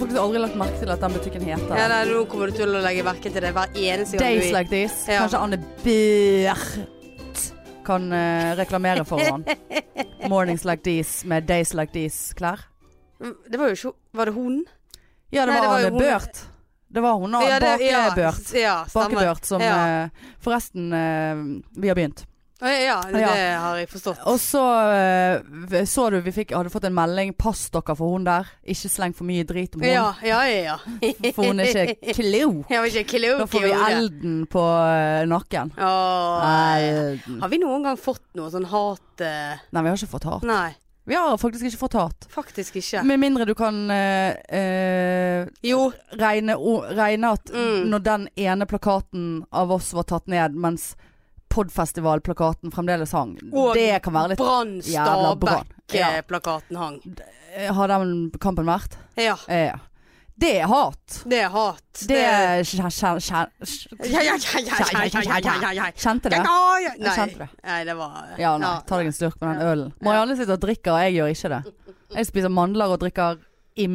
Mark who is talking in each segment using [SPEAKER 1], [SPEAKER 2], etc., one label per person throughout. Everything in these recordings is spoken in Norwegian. [SPEAKER 1] faktisk aldri lagt merke til at den butikken heter
[SPEAKER 2] Ja, nei, nå kommer du til å legge merke til det hver eneste gang
[SPEAKER 1] Days
[SPEAKER 2] du
[SPEAKER 1] Like This.
[SPEAKER 2] Ja.
[SPEAKER 1] Kanskje Anne Bjert kan eh, reklamere for han. Mornings Like These med Days Like These-klær.
[SPEAKER 2] Mm, Det var jo ikke Var det hun?
[SPEAKER 1] Ja, det
[SPEAKER 2] Nei, det
[SPEAKER 1] var,
[SPEAKER 2] var jo
[SPEAKER 1] Anne
[SPEAKER 2] hun-
[SPEAKER 1] Bjert. Det var hun, og
[SPEAKER 2] Ja, det- ja,
[SPEAKER 1] Bakebjørt.
[SPEAKER 2] s- Ja, stemmer.
[SPEAKER 1] Bakebjørt som
[SPEAKER 2] Ja.
[SPEAKER 1] eh, Forresten, eh, vi har begynt.
[SPEAKER 2] Å, Ja, det,
[SPEAKER 1] Ja.
[SPEAKER 2] det har jeg forstått.
[SPEAKER 1] Og så eh, så du vi fikk, hadde fått en melding. Pass dere for hun der. Ikke sleng for mye drit om hun.
[SPEAKER 2] Ja, ja, ja. ja.
[SPEAKER 1] For hun er ikke klok.
[SPEAKER 2] Jeg var ikke klok
[SPEAKER 1] Da får vi
[SPEAKER 2] i hodet.
[SPEAKER 1] elden på eh, nakken.
[SPEAKER 2] Åh.
[SPEAKER 1] Elden.
[SPEAKER 2] Har vi noen gang fått noe sånn hat eh?
[SPEAKER 1] Nei, vi har ikke fått hat.
[SPEAKER 2] Nei,
[SPEAKER 1] Vi har faktisk ikke fått hat.
[SPEAKER 2] faktisk ikke.
[SPEAKER 1] Med mindre du kan eh, eh,
[SPEAKER 2] Jo.
[SPEAKER 1] regne, o- regne at
[SPEAKER 2] Mm.
[SPEAKER 1] når den ene plakaten av oss var tatt ned, mens podfestivalplakaten fremdeles hang.
[SPEAKER 2] Og
[SPEAKER 1] det kan være litt
[SPEAKER 2] Brann
[SPEAKER 1] jævla bra. Ja.
[SPEAKER 2] Stabæk-plakaten hang.
[SPEAKER 1] Eh, Har den kampen vært?
[SPEAKER 2] Ja.
[SPEAKER 1] Eh, Ja. Det er hat.
[SPEAKER 2] Det er hat.
[SPEAKER 1] Det er kjen- kjen- kjen-
[SPEAKER 2] Ja, ja, ja, ja, ja, ja, ja, ja, ja, ja.
[SPEAKER 1] Kjente det?
[SPEAKER 2] Ja, ja.
[SPEAKER 1] Jeg
[SPEAKER 2] Nei.
[SPEAKER 1] kjente det.
[SPEAKER 2] Nei, det var
[SPEAKER 1] Ja, nei. Ta deg en slurk med den ølen. Marianne sitter og drikker, og jeg gjør ikke det. Jeg spiser mandler og drikker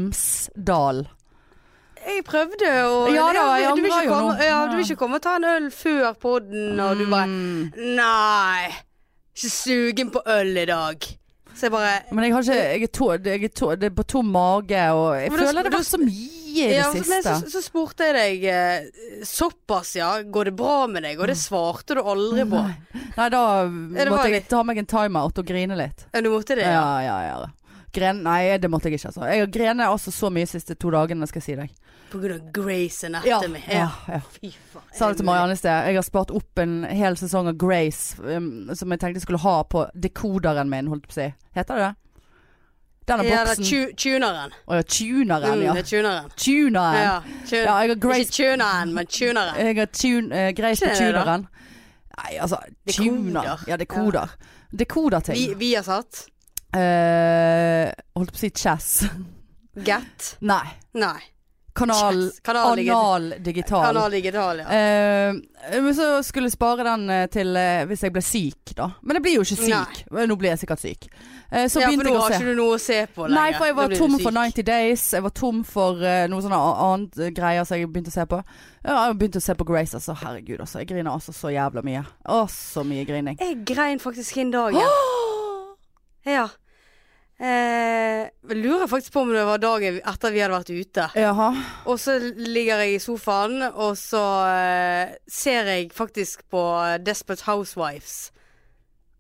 [SPEAKER 1] Imsdal.
[SPEAKER 2] Jeg prøvde å
[SPEAKER 1] Ja da,
[SPEAKER 2] du-
[SPEAKER 1] jeg
[SPEAKER 2] du vil
[SPEAKER 1] angrer
[SPEAKER 2] ikke
[SPEAKER 1] jo
[SPEAKER 2] komme-
[SPEAKER 1] nå.
[SPEAKER 2] Ja, du vil ikke komme og ta en øl før podden, og du bare
[SPEAKER 1] Mm.
[SPEAKER 2] Nei. Ikke sugen på øl i dag. Så jeg bare
[SPEAKER 1] Men jeg har ikke Jeg er, to, jeg er, to, det er på tom mage, og jeg
[SPEAKER 2] Men da-
[SPEAKER 1] føler det
[SPEAKER 2] da-
[SPEAKER 1] var så mye i det
[SPEAKER 2] ja, men
[SPEAKER 1] siste.
[SPEAKER 2] så, så spurte jeg deg eh, såpass, ja. Går det bra med deg? Og det svarte du aldri på.
[SPEAKER 1] Mm. Nei. Nei, da
[SPEAKER 2] det
[SPEAKER 1] måtte jeg
[SPEAKER 2] litt-
[SPEAKER 1] ta meg en timeout og grine litt.
[SPEAKER 2] Ja, du måtte det? Ja.
[SPEAKER 1] Ja, ja, ja. Gren, nei, det måtte jeg ikke. Altså. Jeg grener altså så mye de siste to dagene, skal jeg si deg.
[SPEAKER 2] På grunn av Grace
[SPEAKER 1] Ja,
[SPEAKER 2] Anatomy.
[SPEAKER 1] ja, ja.
[SPEAKER 2] Fy faen.
[SPEAKER 1] Sa det til Marianne i sted. Jeg har spart opp en hel sesong av Grace um, som jeg tenkte jeg skulle ha på dekoderen min, holdt jeg på å si. Heter det det? Denne
[SPEAKER 2] Ja, det er
[SPEAKER 1] boksen.
[SPEAKER 2] tu- tuneren.
[SPEAKER 1] Å ja, tuneren,
[SPEAKER 2] Mm,
[SPEAKER 1] ja.
[SPEAKER 2] det er tuneren.
[SPEAKER 1] Tuneren.
[SPEAKER 2] Ja, tun
[SPEAKER 1] Ja, jeg har Grace
[SPEAKER 2] Ikke tuneren, men tuneren.
[SPEAKER 1] Jeg har tun, eh, greit på
[SPEAKER 2] Ikke det, da?
[SPEAKER 1] tuneren. Nei, altså
[SPEAKER 2] Dekoder.
[SPEAKER 1] tuner. Ja, dekoder. Dekoderting.
[SPEAKER 2] Vi, vi har satt
[SPEAKER 1] Eh, holdt på å si chess.
[SPEAKER 2] Get.
[SPEAKER 1] Nei.
[SPEAKER 2] Nei.
[SPEAKER 1] Kanal
[SPEAKER 2] Chess. Kanal digital.
[SPEAKER 1] Anal digital.
[SPEAKER 2] Kanal digital, ja.
[SPEAKER 1] Eh, men så skulle jeg spare den eh, til eh, hvis jeg ble syk, da. Men jeg blir jo ikke syk. Men Nå blir jeg sikkert syk. Eh, så
[SPEAKER 2] ja, for nå
[SPEAKER 1] begynte jeg å
[SPEAKER 2] har
[SPEAKER 1] se.
[SPEAKER 2] ikke du noe å se på lenger.
[SPEAKER 1] Nei, for jeg
[SPEAKER 2] Da
[SPEAKER 1] var
[SPEAKER 2] blir du
[SPEAKER 1] tom
[SPEAKER 2] syk.
[SPEAKER 1] for 90 Days. Jeg var tom for eh, noe sånne a- annet eh, greier som jeg begynte å se på. Ja, jeg begynte å se på Grace, altså. Herregud, altså. Jeg griner altså så jævla mye. Å, så mye grining.
[SPEAKER 2] Jeg grein faktisk en dag, ja. ja. Eh, lurer faktisk på om det var dagen etter vi hadde vært ute.
[SPEAKER 1] Jaha.
[SPEAKER 2] Og så ligger jeg i sofaen, og så eh, ser jeg faktisk på eh, Desperate Housewives.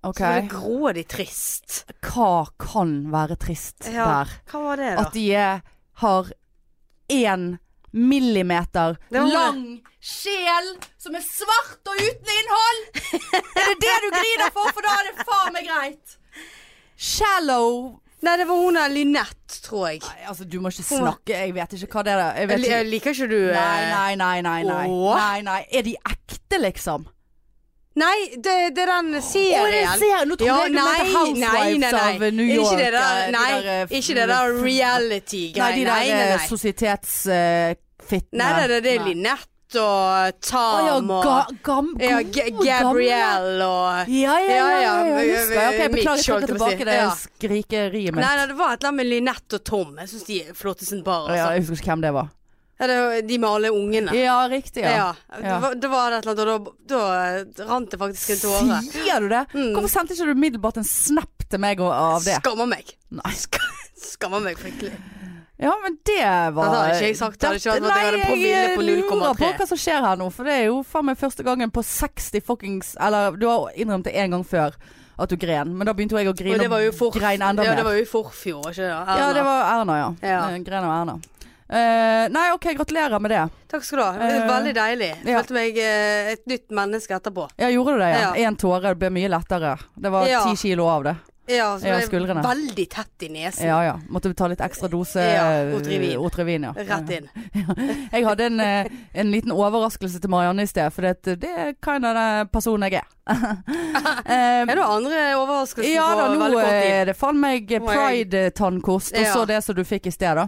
[SPEAKER 1] Ok.
[SPEAKER 2] Så var det grådig trist.
[SPEAKER 1] Hva kan være trist
[SPEAKER 2] Ja,
[SPEAKER 1] der?
[SPEAKER 2] Hva var det, da?
[SPEAKER 1] At de er, har én millimeter
[SPEAKER 2] Det var det.
[SPEAKER 1] lang sjel som er svart og uten innhold! Er det det du griner for? For da er det faen meg greit. Shallow
[SPEAKER 2] Nei, det var hun der Lynette, tror jeg.
[SPEAKER 1] Nei, altså, du må ikke snakke. Jeg vet ikke hva det er. Jeg
[SPEAKER 2] Jeg,
[SPEAKER 1] vet
[SPEAKER 2] li-
[SPEAKER 1] ikke.
[SPEAKER 2] jeg liker ikke du eh,
[SPEAKER 1] Nei, nei, nei, nei, nei.
[SPEAKER 2] Åh.
[SPEAKER 1] nei, nei. Er de ekte, liksom?
[SPEAKER 2] Nei, det, det er den
[SPEAKER 1] Å,
[SPEAKER 2] serien.
[SPEAKER 1] det ser Nå trodde
[SPEAKER 2] Ja,
[SPEAKER 1] jeg du mente
[SPEAKER 2] nei,
[SPEAKER 1] Housewives
[SPEAKER 2] nei, nei, nei.
[SPEAKER 1] av New York.
[SPEAKER 2] Ikke det
[SPEAKER 1] eh,
[SPEAKER 2] der,
[SPEAKER 1] de
[SPEAKER 2] nei,
[SPEAKER 1] der, eh, f-
[SPEAKER 2] ikke det der
[SPEAKER 1] Nei,
[SPEAKER 2] reality-greiene.
[SPEAKER 1] de
[SPEAKER 2] Nei,
[SPEAKER 1] der
[SPEAKER 2] nei,
[SPEAKER 1] eh,
[SPEAKER 2] nei.
[SPEAKER 1] sosietetsfittene.
[SPEAKER 2] Nei, nei, det, det er Linette og
[SPEAKER 1] Å ja,
[SPEAKER 2] Tam
[SPEAKER 1] ga,
[SPEAKER 2] og
[SPEAKER 1] gam,
[SPEAKER 2] ja,
[SPEAKER 1] gode,
[SPEAKER 2] G-
[SPEAKER 1] gamle.
[SPEAKER 2] Gabrielle og
[SPEAKER 1] Ja, ja, ja. ja,
[SPEAKER 2] Ja, ja,
[SPEAKER 1] jeg husker. jeg. Ok, jeg
[SPEAKER 2] Mitch,
[SPEAKER 1] beklager, jeg
[SPEAKER 2] holdt jeg
[SPEAKER 1] trekker
[SPEAKER 2] på å si.
[SPEAKER 1] tilbake det
[SPEAKER 2] Ja.
[SPEAKER 1] skrikeriet
[SPEAKER 2] Nei,
[SPEAKER 1] mitt.
[SPEAKER 2] nei, det var et eller annet med Linette og Tom. Jeg syns de er flotte som par.
[SPEAKER 1] Å ja,
[SPEAKER 2] Altså.
[SPEAKER 1] jeg husker ikke hvem det var.
[SPEAKER 2] Ja, det var de med alle ungene.
[SPEAKER 1] Ja, riktig.
[SPEAKER 2] Ja.
[SPEAKER 1] ja.
[SPEAKER 2] Det, var, det var et eller annet, og da, da rant det faktisk en tåre.
[SPEAKER 1] Sier du det?
[SPEAKER 2] Mm.
[SPEAKER 1] Hvorfor sendte ikke du umiddelbart en snap til meg og- av det?
[SPEAKER 2] Skammer meg.
[SPEAKER 1] Nei.
[SPEAKER 2] Skammer meg fryktelig.
[SPEAKER 1] Ja, men det var
[SPEAKER 2] Dette hadde ikke jeg sagt, hadde ikke vært at jeg hadde promille på
[SPEAKER 1] Nei, jeg lurer på
[SPEAKER 2] 0,3.
[SPEAKER 1] hva som skjer her nå, for det er jo faen meg første gangen på 60 fuckings Eller du har innrømt det én gang før at du gren, men da begynte jo jeg å grine
[SPEAKER 2] Og det var jo for,
[SPEAKER 1] grein enda
[SPEAKER 2] ja, det
[SPEAKER 1] mer.
[SPEAKER 2] var jo i forfjor, var ikke det? Erna?
[SPEAKER 1] ja, det var Erna, ja.
[SPEAKER 2] Ja.
[SPEAKER 1] Eh, Gren og Erna. Eh, nei, OK, gratulerer med det.
[SPEAKER 2] Takk skal du ha. Det var Veldig deilig.
[SPEAKER 1] Eh, ja.
[SPEAKER 2] Følte meg eh, et nytt menneske etterpå.
[SPEAKER 1] Ja, gjorde du det? Ja.
[SPEAKER 2] Ja.
[SPEAKER 1] Én tåre, det ble mye lettere. Det var ti
[SPEAKER 2] Ja.
[SPEAKER 1] kilo av det.
[SPEAKER 2] Ja, så
[SPEAKER 1] Ja,
[SPEAKER 2] ble jeg
[SPEAKER 1] skuldrene.
[SPEAKER 2] Veldig tett i nesen.
[SPEAKER 1] Ja ja. Måtte ta litt ekstra dose
[SPEAKER 2] Ja, Otrivin.
[SPEAKER 1] eh, Otrivin, ja.
[SPEAKER 2] Rett inn.
[SPEAKER 1] Jeg hadde en, eh, en liten overraskelse til Marianne i sted, for det, det er kind of den personen jeg er. Eh,
[SPEAKER 2] Er det andre overraskelsen
[SPEAKER 1] ja da,
[SPEAKER 2] på
[SPEAKER 1] nå eh,
[SPEAKER 2] veldig kort tid?
[SPEAKER 1] er det faen meg
[SPEAKER 2] Nå er jeg-
[SPEAKER 1] pride-tannkost, og så
[SPEAKER 2] Ja.
[SPEAKER 1] det som du fikk i sted, da.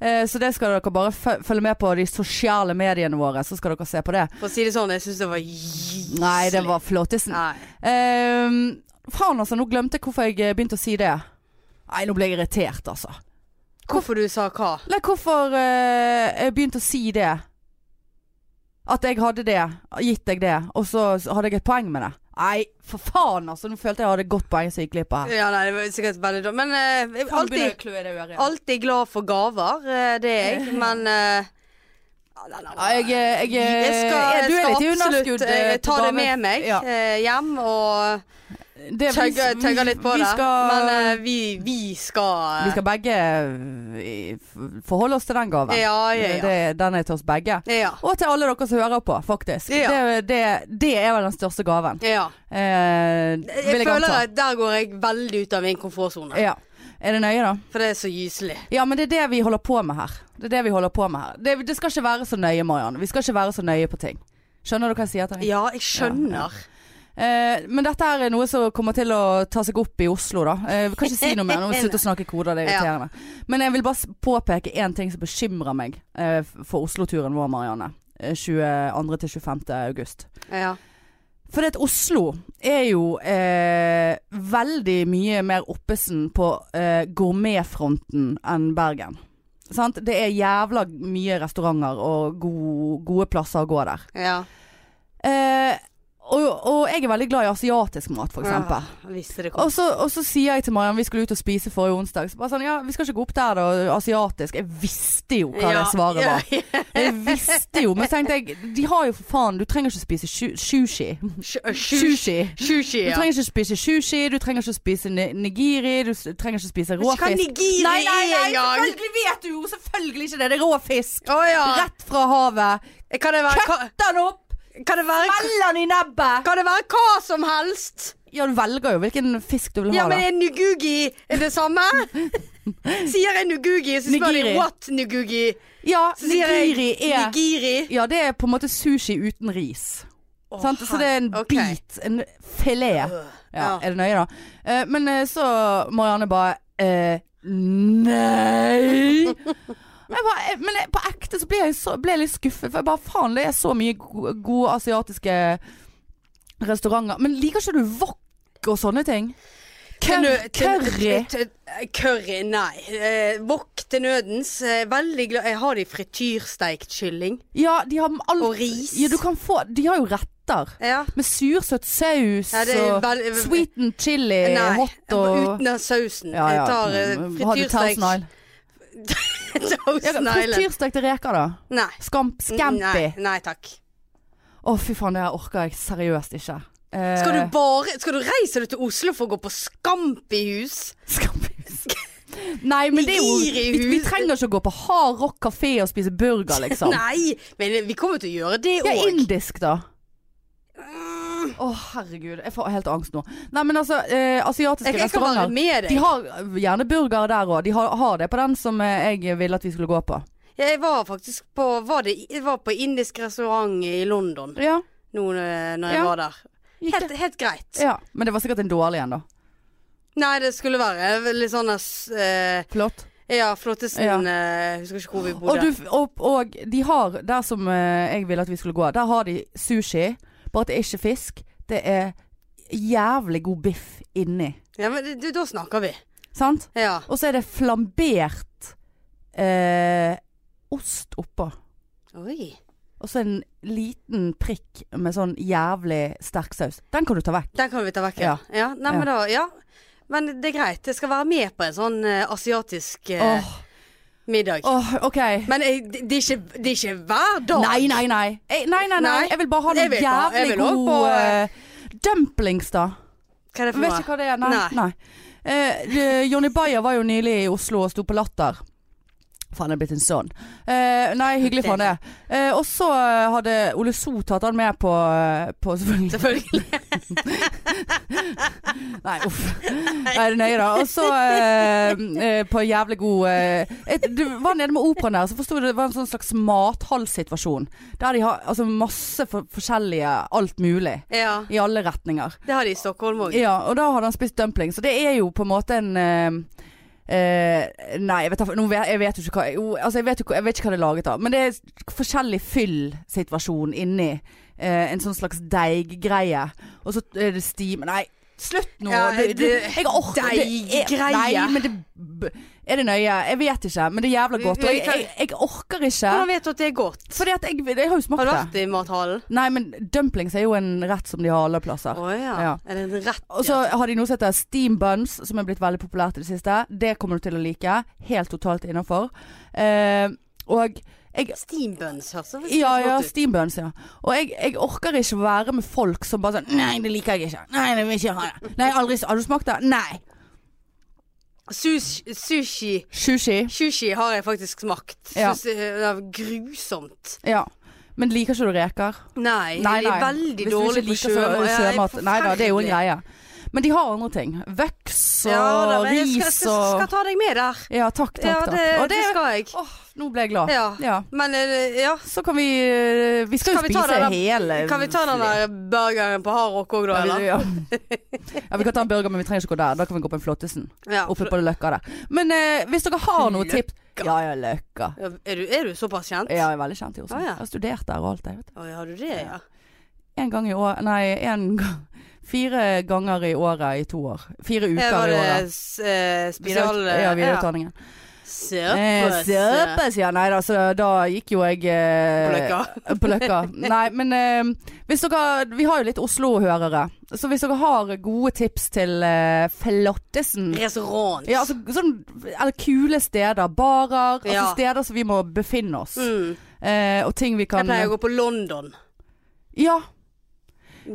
[SPEAKER 1] Eh, Så det skal dere bare fø- følge med på de sosiale mediene våre, så skal dere se på det.
[SPEAKER 2] For å si det sånn, jeg syns det var gyselig.
[SPEAKER 1] Nei, det var flottisen.
[SPEAKER 2] Nei.
[SPEAKER 1] Eh, faen altså, nå glemte jeg hvorfor jeg eh, begynte å si det. Nei, nå ble jeg irritert, altså.
[SPEAKER 2] Hvorfor du sa hva?
[SPEAKER 1] Nei, hvorfor eh, jeg begynte å si det? At jeg hadde det, gitt deg det, og så så hadde jeg et poeng med det. Nei, for faen altså, nå følte jeg jeg hadde et godt poeng som gikk glipp av. her.
[SPEAKER 2] Ja, nei, det var sikkert veldig dumt. Men eh, jeg er alltid, alltid glad for gaver, eh, det er jeg. Men eh, ja, nei, nei,
[SPEAKER 1] Ja, jeg, jeg,
[SPEAKER 2] Jeg skal,
[SPEAKER 1] du er
[SPEAKER 2] jeg
[SPEAKER 1] litt i
[SPEAKER 2] skal absolutt
[SPEAKER 1] underskudd.
[SPEAKER 2] eh,
[SPEAKER 1] eh,
[SPEAKER 2] ta
[SPEAKER 1] til
[SPEAKER 2] det
[SPEAKER 1] dame.
[SPEAKER 2] med meg
[SPEAKER 1] Ja.
[SPEAKER 2] eh, hjem og
[SPEAKER 1] Det- vi-
[SPEAKER 2] tøgge,
[SPEAKER 1] vi-
[SPEAKER 2] tøgge litt på
[SPEAKER 1] vi
[SPEAKER 2] det.
[SPEAKER 1] Skal,
[SPEAKER 2] Men eh, vi, vi skal eh,
[SPEAKER 1] vi skal begge eh, f- forholde oss til den gaven.
[SPEAKER 2] Ja, ja, ja.
[SPEAKER 1] Det, den er til oss begge.
[SPEAKER 2] ja.
[SPEAKER 1] Og til alle dere som hører på, faktisk.
[SPEAKER 2] Ja.
[SPEAKER 1] Det, det, det er vel den største gaven.
[SPEAKER 2] ja.
[SPEAKER 1] Eh, vil
[SPEAKER 2] Jeg,
[SPEAKER 1] jeg
[SPEAKER 2] føler
[SPEAKER 1] anta.
[SPEAKER 2] at der går jeg veldig ut av min komfortsone.
[SPEAKER 1] Ja. Er det nøye, da?
[SPEAKER 2] For det er så gyselig.
[SPEAKER 1] Ja, men det er det vi holder på med her. Det er det vi holder på med her. Det, det skal ikke være så nøye, Mariann. Vi skal ikke være så nøye på ting. Skjønner du hva jeg sier til deg?
[SPEAKER 2] Ja, jeg skjønner.
[SPEAKER 1] Eh, men dette her er noe som kommer til å ta seg opp i Oslo, da. Eh, vi kan ikke si noe mer. Nå må vi slutte å snakke koder, det er irriterende. Men jeg vil bare s- påpeke én ting som bekymrer meg eh, f- for Oslo-turen vår, Marianne. Eh, 22. til 25. august.
[SPEAKER 2] Ja.
[SPEAKER 1] For det at Oslo er jo eh, veldig mye mer oppesen på eh, gourmetfronten enn Bergen. Sant? Det er jævla mye restauranter og gode, gode plasser å gå der.
[SPEAKER 2] ja.
[SPEAKER 1] Eh, og, og jeg er veldig glad i asiatisk mat, for eksempel.
[SPEAKER 2] Ja, visste det kom.
[SPEAKER 1] Og så, og så sier jeg til Mariann, vi skulle ut og spise forrige onsdag. Så bare sånn, ja, vi skal ikke gå opp der da, asiatisk. Jeg visste jo hva det svaret var. Jeg visste jo, men så tenkte jeg, de har jo for faen, du trenger ikke spise shu- sushi.
[SPEAKER 2] Sushi.
[SPEAKER 1] Sushi.
[SPEAKER 2] Sushi,
[SPEAKER 1] Du
[SPEAKER 2] ja.
[SPEAKER 1] trenger ikke spise sushi, du trenger ikke spise ni- nigiri, du s- trenger ikke spise
[SPEAKER 2] Vet ikke hva
[SPEAKER 1] råfisk.
[SPEAKER 2] nigiri
[SPEAKER 1] Nei, nei,
[SPEAKER 2] er
[SPEAKER 1] nei,
[SPEAKER 2] engang.
[SPEAKER 1] selvfølgelig vet du jo selvfølgelig ikke det. Det er råfisk.
[SPEAKER 2] Å ja.
[SPEAKER 1] Rett fra havet.
[SPEAKER 2] Kan det være hva,
[SPEAKER 1] Kutt den opp!
[SPEAKER 2] kan det være,
[SPEAKER 1] Fell den i nebbet!
[SPEAKER 2] kan det være hva som helst?
[SPEAKER 1] Ja, du velger jo hvilken fisk du vil
[SPEAKER 2] Ja,
[SPEAKER 1] ha.
[SPEAKER 2] men
[SPEAKER 1] da.
[SPEAKER 2] er nugugi det samme? Sier jeg nugugi, så spør de
[SPEAKER 1] Nigiri.
[SPEAKER 2] what nugugi.
[SPEAKER 1] Ja,
[SPEAKER 2] Så sier jeg
[SPEAKER 1] nigiri er
[SPEAKER 2] Nigiri.
[SPEAKER 1] Ja, det er på en måte sushi uten ris.
[SPEAKER 2] Å,
[SPEAKER 1] sant? Så det er en
[SPEAKER 2] her- ok.
[SPEAKER 1] bit, en filet.
[SPEAKER 2] Øh,
[SPEAKER 1] Ja,
[SPEAKER 2] Ja.
[SPEAKER 1] Er det nøye, da? Eh, men eh, så Marianne bare eh, Nei! Jeg bare, eh, men jeg, på ekte så ble jeg, så, ble jeg litt skuffet. For jeg bare faen, det er så mye gode, gode asiatiske restauranter. Men liker ikke du wok og sånne ting?
[SPEAKER 2] Til
[SPEAKER 1] Curry.
[SPEAKER 2] nø- til-
[SPEAKER 1] curry.
[SPEAKER 2] til- til- Curry, nei. Eh, Wok til nødens. Eh, Veldig glad Jeg har de frityrsteikt kylling.
[SPEAKER 1] Ja, de har alt
[SPEAKER 2] Og ris.
[SPEAKER 1] Ja, du kan få De har jo retter.
[SPEAKER 2] Ja.
[SPEAKER 1] Med sursøt saus
[SPEAKER 2] Ja, det er
[SPEAKER 1] og
[SPEAKER 2] veld-
[SPEAKER 1] sweet and chili
[SPEAKER 2] Nei,
[SPEAKER 1] hot og
[SPEAKER 2] uten den sausen.
[SPEAKER 1] Ja, ja.
[SPEAKER 2] Jeg tar eh,
[SPEAKER 1] Mm, har du
[SPEAKER 2] frityrsteikt
[SPEAKER 1] Thousand Island? Ja,
[SPEAKER 2] Toast
[SPEAKER 1] Frityrstekte reker, da?
[SPEAKER 2] Nei.
[SPEAKER 1] Skamp, scampi.
[SPEAKER 2] Nei, nei takk.
[SPEAKER 1] Å, fy faen, det her orker jeg seriøst ikke. Eh,
[SPEAKER 2] Skal du bare Skal du reise deg til Oslo for å gå på Skampihus?
[SPEAKER 1] Skampis. Nei, men det er jo
[SPEAKER 2] Nigiri i
[SPEAKER 1] vi, vi
[SPEAKER 2] huset.
[SPEAKER 1] trenger ikke å gå på hard rock kafé og spise burger, liksom.
[SPEAKER 2] Nei, men vi kommer til å gjøre det Mm.
[SPEAKER 1] Ja,
[SPEAKER 2] òg.
[SPEAKER 1] indisk, da. Å, herregud. Jeg får helt angst nå. Nei, men altså, eh, asiatiske
[SPEAKER 2] Jeg, jeg skal være
[SPEAKER 1] restauranter
[SPEAKER 2] med
[SPEAKER 1] De
[SPEAKER 2] deg.
[SPEAKER 1] har gjerne burger der òg. De har, har det på den som eh, jeg ville at vi skulle gå på.
[SPEAKER 2] Jeg var faktisk på Var, det, jeg var på indisk restaurant i London
[SPEAKER 1] Ja.
[SPEAKER 2] nå eh, når jeg
[SPEAKER 1] Ja.
[SPEAKER 2] var der.
[SPEAKER 1] Gikk det?
[SPEAKER 2] Helt, helt greit.
[SPEAKER 1] ja. Men det var sikkert en dårlig en, da.
[SPEAKER 2] Nei, det skulle være litt sånn eh,
[SPEAKER 1] Flott.
[SPEAKER 2] Ja, Flottesen
[SPEAKER 1] Ja.
[SPEAKER 2] eh, Husker ikke hvor vi
[SPEAKER 1] Og,
[SPEAKER 2] bodde.
[SPEAKER 1] du, og, og de har, der som eh, jeg ville at vi skulle gå, der har de sushi. Bare at det er ikke fisk. Det er jævlig god biff inni.
[SPEAKER 2] Ja, men det- da snakker vi.
[SPEAKER 1] Sant?
[SPEAKER 2] Ja.
[SPEAKER 1] Og så er det flambert eh, ost oppå.
[SPEAKER 2] Oi.
[SPEAKER 1] Og så en liten prikk med sånn jævlig sterk saus. Den kan du ta vekk.
[SPEAKER 2] Den kan vi ta vekk, ja. ja. Nei, men da, ja. Men det er greit. Jeg skal være med på en sånn eh, asiatisk
[SPEAKER 1] Åh,
[SPEAKER 2] eh, middag.
[SPEAKER 1] åh, OK.
[SPEAKER 2] Men eh, det, det, er ikke, det er ikke hver dag.
[SPEAKER 1] Nei, nei, nei. Eh, nei, nei, nei.
[SPEAKER 2] Nei.
[SPEAKER 1] Jeg vil bare ha
[SPEAKER 2] Jeg
[SPEAKER 1] noe
[SPEAKER 2] vil bare- jeg
[SPEAKER 1] jævlig
[SPEAKER 2] vil også
[SPEAKER 1] god
[SPEAKER 2] på, eh,
[SPEAKER 1] eh, Dumplings, da.
[SPEAKER 2] Hva er det
[SPEAKER 1] Jeg
[SPEAKER 2] for
[SPEAKER 1] vet
[SPEAKER 2] noe?
[SPEAKER 1] ikke hva det er. Nei.
[SPEAKER 2] Nei.
[SPEAKER 1] nei. Eh, det- Jonny Bayer var jo nylig i Oslo og sto på Latter. Faen, jeg er blitt en sånn. Eh, nei, hyggelig for han det. Eh, og så eh, hadde Ole So tatt han med på, eh, på selvfølgelig.
[SPEAKER 2] Selvfølgelig.
[SPEAKER 1] Nei, uff. Nei, det er nøye, da. Og så eh, eh, på jævlig god eh, et, Du var nede med operaen der, så forsto jeg det var en sånn slags mathalssituasjon. Der de har altså, masse for, forskjellige alt mulig.
[SPEAKER 2] Ja.
[SPEAKER 1] I alle retninger.
[SPEAKER 2] Det har de i Stockholm òg.
[SPEAKER 1] Ja, og da hadde han spist dumpling, så det er jo på en måte en eh, eh, nei, jeg vet, da- nå vet, jeg vet jo ikke hva jo, altså jeg, vet jo, hva- jeg vet ikke hva det er laget av. Men det er forskjellig fyllsituasjon inni. eh, en sånn slags deiggreie. Og så er det steam Nei, Slutt nå.
[SPEAKER 2] Ja,
[SPEAKER 1] du, du,
[SPEAKER 2] det-
[SPEAKER 1] jeg orker det er-
[SPEAKER 2] deg-greie.
[SPEAKER 1] Nei, men det b- Er det nøye? Jeg vet ikke, men det er jævla godt. Og jeg, jeg, jeg orker
[SPEAKER 2] Hvordan
[SPEAKER 1] ikke.
[SPEAKER 2] vet du at det er godt?
[SPEAKER 1] Fordi at jeg, jeg har jo
[SPEAKER 2] Har
[SPEAKER 1] smakt
[SPEAKER 2] du
[SPEAKER 1] det.
[SPEAKER 2] vært i mathallen?
[SPEAKER 1] Nei, men dumplings er jo en rett som de har alle plasser.
[SPEAKER 2] Å ja.
[SPEAKER 1] Ja.
[SPEAKER 2] Er det en rett?
[SPEAKER 1] Og så har de noe som heter steam buns, som er blitt veldig populært i det siste. Det kommer du til å like. Helt totalt innafor. Eh, og jeg
[SPEAKER 2] Steam buns, altså.
[SPEAKER 1] ja, ja, steam buns, ja. Og jeg, jeg orker ikke være med folk som bare sånn Nei, det liker jeg ikke. Nei, det vil jeg ikke ha det. Nei, aldri. Har du smakt det? Nei.
[SPEAKER 2] Sushi, sushi.
[SPEAKER 1] Sushi.
[SPEAKER 2] Sushi har jeg faktisk smakt.
[SPEAKER 1] Ja.
[SPEAKER 2] Synes det er grusomt.
[SPEAKER 1] Ja. Men liker ikke du reker?
[SPEAKER 2] Nei, jeg er veldig
[SPEAKER 1] Hvis du
[SPEAKER 2] dårlig
[SPEAKER 1] ikke
[SPEAKER 2] på
[SPEAKER 1] liker
[SPEAKER 2] sjø-
[SPEAKER 1] sjø-
[SPEAKER 2] Ja, jeg er
[SPEAKER 1] sjømat. Nei da, det er jo en
[SPEAKER 2] forferdelig.
[SPEAKER 1] greie. Men de har andre ting. Vøks og
[SPEAKER 2] Ja, da, men jeg skal,
[SPEAKER 1] ris
[SPEAKER 2] skal, skal
[SPEAKER 1] og
[SPEAKER 2] ta deg med der.
[SPEAKER 1] Ja, takk, takk,
[SPEAKER 2] Ja,
[SPEAKER 1] takk.
[SPEAKER 2] det,
[SPEAKER 1] og
[SPEAKER 2] det skal jeg.
[SPEAKER 1] Åh, nå ble jeg glad.
[SPEAKER 2] Ja.
[SPEAKER 1] Ja.
[SPEAKER 2] Men eh, ja.
[SPEAKER 1] Så kan vi eh, Vi skal jo
[SPEAKER 2] Kan vi ta
[SPEAKER 1] spise
[SPEAKER 2] den der-
[SPEAKER 1] hele
[SPEAKER 2] Kan vi ta den der burgeren på Hardrock òg, da?
[SPEAKER 1] Ja, vi-
[SPEAKER 2] Eller?
[SPEAKER 1] ja. ja, vi kan ta en burger, men vi trenger ikke gå der. Da kan vi gå på en Flåttesen.
[SPEAKER 2] Ja.
[SPEAKER 1] Oppe på Løkka der. Men eh, hvis dere har noen
[SPEAKER 2] Løkka?
[SPEAKER 1] tips Ja, ja, Løkka.
[SPEAKER 2] Ja, Er du, er du såpass kjent?
[SPEAKER 1] Ja, jeg er veldig kjent i Oslo.
[SPEAKER 2] Ah, ja.
[SPEAKER 1] Jeg har studert der og alt, jeg, vet du.
[SPEAKER 2] Å, har du det, ja?
[SPEAKER 1] En gang i år Nei, en gang Fire ganger i året i to år. Fire
[SPEAKER 2] Eh,
[SPEAKER 1] uker
[SPEAKER 2] Var
[SPEAKER 1] i
[SPEAKER 2] det
[SPEAKER 1] året.
[SPEAKER 2] s- eh, spesial...
[SPEAKER 1] Videreut- ja, videreutdanningen. Eh,
[SPEAKER 2] Søpes.
[SPEAKER 1] Søpes, ja. Nei da, så da gikk jo jeg eh,
[SPEAKER 2] På Løkka.
[SPEAKER 1] På Løkka. Nei, men eh, hvis dere Vi har jo litt Oslo-hørere. Så hvis dere har gode tips til eh, flottesen
[SPEAKER 2] Restaurant.
[SPEAKER 1] ja, altså, sånn, eller kule steder. Barer. Altså
[SPEAKER 2] Ja.
[SPEAKER 1] steder som vi må befinne oss.
[SPEAKER 2] mm.
[SPEAKER 1] Eh, og ting vi kan eh,
[SPEAKER 2] Jeg pleier å gå på London.
[SPEAKER 1] Ja,
[SPEAKER 2] Gøy.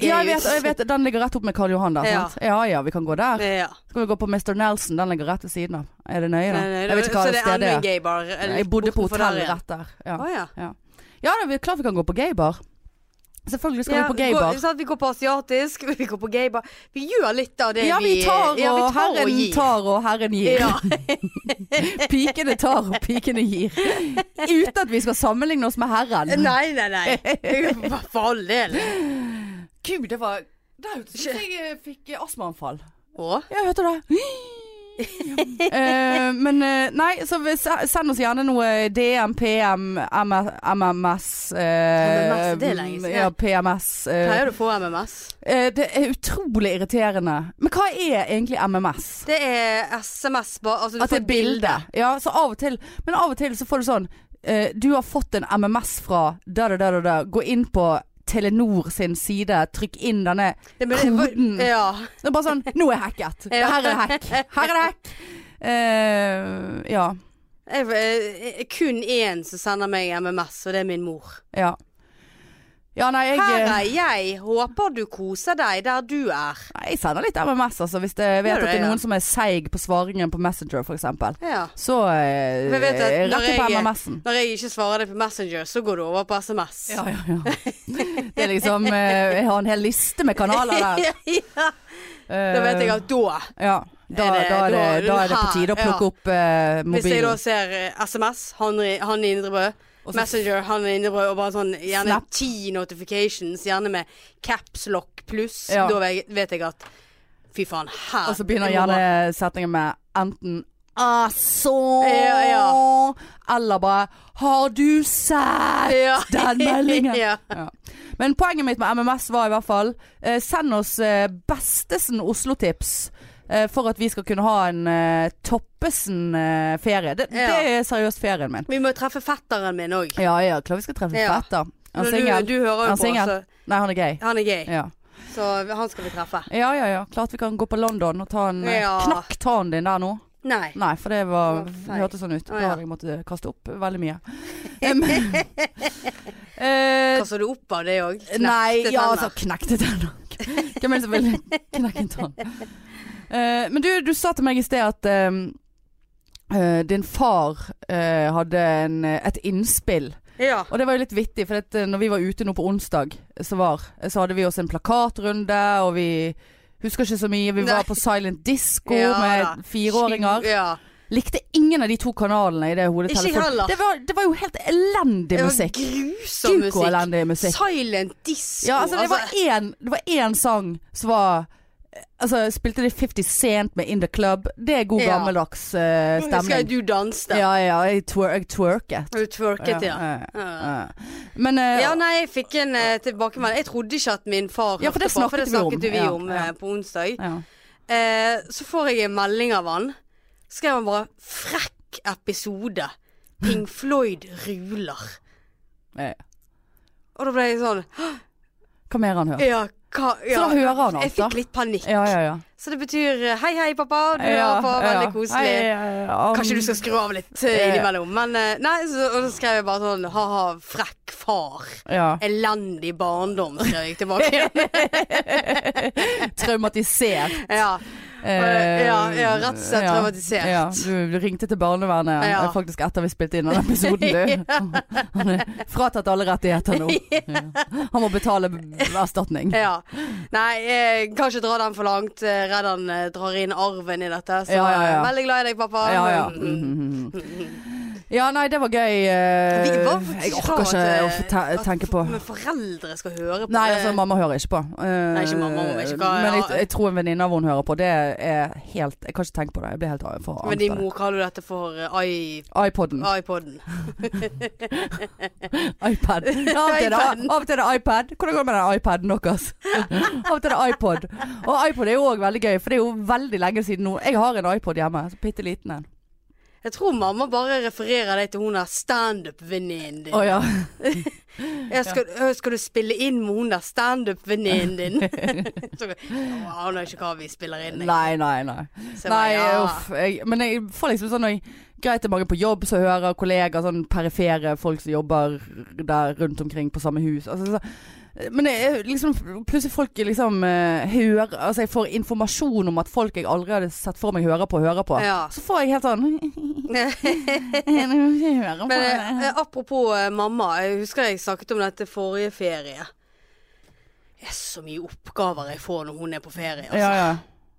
[SPEAKER 2] gøy.
[SPEAKER 1] ja jeg, vet, jeg vet Den ligger rett opp med Karl Johan der.
[SPEAKER 2] Ja.
[SPEAKER 1] Sant? Ja ja, vi kan gå der.
[SPEAKER 2] Ja.
[SPEAKER 1] Så kan vi gå på Mr. Nelson. Den ligger rett ved siden av. Er det nøye, da?
[SPEAKER 2] Nei, nei,
[SPEAKER 1] jeg vet ikke
[SPEAKER 2] Eh,
[SPEAKER 1] hva
[SPEAKER 2] så
[SPEAKER 1] det
[SPEAKER 2] er
[SPEAKER 1] stedet
[SPEAKER 2] enda en
[SPEAKER 1] er.
[SPEAKER 2] gay bar, eller
[SPEAKER 1] Jeg bodde på
[SPEAKER 2] bortenfor
[SPEAKER 1] hotell
[SPEAKER 2] der igjen.
[SPEAKER 1] rett der. Ja,
[SPEAKER 2] Å, ja.
[SPEAKER 1] ja det er klart vi kan gå på gaybar. Selvfølgelig skal
[SPEAKER 2] Ja,
[SPEAKER 1] vi på gaybar.
[SPEAKER 2] gå- sant, vi går på asiatisk, vi går på gaybar. Vi gjør litt av det
[SPEAKER 1] Ja, vi tar og
[SPEAKER 2] ja, vi tar og
[SPEAKER 1] herren
[SPEAKER 2] gir.
[SPEAKER 1] tar og herren gir.
[SPEAKER 2] Ja.
[SPEAKER 1] Pikene tar og pikene gir. Uten at vi skal sammenligne oss med herren.
[SPEAKER 2] Nei, nei, nei. For all del.
[SPEAKER 1] Gud, det var Der ute synes jeg eh, fikk eh, astmaanfall.
[SPEAKER 2] Å,
[SPEAKER 1] Ja, hørte du det? Eh, men eh, nei, så vi- se- send oss gjerne noe DM, PM, MS, MMS eh,
[SPEAKER 2] MMS, det er lenge siden.
[SPEAKER 1] Ja, PMS. eh.
[SPEAKER 2] pleier du å få MMS?
[SPEAKER 1] Eh, det er utrolig irriterende. Men hva er egentlig MMS?
[SPEAKER 2] Det er SMS bare altså, du
[SPEAKER 1] At det
[SPEAKER 2] får
[SPEAKER 1] er bilde. Ja, så av og til Men av og til så får du sånn eh, Du har fått en MMS fra da, da, da, da, da. Gå inn på Telenor sin side, trykk inn denne
[SPEAKER 2] Ja, men det-
[SPEAKER 1] koden.
[SPEAKER 2] Ja.
[SPEAKER 1] Det er bare sånn Nå er jeg hacket.
[SPEAKER 2] Ja.
[SPEAKER 1] Her er det hack. Her er det hack. Eh, ja.
[SPEAKER 2] Jeg, jeg, jeg- kun én som sender meg MMS, og det er min mor.
[SPEAKER 1] Ja. Ja, nei, jeg eh,
[SPEAKER 2] Her er jeg, håper du koser deg der du er.
[SPEAKER 1] Nei, eh, Jeg sender litt MMS, altså. Hvis jeg vet
[SPEAKER 2] Gjør
[SPEAKER 1] at det
[SPEAKER 2] det,
[SPEAKER 1] er
[SPEAKER 2] ja.
[SPEAKER 1] noen som er seig på svaringen på Messenger, f.eks.
[SPEAKER 2] Ja.
[SPEAKER 1] Så eh,
[SPEAKER 2] Men vet du,
[SPEAKER 1] eh,
[SPEAKER 2] når
[SPEAKER 1] rett på
[SPEAKER 2] jeg-
[SPEAKER 1] MMS-en.
[SPEAKER 2] Når jeg ikke svarer deg på Messenger, så går du over på SMS.
[SPEAKER 1] Ja, ja, ja. Det er liksom eh, Jeg har en hel liste med kanaler der.
[SPEAKER 2] ja. Da vet jeg at da
[SPEAKER 1] Ja. Da,
[SPEAKER 2] Er det-
[SPEAKER 1] da, er det,
[SPEAKER 2] da-
[SPEAKER 1] da er det på tide å plukke
[SPEAKER 2] Ja.
[SPEAKER 1] opp eh,
[SPEAKER 2] Hvis jeg da
[SPEAKER 1] mobilen.
[SPEAKER 2] ser eh, SMS, han, i- han i Indrebrød,
[SPEAKER 1] Og så-
[SPEAKER 2] Messenger, han i Indrebrød, og bare sånn gjerne
[SPEAKER 1] Snap.
[SPEAKER 2] ti notifications, gjerne med caps lock pluss,
[SPEAKER 1] Ja.
[SPEAKER 2] da ve- vet jeg at fy faen, her
[SPEAKER 1] Og så begynner
[SPEAKER 2] jeg må bare-
[SPEAKER 1] gjerne setningen med enten Ah, så
[SPEAKER 2] Ja,
[SPEAKER 1] Eller bare Har du sett
[SPEAKER 2] Ja.
[SPEAKER 1] den meldingen?
[SPEAKER 2] ja.
[SPEAKER 1] Ja. Men poenget mitt med MMS var i hvert fall eh, Send oss eh, bestesen Oslo-tips eh, for at vi skal kunne ha en eh, toppesen-ferie. det,
[SPEAKER 2] Ja.
[SPEAKER 1] det er seriøst ferien min.
[SPEAKER 2] Vi må treffe fetteren min òg.
[SPEAKER 1] Ja, ja, klar vi skal treffe
[SPEAKER 2] Ja.
[SPEAKER 1] fetter.
[SPEAKER 2] Du,
[SPEAKER 1] Han er singel.
[SPEAKER 2] du hører
[SPEAKER 1] Han
[SPEAKER 2] jo
[SPEAKER 1] er
[SPEAKER 2] på,
[SPEAKER 1] singel.
[SPEAKER 2] så
[SPEAKER 1] Nei, han er gay.
[SPEAKER 2] han er gay.
[SPEAKER 1] Ja.
[SPEAKER 2] Så han skal vi treffe.
[SPEAKER 1] ja, ja, ja. Klart vi kan gå på London og ta en eh,
[SPEAKER 2] Ja.
[SPEAKER 1] Knakk tåen din der nå.
[SPEAKER 2] Nei.
[SPEAKER 1] Nei, for det var
[SPEAKER 2] Det var
[SPEAKER 1] Det
[SPEAKER 2] feil.
[SPEAKER 1] hørtes sånn ut.
[SPEAKER 2] Å,
[SPEAKER 1] Da
[SPEAKER 2] ja.
[SPEAKER 1] hadde jeg måttet kaste opp veldig mye. Em, eh,
[SPEAKER 2] Hva så du opp av det òg?
[SPEAKER 1] Nei, ja, altså knekte tenner. Hvem er det som vil knekke en tann? Eh, men du, du sa til meg i sted at eh, eh, din far eh, hadde en, et innspill.
[SPEAKER 2] Ja.
[SPEAKER 1] Og det var jo litt vittig, for at, eh, når vi var ute nå på onsdag, eh, så, var, så hadde vi også en plakatrunde, og vi husker ikke så mye. Vi
[SPEAKER 2] Nei.
[SPEAKER 1] var på silent disco
[SPEAKER 2] Ja, da.
[SPEAKER 1] med fireåringer.
[SPEAKER 2] Ja.
[SPEAKER 1] Likte ingen av de to kanalene i det hodetelefonen.
[SPEAKER 2] Ikke heller.
[SPEAKER 1] Det var, det var jo helt elendig
[SPEAKER 2] Det var
[SPEAKER 1] musikk.
[SPEAKER 2] grusom
[SPEAKER 1] Gud, hvor
[SPEAKER 2] musikk.
[SPEAKER 1] elendig musikk.
[SPEAKER 2] Silent disco.
[SPEAKER 1] Ja, altså det var én, det var én sang som var Altså spilte de 50 Cent med In The Club. Det er god
[SPEAKER 2] Ja.
[SPEAKER 1] gammeldags eh,
[SPEAKER 2] Husker jeg
[SPEAKER 1] stemning.
[SPEAKER 2] du danste.
[SPEAKER 1] Ja, ja, jeg, twer jeg twerket.
[SPEAKER 2] Har du twerket, ja?
[SPEAKER 1] Ja, ja,
[SPEAKER 2] Ja.
[SPEAKER 1] ja. Men eh,
[SPEAKER 2] Ja, nei, jeg fikk en eh, tilbakemelding. Jeg trodde ikke at min far
[SPEAKER 1] Ja, for det
[SPEAKER 2] hørte på, for
[SPEAKER 1] snakket
[SPEAKER 2] det snakket jo vi
[SPEAKER 1] vi om. Ja,
[SPEAKER 2] om
[SPEAKER 1] ja.
[SPEAKER 2] eh, på onsdag.
[SPEAKER 1] ja.
[SPEAKER 2] Eh, så får jeg en melding av han. Skrev han bare 'frekk episode'. Ping Floyd ruler.
[SPEAKER 1] Eh,
[SPEAKER 2] Og da ble jeg sånn «Hå,
[SPEAKER 1] Hva mer han hører?
[SPEAKER 2] Ja, hva Eh, ja.
[SPEAKER 1] da hører han
[SPEAKER 2] Jeg
[SPEAKER 1] alt, da.
[SPEAKER 2] fikk litt panikk.
[SPEAKER 1] Ja, ja, ja.
[SPEAKER 2] Så det betyr eh, 'hei, hei, pappa', du
[SPEAKER 1] ja,
[SPEAKER 2] hører på, veldig
[SPEAKER 1] ja.
[SPEAKER 2] koselig.
[SPEAKER 1] Hei, eh, om-
[SPEAKER 2] Kanskje du skal skru av litt eh,
[SPEAKER 1] Eh.
[SPEAKER 2] innimellom. Men eh, nei, så, og så skrev jeg bare sånn ha-ha, frekk far.
[SPEAKER 1] ja.
[SPEAKER 2] Elendig barndom, skrev jeg tilbake.
[SPEAKER 1] Traumatisert.
[SPEAKER 2] ja.
[SPEAKER 1] Eh,
[SPEAKER 2] ja, ja, rett og slett
[SPEAKER 1] ja.
[SPEAKER 2] traumatisert.
[SPEAKER 1] Ja, du, du ringte til barnevernet
[SPEAKER 2] Ja.
[SPEAKER 1] eh, faktisk etter vi spilte inn den episoden, du. Han er fratatt alle rettigheter nå. Ja. Han må betale b- erstatning.
[SPEAKER 2] ja. Nei, jeg kan ikke dra den for langt. eh, Redd han eh, drar inn arven i dette. Så
[SPEAKER 1] Ja, ja, ja.
[SPEAKER 2] eh, veldig glad i deg, pappa.
[SPEAKER 1] Ja, ja.
[SPEAKER 2] Mm, mm.
[SPEAKER 1] Mhm, mhm. ja, nei, det var gøy. eh,
[SPEAKER 2] Vi var faktisk
[SPEAKER 1] jeg
[SPEAKER 2] ikke
[SPEAKER 1] orker
[SPEAKER 2] klar
[SPEAKER 1] ikke å
[SPEAKER 2] at, eh,
[SPEAKER 1] forte-
[SPEAKER 2] at
[SPEAKER 1] tenke
[SPEAKER 2] for-
[SPEAKER 1] på
[SPEAKER 2] Men foreldre skal høre på
[SPEAKER 1] Nei,
[SPEAKER 2] det.
[SPEAKER 1] altså mamma hører ikke på. Eh,
[SPEAKER 2] Nei, ikke mamma, hun vet ikke hva-
[SPEAKER 1] men jeg, jeg tror en venninne av henne hører på. Det er helt Jeg kan ikke tenke på det. Jeg blir helt a- for
[SPEAKER 2] Men Ah.
[SPEAKER 1] angst
[SPEAKER 2] din
[SPEAKER 1] av det. Mm.
[SPEAKER 2] mor kaller jo dette for eh, i-
[SPEAKER 1] iPoden.
[SPEAKER 2] iPoden.
[SPEAKER 1] iPad. Ja, Av og til er det-
[SPEAKER 2] iPaden.
[SPEAKER 1] av og til er det iPad. Hvordan går det med den iPaden deres? Av og til er det iPod. Og iPod er jo òg veldig gøy, for det er jo veldig lenge siden nå. Jeg har en iPod hjemme. så Bitte liten en.
[SPEAKER 2] Jeg tror mamma bare refererer deg til hun der standup-venninnen din.
[SPEAKER 1] Å ja.
[SPEAKER 2] Jeg skal, øh, skal du spille inn med hun der standup-venninnen din? Så, «Å, Aner ikke hva vi spiller inn. jeg».
[SPEAKER 1] Nei, nei, nei.
[SPEAKER 2] Så jeg bare,
[SPEAKER 1] Nei,
[SPEAKER 2] ja.
[SPEAKER 1] uff. Jeg, men jeg får liksom sånn når jeg, Greit det er mange på jobb som hører kollegaer, sånn perifere folk som jobber der rundt omkring på samme hus. Altså, så, men jeg, jeg liksom, plutselig folk liksom eh, hører Altså jeg får informasjon om at folk jeg aldri hadde sett for meg hører på, hører på.
[SPEAKER 2] Ja.
[SPEAKER 1] Så får jeg helt sånn
[SPEAKER 2] Men eh, apropos eh, mamma, jeg husker jeg snakket om dette forrige ferie. Det er så mye oppgaver jeg får når hun er på ferie. Altså.
[SPEAKER 1] ja, ja.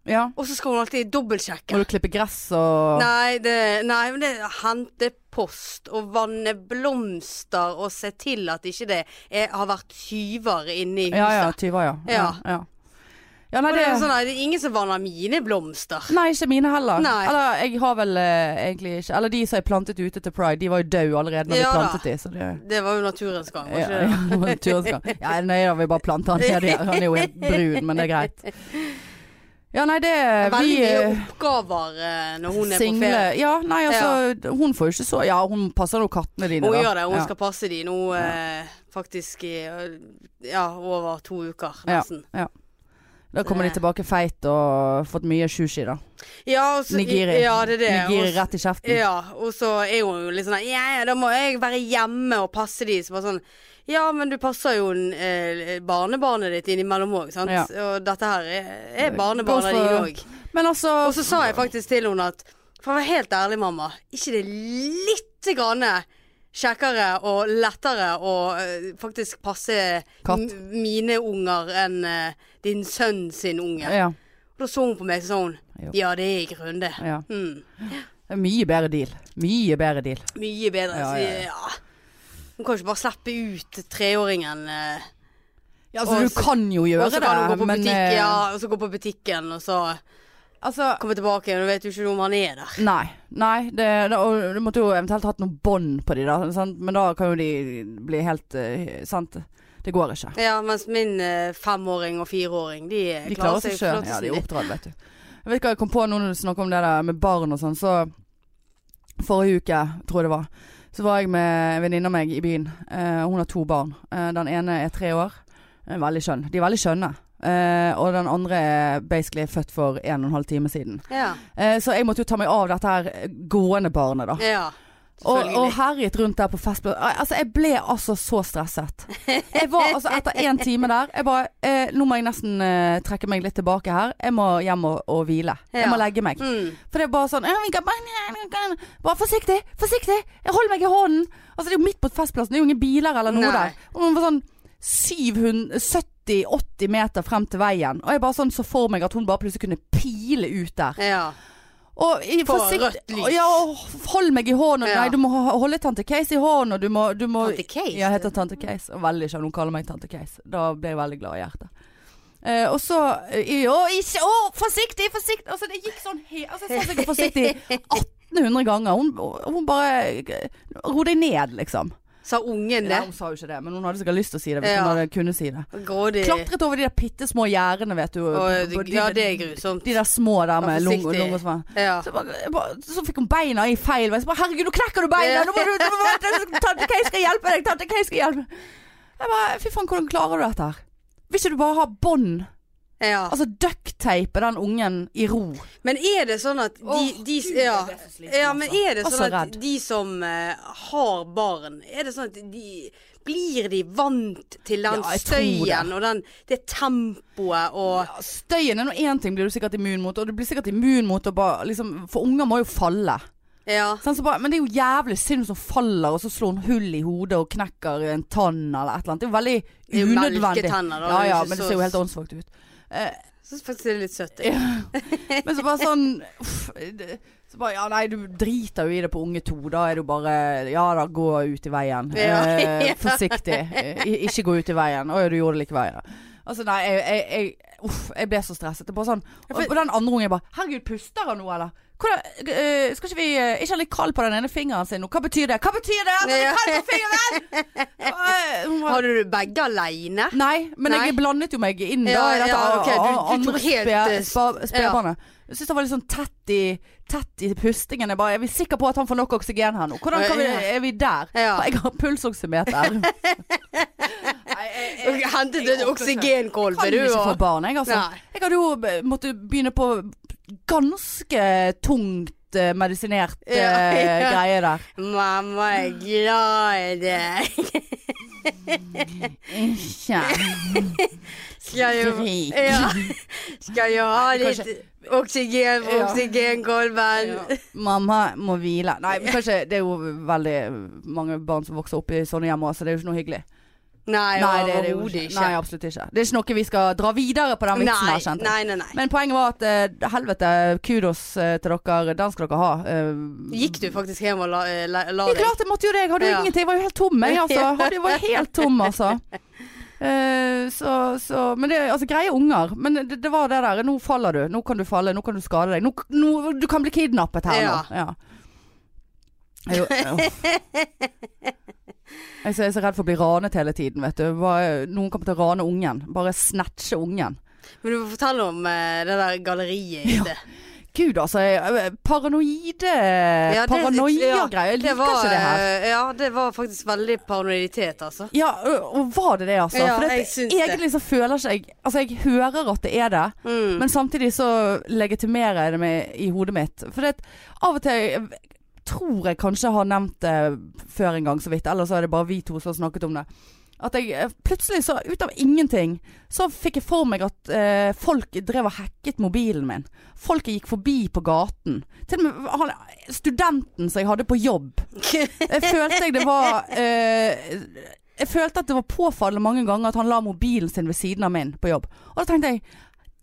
[SPEAKER 1] ja.
[SPEAKER 2] Og så skal hun alltid
[SPEAKER 1] Må
[SPEAKER 2] dobbeltsjekke.
[SPEAKER 1] du klippe gress og
[SPEAKER 2] Nei, det, nei, men det er hente post og vanne blomster og se til at ikke det er, har vært tyver inne i huset.
[SPEAKER 1] Ja ja, tyver, ja. Ja, ja. ja nei,
[SPEAKER 2] Og det
[SPEAKER 1] det,
[SPEAKER 2] er jo sånn, nei, det er ingen som vanner mine blomster.
[SPEAKER 1] nei, ikke mine heller.
[SPEAKER 2] Nei.
[SPEAKER 1] Eller jeg har vel eh, egentlig ikke Eller de som jeg plantet ute til Pride, de var jo døde allerede
[SPEAKER 2] Ja
[SPEAKER 1] når vi
[SPEAKER 2] da.
[SPEAKER 1] plantet de, så det
[SPEAKER 2] Det var jo naturens gang, var
[SPEAKER 1] ja,
[SPEAKER 2] ikke det?
[SPEAKER 1] ja, turen skal- ja, nei da, vi bare planter han nedi her. Han er jo helt brun, men det er greit. Ja, nei, det
[SPEAKER 2] Veldig
[SPEAKER 1] Vi
[SPEAKER 2] mye
[SPEAKER 1] eh,
[SPEAKER 2] oppgaver eh, når hun er på
[SPEAKER 1] single
[SPEAKER 2] ferie.
[SPEAKER 1] Ja, nei, altså Hun får jo ikke så Ja, hun passer nå kattene dine,
[SPEAKER 2] Hun
[SPEAKER 1] da.
[SPEAKER 2] gjør det, hun
[SPEAKER 1] ja.
[SPEAKER 2] skal passe de nå eh, faktisk i eh, ja, over to uker,
[SPEAKER 1] Ja.
[SPEAKER 2] nesten.
[SPEAKER 1] Da kommer de tilbake feit og fått mye sushi, da.
[SPEAKER 2] Ja, og så-
[SPEAKER 1] Nigiri.
[SPEAKER 2] Ja, det er det.
[SPEAKER 1] Nigiri
[SPEAKER 2] Og så-
[SPEAKER 1] rett i kjeften.
[SPEAKER 2] Ja, og så er hun jo litt sånn der, Ja, ja, da må jeg være hjemme og passe de. Så bare sånn Ja, men du passer jo eh, barnebarnet ditt innimellom òg, sant.
[SPEAKER 1] Ja.
[SPEAKER 2] Og dette her er, er
[SPEAKER 1] Går
[SPEAKER 2] barnebarnet
[SPEAKER 1] for-
[SPEAKER 2] dine òg.
[SPEAKER 1] Men altså
[SPEAKER 2] Og så sa jeg faktisk til henne at For å være helt ærlig, mamma. Ikke det litt grann kjekkere og lettere å eh, faktisk passe
[SPEAKER 1] Katt.
[SPEAKER 2] m- mine unger enn eh, din sønn sin unge.
[SPEAKER 1] ja,
[SPEAKER 2] Og da så hun på meg og sa hun
[SPEAKER 1] Jo.
[SPEAKER 2] Ja, det er i grunnen det.
[SPEAKER 1] ja.
[SPEAKER 2] Mm.
[SPEAKER 1] Det er Mye bedre deal. Mye bedre deal.
[SPEAKER 2] Mye bedre.
[SPEAKER 1] Ja,
[SPEAKER 2] så
[SPEAKER 1] ja, ja.
[SPEAKER 2] ja. Hun kan jo ikke bare slippe ut treåringen. eh,
[SPEAKER 1] Ja, altså,
[SPEAKER 2] Og
[SPEAKER 1] du
[SPEAKER 2] så-
[SPEAKER 1] kan jo gjøre
[SPEAKER 2] og så kan hun
[SPEAKER 1] det,
[SPEAKER 2] gå på
[SPEAKER 1] men
[SPEAKER 2] butikk,
[SPEAKER 1] eh,
[SPEAKER 2] ja, og så gå på butikken, og så
[SPEAKER 1] Altså
[SPEAKER 2] komme tilbake igjen. Du vet jo ikke om han er der.
[SPEAKER 1] Nei. nei det, det, og du måtte jo eventuelt hatt noen bånd på de, da. Sant? Men da kan jo de bli helt eh, Sant. Det går ikke.
[SPEAKER 2] Ja, mens min eh, femåring og fireåring, de, eh,
[SPEAKER 1] De klarer seg sjøl.
[SPEAKER 2] flott
[SPEAKER 1] Ja, de er
[SPEAKER 2] som
[SPEAKER 1] oppdratt, vet du. Jeg vet hva jeg kom på nå når du snakker om det der med barn og sånn, så Forrige uke, tror jeg det var, så var jeg med en venninne av meg i byen. Eh, hun har to barn. Eh, den ene er tre år. Eh, veldig skjønn. De er veldig skjønne. Eh, og den andre er basically født for en og en halv time siden.
[SPEAKER 2] de- Ja,
[SPEAKER 1] Eh, så jeg måtte jo ta meg av dette her eh, gående barnet, da.
[SPEAKER 2] ja.
[SPEAKER 1] Og,
[SPEAKER 2] Selvfølgelig.
[SPEAKER 1] og herjet rundt der på festplass. Altså, jeg ble altså så stresset. Jeg var altså etter én time der Jeg bare eh, Nå må jeg nesten eh, trekke meg litt tilbake her. Jeg må hjem og, og hvile. Jeg
[SPEAKER 2] Ja.
[SPEAKER 1] må legge meg.
[SPEAKER 2] mm.
[SPEAKER 1] For det er bare sånn «Ja, vi kan bare- Bare forsiktig, forsiktig! Jeg holder meg i hånden! Altså, det er jo midt på festplassen. Det er jo ingen biler eller noe
[SPEAKER 2] Nei.
[SPEAKER 1] der. Og man var sånn 70-80 meter frem til veien. Og jeg bare sånn så for meg at hun bare plutselig kunne pile ut der.
[SPEAKER 2] ja.
[SPEAKER 1] Og i,
[SPEAKER 2] På
[SPEAKER 1] forsikt-
[SPEAKER 2] rødt lys.
[SPEAKER 1] Ja, og hold meg i hånden.
[SPEAKER 2] Ja.
[SPEAKER 1] Nei, du må ha- holde tante Case i hånden, og du må, du må
[SPEAKER 2] Tante Case?
[SPEAKER 1] Ja, jeg heter tante Case. Og veldig skjønn, hun kaller meg tante Case. Da ble jeg veldig glad i hjertet. Eh, og så eh, Å, ikke Å, forsiktig, forsiktig! Altså, det gikk sånn he... Altså, jeg sa sikkert forsiktig 1800 ganger. Hun, hun bare Ro deg eh, ned, liksom.
[SPEAKER 2] Sa ungen det?
[SPEAKER 1] Nei, hun sa jo ikke det, men hun hadde sikkert lyst til å si det hvis
[SPEAKER 2] Ja.
[SPEAKER 1] hun hadde kunne si det.
[SPEAKER 2] Grådig.
[SPEAKER 1] Klatret over de der bitte små gjerdene, vet du.
[SPEAKER 2] Og,
[SPEAKER 1] på de-
[SPEAKER 2] ja, det er grusomt.
[SPEAKER 1] De der små der med
[SPEAKER 2] Vær
[SPEAKER 1] lung og
[SPEAKER 2] forsiktig.
[SPEAKER 1] lung og sånn.
[SPEAKER 2] Ja.
[SPEAKER 1] Så, jeg bare, jeg bare, så fikk hun beina i feil vei. Så bare, herregud, nå knekker du beina! Nå må du, nå må du, tante Kay skal hjelpe deg! Tante Kay skal hjelpe deg! Jeg bare, fy faen, hvordan klarer du dette her? Vil ikke du bare ha bånd?
[SPEAKER 2] ja.
[SPEAKER 1] Altså duckteipe den ungen i ro.
[SPEAKER 2] Men er det sånn at de,
[SPEAKER 1] Åh,
[SPEAKER 2] de
[SPEAKER 1] Gud,
[SPEAKER 2] ja,
[SPEAKER 1] jeg ble så sliten,
[SPEAKER 2] ja, men
[SPEAKER 1] altså.
[SPEAKER 2] er det
[SPEAKER 1] Og så
[SPEAKER 2] sånn at
[SPEAKER 1] redd.
[SPEAKER 2] de som eh, har barn, er det sånn at de Blir de vant til den
[SPEAKER 1] Ja, jeg tror
[SPEAKER 2] støyen og den, det tempoet og
[SPEAKER 1] Ja, Støyen er nå én ting blir du sikkert immun mot, og du blir sikkert immun mot å bare liksom, For unger må jo falle.
[SPEAKER 2] Ja.
[SPEAKER 1] Sånn, så bare, men det er jo jævlig synd hvis hun faller, og så slår hun hull i hodet og knekker en tann eller et eller annet. Det er jo veldig
[SPEAKER 2] er jo
[SPEAKER 1] unødvendig.
[SPEAKER 2] melketenner, da.
[SPEAKER 1] Ja,
[SPEAKER 2] Det er
[SPEAKER 1] ja,
[SPEAKER 2] ikke
[SPEAKER 1] men det
[SPEAKER 2] så-
[SPEAKER 1] ser jo helt åndssvakt ut.
[SPEAKER 2] Jeg syns faktisk det er litt søtt. jeg.
[SPEAKER 1] Ja. Men så bare sånn uff, det- Så bare, ja nei, du driter jo i det på unge to. Da er du bare Ja da, gå ut i veien.
[SPEAKER 2] Ja.
[SPEAKER 1] Eh, forsiktig. Eh, i- ikke gå ut i veien. Å ja, du gjorde det likevel. Ja. Altså nei, jeg, jeg, jeg Uff, jeg ble så stresset. Det er bare sånn Og, og den andre ungen jeg bare Herregud, puster han nå, eller? Hvordan, eh, skal ikke vi eh, Ikke han litt kald på den ene fingeren sin nå? Hva betyr det? Hva betyr det? At han er kald på fingeren! Jeg bare, eh, hun bare,
[SPEAKER 2] Hadde du begge aleine?
[SPEAKER 1] Nei, men
[SPEAKER 2] Nei.
[SPEAKER 1] jeg blandet jo meg inn da
[SPEAKER 2] Ja,
[SPEAKER 1] i dette
[SPEAKER 2] ja, ok, du- du
[SPEAKER 1] andre
[SPEAKER 2] tok helt,
[SPEAKER 1] spe-
[SPEAKER 2] eh,
[SPEAKER 1] spa- spedbarnet. Jeg syns det var litt sånn tett i, tett i pustingen. Jeg bare, er vi sikre på at han får nok oksygen her nå? Hvordan kan vi, er vi der?
[SPEAKER 2] Ja.
[SPEAKER 1] Jeg har pulsoksymeter. Nei, jeg- jeg-
[SPEAKER 2] Hentet
[SPEAKER 1] jeg
[SPEAKER 2] en
[SPEAKER 1] orker ikke.
[SPEAKER 2] oksygenkolbe,
[SPEAKER 1] Kan
[SPEAKER 2] du
[SPEAKER 1] jo ikke få
[SPEAKER 2] og
[SPEAKER 1] barn, jeg, altså.
[SPEAKER 2] Nei.
[SPEAKER 1] Jeg hadde jo eh, måttet begynne på ganske tungt eh, medisinert eh,
[SPEAKER 2] Ja, ja.
[SPEAKER 1] greie der.
[SPEAKER 2] Mamma er glad i deg.
[SPEAKER 1] Ikke
[SPEAKER 2] Skal jo
[SPEAKER 1] Drit.
[SPEAKER 2] ja. Skal jo ha
[SPEAKER 1] Nei,
[SPEAKER 2] litt oksygen på
[SPEAKER 1] Ja.
[SPEAKER 2] oksygenkolben.
[SPEAKER 1] Mamma må hvile. Nei, men kanskje det er jo veldig mange barn som vokser opp i sånne hjem også, så det er jo ikke noe hyggelig.
[SPEAKER 2] Nei,
[SPEAKER 1] det er det jo
[SPEAKER 2] overhodet ikke.
[SPEAKER 1] Nei, absolutt ikke. Det er ikke noe vi skal dra videre på den vitsen
[SPEAKER 2] nei,
[SPEAKER 1] her, kjente jeg.
[SPEAKER 2] nei, nei, nei.
[SPEAKER 1] Men poenget var at eh, helvete, kudos eh, til dere. Den skal dere ha. Eh,
[SPEAKER 2] Gikk du faktisk hjem og la, eh, la, la
[SPEAKER 1] Ja,
[SPEAKER 2] deg?
[SPEAKER 1] klart jeg måtte jo det. Jeg hadde jo
[SPEAKER 2] Ja.
[SPEAKER 1] ingenting. Jeg var jo helt tom, jeg, altså. Jeg hadde- Jeg var helt tom, altså. Eh, så, så Men det altså, greie unger. Men det, det var det der. Nå faller du. Nå kan du falle. Nå kan du skade deg. Nå, nå, du kan bli kidnappet her
[SPEAKER 2] Ja.
[SPEAKER 1] nå. Ja. Jeg, uff. jeg er så redd for å bli ranet hele tiden, vet du. Bare, noen kommer til å rane ungen. Bare snatche ungen.
[SPEAKER 2] Men du må fortelle om eh, det der galleriet. Ja,
[SPEAKER 1] Gud, altså. jeg- Paranoide Paranoia-greier. Jeg liker ikke det her.
[SPEAKER 2] Ja, det var faktisk veldig paranoiditet, altså.
[SPEAKER 1] Ja, ø- og var det det, altså?
[SPEAKER 2] Ja,
[SPEAKER 1] For det,
[SPEAKER 2] jeg syns det.
[SPEAKER 1] egentlig så føler ikke jeg Altså, jeg hører at det er det,
[SPEAKER 2] Mm.
[SPEAKER 1] men samtidig så legitimerer jeg det med, i hodet mitt. For det, at av og til jeg tror jeg kanskje har nevnt det før en gang, så vidt. Eller så er det bare vi to som har snakket om det. At jeg eh, plutselig, så ut av ingenting, så fikk jeg for meg at eh, folk drev og hacket mobilen min. Folk jeg gikk forbi på gaten. Til og med han, studenten som jeg hadde på jobb. Jeg følte jeg det var eh, Jeg følte at det var påfallende mange ganger at han la mobilen sin ved siden av min på jobb. Og da tenkte jeg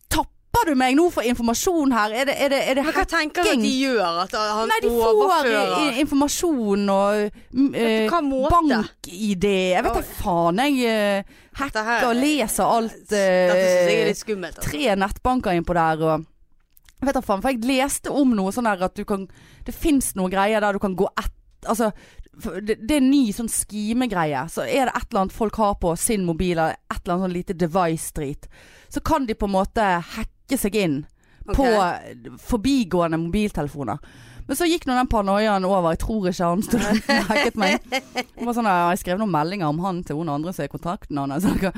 [SPEAKER 1] Tapper du meg nå for informasjon her? Er det, er det, er det
[SPEAKER 2] Men hva tenker du at de gjør? At eh, han
[SPEAKER 1] Nei, de får eh,
[SPEAKER 2] overfører?
[SPEAKER 1] i- i- informasjon og mm, eh,
[SPEAKER 2] hva måte?
[SPEAKER 1] bank-ID Jeg vet da faen. Jeg eh,
[SPEAKER 2] Dette her-
[SPEAKER 1] hacker og leser alt.
[SPEAKER 2] Dette syns jeg
[SPEAKER 1] eh,
[SPEAKER 2] er litt skummelt. Altså.
[SPEAKER 1] tre nettbanker innpå der og jeg vet da faen, for jeg leste om noe sånn der at du kan Det fins noen greier der du kan gå ett Altså, for det, det er en ny sånn skimegreie. Så er det et eller annet folk har på sin mobil, eller et eller annet sånn lite device-drit, så kan de på en måte hacke seg inn
[SPEAKER 2] Ok.
[SPEAKER 1] på forbigående mobiltelefoner. Men så gikk nå den paranoiaen over. Jeg tror ikke han studenten hacket meg. Det var sånn, ja, jeg skrev noen meldinger om han til hun andre som er i kontakten hans. Ja,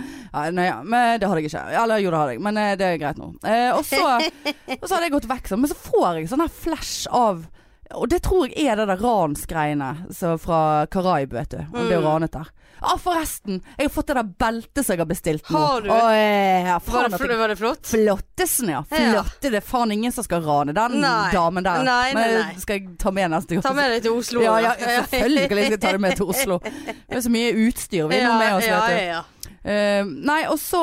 [SPEAKER 1] nei, ja, men det hadde jeg ikke. Eller jo, det hadde jeg, men eh, det er greit nå. Eh, og, så, og så hadde jeg gått vekk sånn. Men så får jeg sånn her flash av Og det tror jeg er det der ransgreiene så fra Karaib, vet du. Hun ble jo
[SPEAKER 2] Mm.
[SPEAKER 1] ranet der. Ja, ah, forresten. Jeg har fått det der beltet som jeg har bestilt nå.
[SPEAKER 2] Har du?
[SPEAKER 1] Å, ja,
[SPEAKER 2] Var
[SPEAKER 1] faen,
[SPEAKER 2] det,
[SPEAKER 1] at jeg
[SPEAKER 2] fl- var det flott?
[SPEAKER 1] Flottesen, ja.
[SPEAKER 2] Ja.
[SPEAKER 1] Flotte. Det er faen ingen som skal rane den
[SPEAKER 2] Nei.
[SPEAKER 1] damen der.
[SPEAKER 2] Nei, nei,
[SPEAKER 1] Men
[SPEAKER 2] nei.
[SPEAKER 1] det skal jeg ta med neste gang.
[SPEAKER 2] Ta med deg til Oslo.
[SPEAKER 1] ja, ja,
[SPEAKER 2] da.
[SPEAKER 1] selvfølgelig skal jeg ta det med til Oslo. Det er så mye utstyr vi har
[SPEAKER 2] Ja,
[SPEAKER 1] med oss,
[SPEAKER 2] ja,
[SPEAKER 1] vet du.
[SPEAKER 2] ja, ja.
[SPEAKER 1] Eh, nei, og så,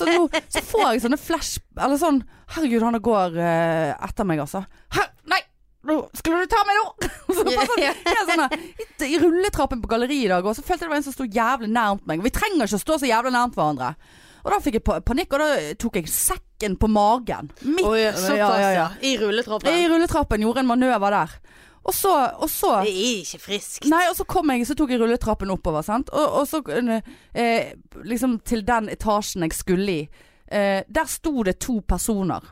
[SPEAKER 1] så, nå, så får jeg sånne flash Eller sånn Herregud, han går eh, etter meg, altså. Her, nei! Nå skulle du ta meg nå! Og så bare sånn, helt sånn her, i- I rulletrappen på galleriet i dag, og så følte jeg det var en som sto jævlig nærmt meg. Og vi trenger ikke å stå så jævlig nærmt hverandre. Og da fikk jeg pa- panikk, og da tok jeg sekken på magen. Midt
[SPEAKER 2] Å ja, såpass,
[SPEAKER 1] ja, ja,
[SPEAKER 2] ja.
[SPEAKER 1] ja.
[SPEAKER 2] I rulletrappen.
[SPEAKER 1] I rulletrappen gjorde en manøver der. Og så, og så
[SPEAKER 2] Det er ikke friskt.
[SPEAKER 1] Nei, og så kom jeg, så tok jeg rulletrappen oppover, sant. Og, og så eh, liksom til den etasjen jeg skulle i. Eh, der sto det to personer.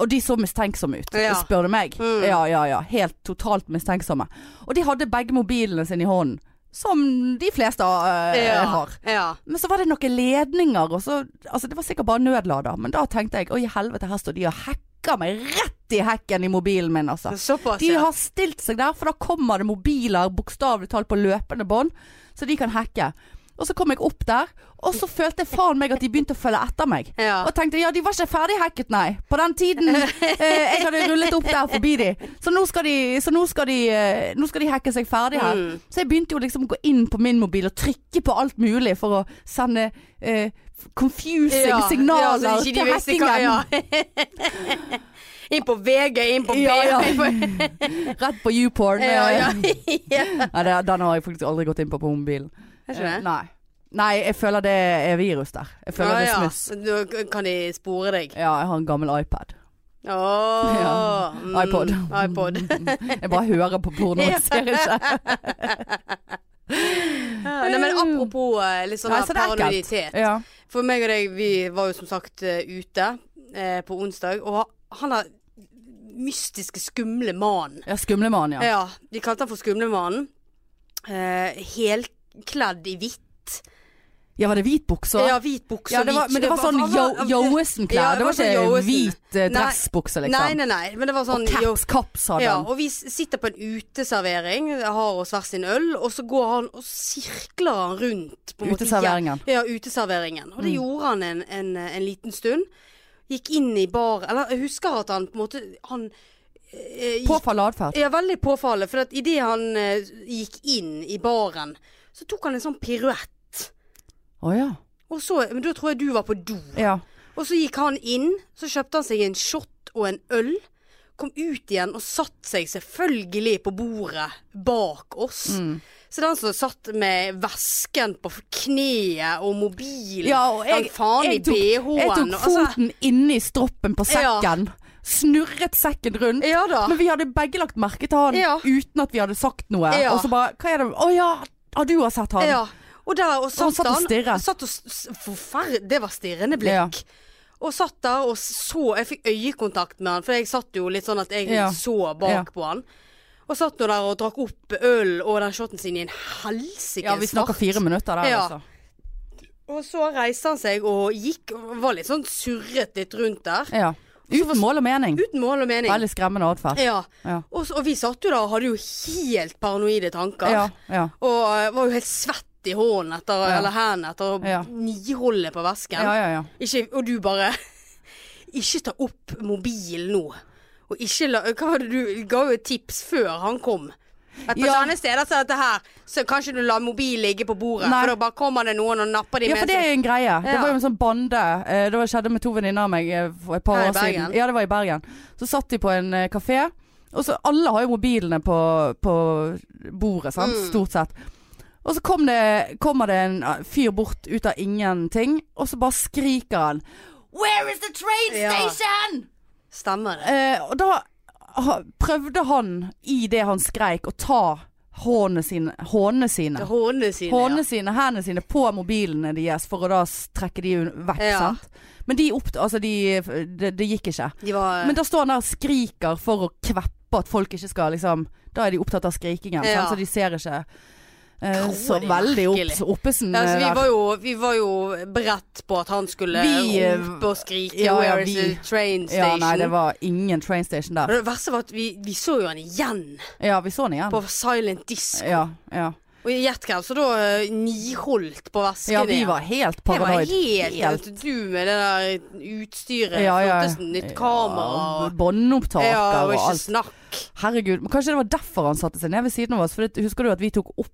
[SPEAKER 1] Og de så mistenksomme ut,
[SPEAKER 2] Ja.
[SPEAKER 1] spør du meg.
[SPEAKER 2] Mm.
[SPEAKER 1] Ja, ja, ja. Helt totalt mistenksomme. Og de hadde begge mobilene sine i hånden. Som de fleste eh,
[SPEAKER 2] ja.
[SPEAKER 1] har.
[SPEAKER 2] Ja.
[SPEAKER 1] Men så var det noen ledninger, og så Altså, det var sikkert bare nødlader, men da tenkte jeg oi, helvete, her står de og hacker meg rett i hacken i mobilen min, altså.
[SPEAKER 2] Såpass,
[SPEAKER 1] De
[SPEAKER 2] ja.
[SPEAKER 1] har stilt seg der, for da kommer det mobiler bokstavelig talt på løpende bånd, så de kan hacke. Og så kom jeg opp der, og så følte jeg faen meg at de begynte å følge etter meg.
[SPEAKER 2] Ja.
[SPEAKER 1] Og tenkte ja, de var ikke ferdig hacket, nei. På den tiden eh, jeg hadde rullet opp der forbi de. Så nå skal de, så nå skal de, eh, nå skal de hacke seg ferdig her.
[SPEAKER 2] Mm.
[SPEAKER 1] Så jeg begynte jo liksom å gå inn på min mobil og trykke på alt mulig for å sende eh, confusing
[SPEAKER 2] Ja, ja,
[SPEAKER 1] signaler
[SPEAKER 2] så ikke de
[SPEAKER 1] til
[SPEAKER 2] visste hva-
[SPEAKER 1] hackingen.
[SPEAKER 2] ja. inn på VG, inn på
[SPEAKER 1] Ja, ja.
[SPEAKER 2] BH, inn på
[SPEAKER 1] Rett på YouPorn.
[SPEAKER 2] Ja, ja. ja.
[SPEAKER 1] Nei, det, den har jeg faktisk aldri gått inn på på mobilen.
[SPEAKER 2] Er ikke det?
[SPEAKER 1] Eh, Nei. Nei, jeg føler det er virus der. Jeg føler
[SPEAKER 2] Ja,
[SPEAKER 1] det er
[SPEAKER 2] ja.
[SPEAKER 1] smuss.
[SPEAKER 2] Da k- kan de spore deg.
[SPEAKER 1] Ja, jeg har en gammel iPad.
[SPEAKER 2] Åh,
[SPEAKER 1] Ja.
[SPEAKER 2] mm,
[SPEAKER 1] iPod.
[SPEAKER 2] iPod.
[SPEAKER 1] Jeg bare hører på porno, jeg ser ikke.
[SPEAKER 2] Nei, men apropos eh, litt sånn
[SPEAKER 1] Nei,
[SPEAKER 2] her
[SPEAKER 1] så det er ekkelt.
[SPEAKER 2] paranoiditet.
[SPEAKER 1] Ja.
[SPEAKER 2] For meg og deg, vi var jo som sagt eh, ute eh, på onsdag, og han der mystiske, skumle mannen
[SPEAKER 1] ja Skumlemann, ja.
[SPEAKER 2] Ja, vi kalte han for Skumlemannen. Eh, helkledd i hvitt.
[SPEAKER 1] Ja, var det hvit bukse?
[SPEAKER 2] Ja, hvit bukse
[SPEAKER 1] Ja,
[SPEAKER 2] og
[SPEAKER 1] det var,
[SPEAKER 2] hvit
[SPEAKER 1] men det var
[SPEAKER 2] kjole.
[SPEAKER 1] sånn
[SPEAKER 2] Han var- Ja,
[SPEAKER 1] Yoesen-klær. Det var
[SPEAKER 2] sånn
[SPEAKER 1] ikke
[SPEAKER 2] Yoesen.
[SPEAKER 1] hvit eh,
[SPEAKER 2] Nei.
[SPEAKER 1] dressbukse,
[SPEAKER 2] Nei,
[SPEAKER 1] liksom.
[SPEAKER 2] nei, nei. Men det var sånn
[SPEAKER 1] Og caps, caps hadde
[SPEAKER 2] Ja,
[SPEAKER 1] han.
[SPEAKER 2] og vi s- sitter på en uteservering, har oss hver sin øl, og så går han og sirkler han rundt. på en måte
[SPEAKER 1] Uteserveringen. Mm.
[SPEAKER 2] hjem- Ja, uteserveringen. Og det gjorde han en, en, en liten stund. Gikk inn i bar Eller jeg husker at han på en måte Han eh, gikk-
[SPEAKER 1] Påfall atferd.
[SPEAKER 2] Ja, veldig påfallende. For at idet han eh, gikk inn i baren, så tok han en sånn piruett.
[SPEAKER 1] Å ja.
[SPEAKER 2] Og så, men da tror jeg du var på do.
[SPEAKER 1] ja.
[SPEAKER 2] Og så gikk han inn, så kjøpte han seg en shot og en øl. Kom ut igjen og satt seg selvfølgelig på bordet bak oss.
[SPEAKER 1] Mm.
[SPEAKER 2] Så den som satt med vesken på kneet og mobilen
[SPEAKER 1] Ja, og
[SPEAKER 2] hang
[SPEAKER 1] jeg,
[SPEAKER 2] faen i altså.
[SPEAKER 1] jeg, tok, jeg
[SPEAKER 2] BH-en.
[SPEAKER 1] tok foten inni stroppen på
[SPEAKER 2] Ja.
[SPEAKER 1] sekken. Snurret sekken rundt.
[SPEAKER 2] Ja da.
[SPEAKER 1] Men vi hadde begge lagt merke til han
[SPEAKER 2] Ja.
[SPEAKER 1] uten at vi hadde sagt noe.
[SPEAKER 2] Ja.
[SPEAKER 1] Og så bare Hva er det Å ja, har du har sett han?
[SPEAKER 2] Ja. Og der og satt,
[SPEAKER 1] satt og stirret.
[SPEAKER 2] Satt og s- s- forferd- det var stirrende blikk.
[SPEAKER 1] Ja.
[SPEAKER 2] Og satt der og så Jeg fikk øyekontakt med han, for jeg satt jo litt sånn at jeg
[SPEAKER 1] Ja.
[SPEAKER 2] så bak
[SPEAKER 1] Ja.
[SPEAKER 2] på han. Og satt nå der og drakk opp øl og den shoten sin i en helsikes
[SPEAKER 1] Ja, vi snakker
[SPEAKER 2] fart.
[SPEAKER 1] fire minutter der,
[SPEAKER 2] Ja.
[SPEAKER 1] altså.
[SPEAKER 2] Og så reiste han seg og gikk, og var litt sånn surret litt rundt der.
[SPEAKER 1] Ja. Uten mål og mening.
[SPEAKER 2] Uten mål og mening.
[SPEAKER 1] Veldig skremmende atferd.
[SPEAKER 2] Ja.
[SPEAKER 1] Ja.
[SPEAKER 2] Og, så, og vi satt jo der og hadde jo helt paranoide tanker.
[SPEAKER 1] Ja, ja.
[SPEAKER 2] Og eh, var jo helt svett i hånden etter,
[SPEAKER 1] Ja.
[SPEAKER 2] eller hendene etter å
[SPEAKER 1] Ja.
[SPEAKER 2] niholde på vesken.
[SPEAKER 1] Ja, ja, ja.
[SPEAKER 2] Ikke, og du bare Ikke ta opp mobil nå. Og ikke la Hva var det du ga jo et tips før han kom? At på
[SPEAKER 1] Ja.
[SPEAKER 2] sånne steder som dette her, så kan ikke du la mobil ligge på bordet.
[SPEAKER 1] Nei.
[SPEAKER 2] For da bare kommer det noen og napper de
[SPEAKER 1] Ja, for
[SPEAKER 2] med
[SPEAKER 1] det er en greie. Det
[SPEAKER 2] Ja.
[SPEAKER 1] var jo en sånn bande. eh, Det var- skjedde med to venninner av meg eh, for et par
[SPEAKER 2] Her i
[SPEAKER 1] år siden.
[SPEAKER 2] Bergen?
[SPEAKER 1] Ja, det var i Bergen. Så satt de på en eh, kafé, og så alle har jo mobilene på, på bordet, sant?
[SPEAKER 2] Mm.
[SPEAKER 1] Stort sett. Og så kom det, kommer det en eh, fyr bort ut av ingenting, og så bare skriker han Where is the train
[SPEAKER 2] Ja.
[SPEAKER 1] station?
[SPEAKER 2] Stemmer det.
[SPEAKER 1] Eh, og da ha- prøvde han, i det han skreik, å ta hånene sine, hånene sine
[SPEAKER 2] Hånene sine.
[SPEAKER 1] håndene sine, hendene sine på mobilene deres for å da s- trekke de un- vekk,
[SPEAKER 2] Ja.
[SPEAKER 1] sant? Men de opp... Altså, de Det de gikk ikke.
[SPEAKER 2] Ja. De var
[SPEAKER 1] Men da står han der og skriker for å kveppe at folk ikke skal liksom Da er de opptatt av skrikingen,
[SPEAKER 2] Ja.
[SPEAKER 1] sant? så de ser ikke eh,
[SPEAKER 2] Tror
[SPEAKER 1] så
[SPEAKER 2] de
[SPEAKER 1] veldig opp,
[SPEAKER 2] virkelig?
[SPEAKER 1] oppesen eh,
[SPEAKER 2] ja, så vi,
[SPEAKER 1] der.
[SPEAKER 2] var jo, vi var jo beredt på at han skulle
[SPEAKER 1] Vi, eh,
[SPEAKER 2] rope og skrike
[SPEAKER 1] ja, ja,
[SPEAKER 2] 'Where
[SPEAKER 1] vi-
[SPEAKER 2] is the train
[SPEAKER 1] ja,
[SPEAKER 2] station?'
[SPEAKER 1] nei, det var ingen train station
[SPEAKER 2] Og
[SPEAKER 1] der.
[SPEAKER 2] det verste var at vi, vi så jo han igjen
[SPEAKER 1] Ja, vi så den igjen.
[SPEAKER 2] på Silent Disco.
[SPEAKER 1] Ja, ja.
[SPEAKER 2] Og gjett hvem som da eh, niholdt på vesken
[SPEAKER 1] ja, vi
[SPEAKER 2] igjen.
[SPEAKER 1] var helt
[SPEAKER 2] Jeg var
[SPEAKER 1] paranoid.
[SPEAKER 2] helt, vet Du med det der utstyret.
[SPEAKER 1] Ja, ja.
[SPEAKER 2] Flotteste sånn nytt kamera.
[SPEAKER 1] Ja,
[SPEAKER 2] og-
[SPEAKER 1] Båndopptaker
[SPEAKER 2] Ja, og
[SPEAKER 1] og
[SPEAKER 2] ikke
[SPEAKER 1] alt.
[SPEAKER 2] snakk.
[SPEAKER 1] Herregud, men kanskje det var derfor han satte seg ned ved siden av oss. For det, husker du at vi tok opp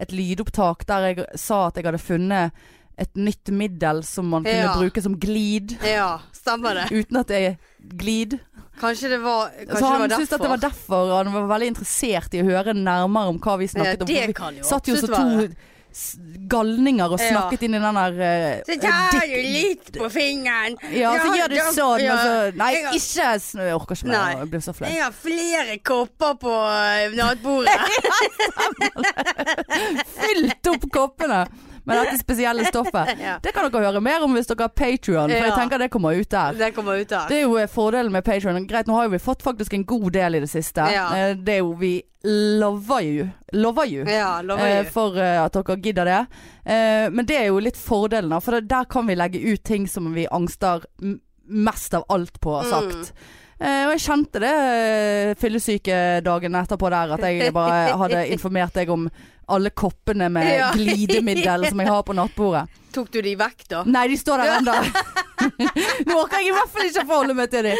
[SPEAKER 1] et lydopptak der jeg sa at jeg hadde funnet et nytt middel som man kunne
[SPEAKER 2] Ja.
[SPEAKER 1] bruke som glid,
[SPEAKER 2] Ja, stemmer det.
[SPEAKER 1] uten at det er glid.
[SPEAKER 2] Kanskje det var, kanskje
[SPEAKER 1] Så han
[SPEAKER 2] det var
[SPEAKER 1] syntes at det var derfor han var veldig interessert i å høre nærmere om hva vi
[SPEAKER 2] Ja,
[SPEAKER 1] snakket om.
[SPEAKER 2] det
[SPEAKER 1] for vi
[SPEAKER 2] kan jo
[SPEAKER 1] satt jo
[SPEAKER 2] absolutt
[SPEAKER 1] som to s- galninger og
[SPEAKER 2] Ja.
[SPEAKER 1] snakket inn i den der eh,
[SPEAKER 2] Så tar
[SPEAKER 1] dikt-
[SPEAKER 2] du litt på fingeren.
[SPEAKER 1] Ja, så
[SPEAKER 2] Jeg
[SPEAKER 1] gjør du
[SPEAKER 2] har-
[SPEAKER 1] sånn, og så
[SPEAKER 2] ja.
[SPEAKER 1] Nei,
[SPEAKER 2] Jeg har-
[SPEAKER 1] ikke snu. Jeg orker ikke
[SPEAKER 2] Nei.
[SPEAKER 1] mer. Jeg blir så flau.
[SPEAKER 2] Jeg har flere kopper på eh, nattbordet.
[SPEAKER 1] Fylt opp koppene med dette spesielle stoffet.
[SPEAKER 2] Ja.
[SPEAKER 1] Det kan dere høre mer om hvis dere har Patrion, for
[SPEAKER 2] Ja.
[SPEAKER 1] jeg tenker det kommer ut der.
[SPEAKER 2] Den kommer ut der.
[SPEAKER 1] Det er jo eh, fordelen med Patreon Greit, nå har jo vi fått faktisk en god del i det siste.
[SPEAKER 2] Ja.
[SPEAKER 1] Eh, Det er jo Vi lover jo. Lover jo.
[SPEAKER 2] Ja,
[SPEAKER 1] eh,
[SPEAKER 2] lover du.
[SPEAKER 1] For eh, at dere gidder det. Eh, Men det er jo litt fordelen, da, for det- der kan vi legge ut ting som vi angster m- mest av alt på å ha
[SPEAKER 2] Mm.
[SPEAKER 1] sagt. Eh, Og jeg kjente det eh, fyllesyke dagen etterpå der, at jeg bare hadde informert deg om alle koppene med
[SPEAKER 2] Ja.
[SPEAKER 1] glidemiddel som jeg har på nattbordet.
[SPEAKER 2] Tok du de vekk, da?
[SPEAKER 1] Nei, de står der ennå. nå orker jeg i hvert fall ikke å forholde meg til dem.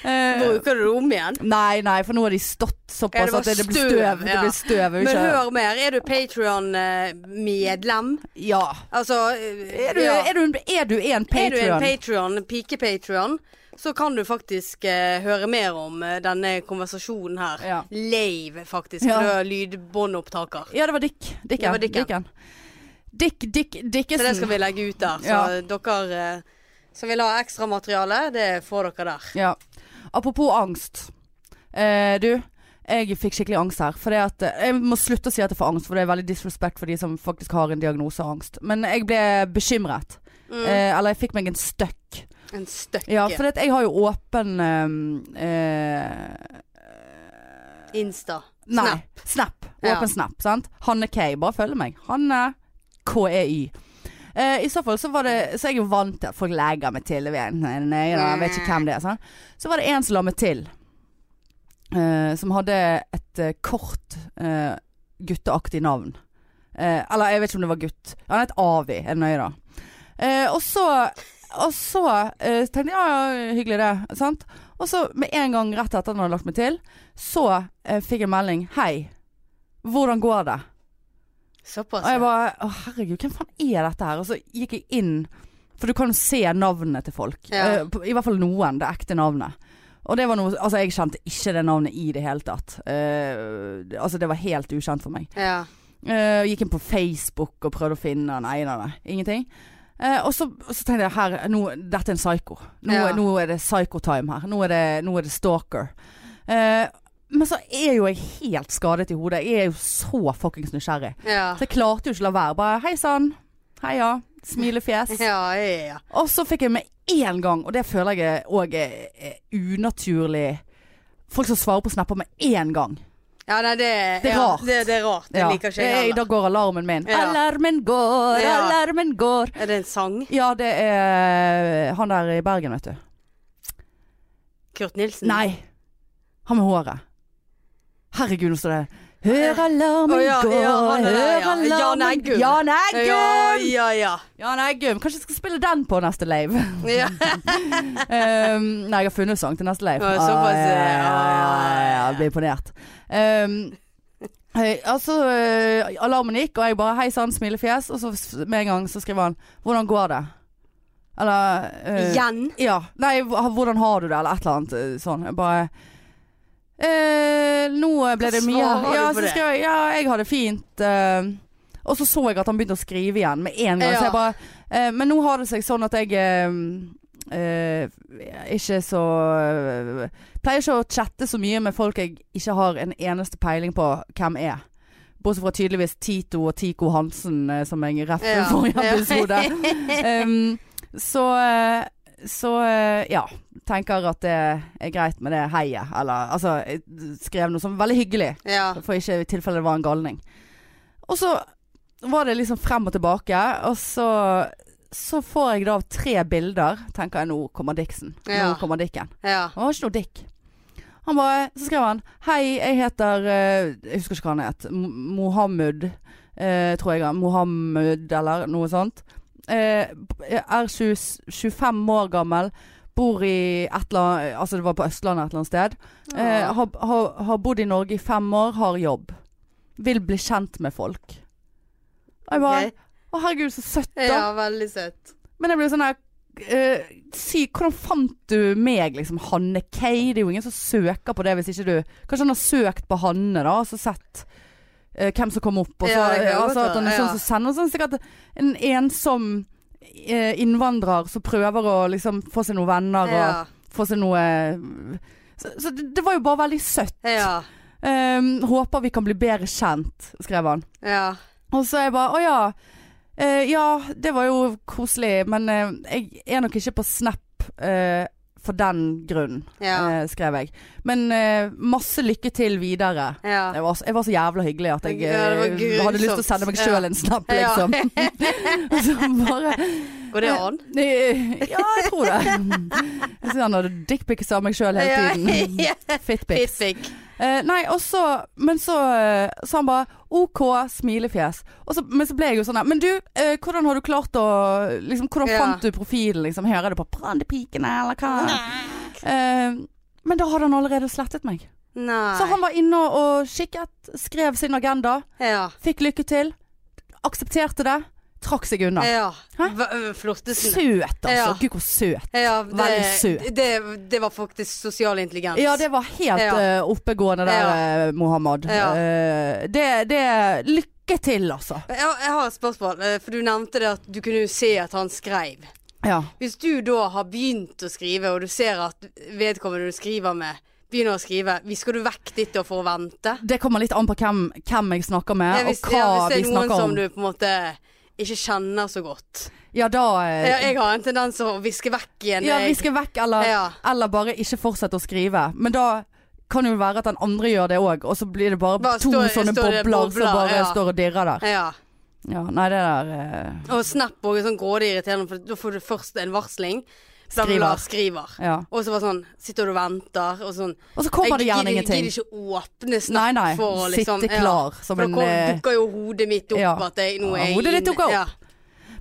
[SPEAKER 1] Eh,
[SPEAKER 2] Bruker du det om igjen?
[SPEAKER 1] nei, nei, for nå har de
[SPEAKER 2] Ja,
[SPEAKER 1] stått såpass
[SPEAKER 2] det var
[SPEAKER 1] at det, det blir
[SPEAKER 2] støv,
[SPEAKER 1] støv. Det
[SPEAKER 2] ja.
[SPEAKER 1] blir støv
[SPEAKER 2] Men
[SPEAKER 1] ikke-
[SPEAKER 2] hør mer. Er du Patrion-medlem?
[SPEAKER 1] ja.
[SPEAKER 2] Altså
[SPEAKER 1] Er, du, er, du, en- er du en
[SPEAKER 2] Er du en
[SPEAKER 1] Patrion?
[SPEAKER 2] Patrion, pike-Patrion, så kan du faktisk eh, høre mer om eh, denne konversasjonen her.
[SPEAKER 1] Ja.
[SPEAKER 2] Lave, faktisk.
[SPEAKER 1] Ja.
[SPEAKER 2] For du har lydbåndopptaker.
[SPEAKER 1] Ja, det var Dick.
[SPEAKER 2] Det
[SPEAKER 1] Dicken.
[SPEAKER 2] var Dicken.
[SPEAKER 1] Dicken. Dick, Dick,
[SPEAKER 2] Så det skal
[SPEAKER 1] Dickesen.
[SPEAKER 2] vi legge ut der. Så
[SPEAKER 1] Ja.
[SPEAKER 2] dere eh, som vil ha ekstra materiale, det får dere der.
[SPEAKER 1] Ja. Apropos angst. Eh, du, jeg fikk skikkelig angst her. For at, eh, jeg må slutte å si at jeg får angst, for det er veldig disrespekt for de som faktisk har en diagnose av angst. Men jeg ble bekymret. Eh, eller jeg fikk meg en støkk.
[SPEAKER 2] Mm. En støkke.
[SPEAKER 1] Ja, for det, jeg har jo åpen ehm, eh,
[SPEAKER 2] Insta.
[SPEAKER 1] Nei,
[SPEAKER 2] Snap.
[SPEAKER 1] snap. Åpen
[SPEAKER 2] Ja.
[SPEAKER 1] snap, sant? Hanne K. Bare følg meg. Hanne E KEY. Eh, I så fall så var det Så er jeg jo vant til at folk legger meg til. Jeg vet, nei, da, jeg vet ikke hvem det er. Sant? Så var det en som la meg til. eh, som hadde et eh, kort eh, gutteaktig navn. Eh, eller jeg vet ikke om det var gutt. Han het Avi, er det nøye da. Eh, og så, og så eh, tenkte jeg ja, ja, hyggelig det. Sant? Og så med en gang rett etter at han hadde lagt meg til, så eh, fikk jeg melding. Hei, hvordan går det?
[SPEAKER 2] Såpass.
[SPEAKER 1] Og jeg bare Å, herregud, hvem faen er dette her? Og så gikk jeg inn, for du kan jo se navnene til folk.
[SPEAKER 2] Ja.
[SPEAKER 1] Eh, på- I hvert fall noen. Det ekte navnet. Og det var noe Altså, jeg kjente ikke det navnet i det hele tatt. Eh, det- altså, det var helt ukjent for meg.
[SPEAKER 2] ja.
[SPEAKER 1] Eh, gikk inn på Facebook og prøvde å finne han. Nei, nei, nei. Ingenting. Eh, og så, og så tenkte jeg her, nå, dette er en psyko. Nå,
[SPEAKER 2] Ja.
[SPEAKER 1] nå er det psyko-time her. Nå er det, nå er det stalker. Eh, men så er jo jeg helt skadet i hodet. Jeg er jo så fuckings nysgjerrig.
[SPEAKER 2] Ja.
[SPEAKER 1] Så jeg klarte jo ikke å la være. Bare hei sann, heia, smilefjes.
[SPEAKER 2] Ja, ja, ja.
[SPEAKER 1] Og så fikk jeg med en gang, og det føler jeg òg er er unaturlig Folk som svarer på snapper med en gang.
[SPEAKER 2] ja nei, det,
[SPEAKER 1] Det er
[SPEAKER 2] ja,
[SPEAKER 1] rart.
[SPEAKER 2] Det, det er rart. Det
[SPEAKER 1] Ja.
[SPEAKER 2] liker ikke
[SPEAKER 1] Det er-
[SPEAKER 2] jeg
[SPEAKER 1] Da
[SPEAKER 2] heller.
[SPEAKER 1] går alarmen min.
[SPEAKER 2] Ja.
[SPEAKER 1] Alarmen går,
[SPEAKER 2] Ja.
[SPEAKER 1] alarmen går.
[SPEAKER 2] Er det en sang?
[SPEAKER 1] Ja, det er eh, han der i Bergen, vet du.
[SPEAKER 2] Mm. Kurt Nilsen?
[SPEAKER 1] Nei. Han med håret. Herregud, nå står det Hør alarmen
[SPEAKER 2] Å, ja,
[SPEAKER 1] gå,
[SPEAKER 2] ja, han er der,
[SPEAKER 1] hør
[SPEAKER 2] ja.
[SPEAKER 1] alarmen
[SPEAKER 2] Jan Eggum.
[SPEAKER 1] Jan
[SPEAKER 2] Ja,
[SPEAKER 1] Eggum!
[SPEAKER 2] ja, ja.
[SPEAKER 1] Jan Eggum. Kanskje jeg skal spille den på neste lave.
[SPEAKER 2] ja.
[SPEAKER 1] Um, nei, jeg har funnet sang til neste leir.
[SPEAKER 2] Ja, såpass,
[SPEAKER 1] ja, ja,
[SPEAKER 2] ja,
[SPEAKER 1] ja,
[SPEAKER 2] ja,
[SPEAKER 1] ja,
[SPEAKER 2] ja.
[SPEAKER 1] Jeg blir imponert. Um, eh, altså, eh, alarmen gikk, og jeg bare hei sann, smilefjes. Og så s- med en gang så skriver han 'Hvordan går det?' Eller eh,
[SPEAKER 2] Igjen?
[SPEAKER 1] Ja. Nei, hv- 'Hvordan har du det?' eller et eller annet eh, sånn. Jeg bare eh, nå ble det
[SPEAKER 2] Hva
[SPEAKER 1] mye
[SPEAKER 2] svarer du
[SPEAKER 1] ja,
[SPEAKER 2] på
[SPEAKER 1] så
[SPEAKER 2] det?
[SPEAKER 1] skrev jeg, ja, jeg har det fint. eh, og så så jeg at han begynte å skrive igjen med en gang.
[SPEAKER 2] Ja.
[SPEAKER 1] Så jeg bare eh, Men nå har det seg sånn at jeg eh, eh, ikke så eh, Pleier ikke å chatte så mye med folk jeg ikke har en eneste peiling på hvem er. Bortsett fra tydeligvis Tito og Tico Hansen, eh, som jeg reffet i
[SPEAKER 2] Ja.
[SPEAKER 1] forrige
[SPEAKER 2] Ja.
[SPEAKER 1] episode. Em, så eh, så eh, ja. Tenker at det er greit med det heiet. Eller altså, jeg skrev noe som veldig hyggelig.
[SPEAKER 2] Ja.
[SPEAKER 1] For ikke i tilfelle det var en galning. Og så var det liksom frem og tilbake, og så, så får jeg da av tre bilder, tenker jeg nå kommer Dixon.
[SPEAKER 2] Ja.
[SPEAKER 1] Nå kommer Dicken.
[SPEAKER 2] ja.
[SPEAKER 1] Han har ikke noe dick. Han bare, så skrev han Hei, jeg heter eh, Jeg husker ikke hva han het. Mo- Mohammed, eh, tror jeg. han- Mohammed eller noe sånt. Eh, er 20, 25 år gammel. Bor i et eller annet Altså det var på Østlandet et eller annet sted. Eh, har, har, har bodd i Norge i fem år, har jobb. Vil bli kjent med folk. Og jeg bare
[SPEAKER 2] Ok.
[SPEAKER 1] Å herregud, så søtt, da.
[SPEAKER 2] Ja, veldig søtt.
[SPEAKER 1] Men jeg blir sånn her eh, Si, hvordan fant du meg, liksom? Hanne K? Det er jo ingen som søker på det hvis ikke du Kanskje han har søkt på Hanne, da, og så sett eh, hvem som kom opp. Og så,
[SPEAKER 2] Ja, det kan godt
[SPEAKER 1] altså, at han er
[SPEAKER 2] være,
[SPEAKER 1] sånn
[SPEAKER 2] ja.
[SPEAKER 1] som sender sånn sikkert en ensom eh, innvandrer som prøver å liksom få seg noen venner
[SPEAKER 2] Ja.
[SPEAKER 1] og få seg noe Så, så det, det var jo bare veldig søtt.
[SPEAKER 2] Ja.
[SPEAKER 1] Ehm, håper vi kan bli bedre kjent, skrev han.
[SPEAKER 2] Ja.
[SPEAKER 1] Og så jeg bare, å ja. Eh, ja, det var jo koselig, men eh, jeg er nok ikke på Snap eh, for den grunn,
[SPEAKER 2] Ja.
[SPEAKER 1] eh, skrev jeg. Men eh, masse lykke til videre.
[SPEAKER 2] ja.
[SPEAKER 1] Jeg var, jeg var så jævla hyggelig at jeg
[SPEAKER 2] Ja, det var
[SPEAKER 1] eh, hadde lyst til å
[SPEAKER 2] grusomt.
[SPEAKER 1] sende meg sjøl en snap,
[SPEAKER 2] Ja.
[SPEAKER 1] liksom. Og så bare
[SPEAKER 2] Går det an?
[SPEAKER 1] Eh, Ja, jeg tror det. Jeg synes han hadde dickpics av meg sjøl hele tiden.
[SPEAKER 2] Ja.
[SPEAKER 1] Fitpics.
[SPEAKER 2] Fitfic.
[SPEAKER 1] Eh, nei, og så Men så eh, sa han bare OK, smilefjes. Og så, men så ble jeg jo sånn der, Men du, eh, hvordan har du klart å liksom, Hvordan
[SPEAKER 2] Ja.
[SPEAKER 1] fant du profilen? Liksom, hører du på Brandepikene, eller hva? Eh, men da hadde han allerede slettet meg.
[SPEAKER 2] Nei.
[SPEAKER 1] Så han var inne og kikket, skrev sin agenda,
[SPEAKER 2] Ja.
[SPEAKER 1] fikk lykke til, aksepterte det, trakk seg unna.
[SPEAKER 2] Ja.
[SPEAKER 1] Hæ?
[SPEAKER 2] V- Flørtesen.
[SPEAKER 1] Søt, altså.
[SPEAKER 2] Eh, Ja.
[SPEAKER 1] Gud, hvor søt.
[SPEAKER 2] Ja, det-
[SPEAKER 1] Veldig søt.
[SPEAKER 2] Det, det var faktisk sosial intelligens.
[SPEAKER 1] Ja, det var helt
[SPEAKER 2] Ja.
[SPEAKER 1] eh, oppegående der, eh, Mohammed.
[SPEAKER 2] Ja.
[SPEAKER 1] Eh, det, det Lykke til, altså.
[SPEAKER 2] jeg, har- jeg har et spørsmål, eh, for du nevnte det at du kunne jo se at han skrev.
[SPEAKER 1] Ja.
[SPEAKER 2] Hvis du da har begynt å skrive, og du ser at vedkommende du skriver med, begynner å skrive, visker du vekk ditt da for å vente?
[SPEAKER 1] Det kommer litt an på hvem, hvem jeg snakker med,
[SPEAKER 2] Ja, hvis,
[SPEAKER 1] og hva
[SPEAKER 2] ja, hvis
[SPEAKER 1] vi
[SPEAKER 2] det er noen
[SPEAKER 1] snakker
[SPEAKER 2] som
[SPEAKER 1] om.
[SPEAKER 2] du på en måte ikke kjenner så godt.
[SPEAKER 1] Ja, da eh,
[SPEAKER 2] Ja, jeg har en tendens til å viske vekk igjen.
[SPEAKER 1] ja,
[SPEAKER 2] jeg.
[SPEAKER 1] vi skal vekk, eller,
[SPEAKER 2] Ja.
[SPEAKER 1] eller bare ikke fortsette å skrive. Men da kan jo være at den andre gjør det òg, og så blir det bare,
[SPEAKER 2] Bare
[SPEAKER 1] to
[SPEAKER 2] står-
[SPEAKER 1] sånne
[SPEAKER 2] står
[SPEAKER 1] bobler,
[SPEAKER 2] det bobler,
[SPEAKER 1] som bare
[SPEAKER 2] ja.
[SPEAKER 1] står og dirrer der.
[SPEAKER 2] Ja.
[SPEAKER 1] Ja, nei, det der eh,
[SPEAKER 2] Og Snap også er sånn grådig irriterende, for da får du først en varsling. Bla, bla, bla, skriver.
[SPEAKER 1] Ja.
[SPEAKER 2] Og så bare sånn, sitter du og venter, og sånn
[SPEAKER 1] Og så kommer det gjerne
[SPEAKER 2] Jeg gidder-
[SPEAKER 1] ingenting.
[SPEAKER 2] gidder ikke åpne snap
[SPEAKER 1] Nei, nei.
[SPEAKER 2] for å liksom
[SPEAKER 1] Sitte klar som
[SPEAKER 2] for
[SPEAKER 1] en,
[SPEAKER 2] da
[SPEAKER 1] eh,
[SPEAKER 2] kom- dukker jo hodet mitt opp
[SPEAKER 1] ja.
[SPEAKER 2] at jeg, nå
[SPEAKER 1] Ja,
[SPEAKER 2] er jeg
[SPEAKER 1] hodet ditt
[SPEAKER 2] inne.
[SPEAKER 1] dukker opp.
[SPEAKER 2] Ja.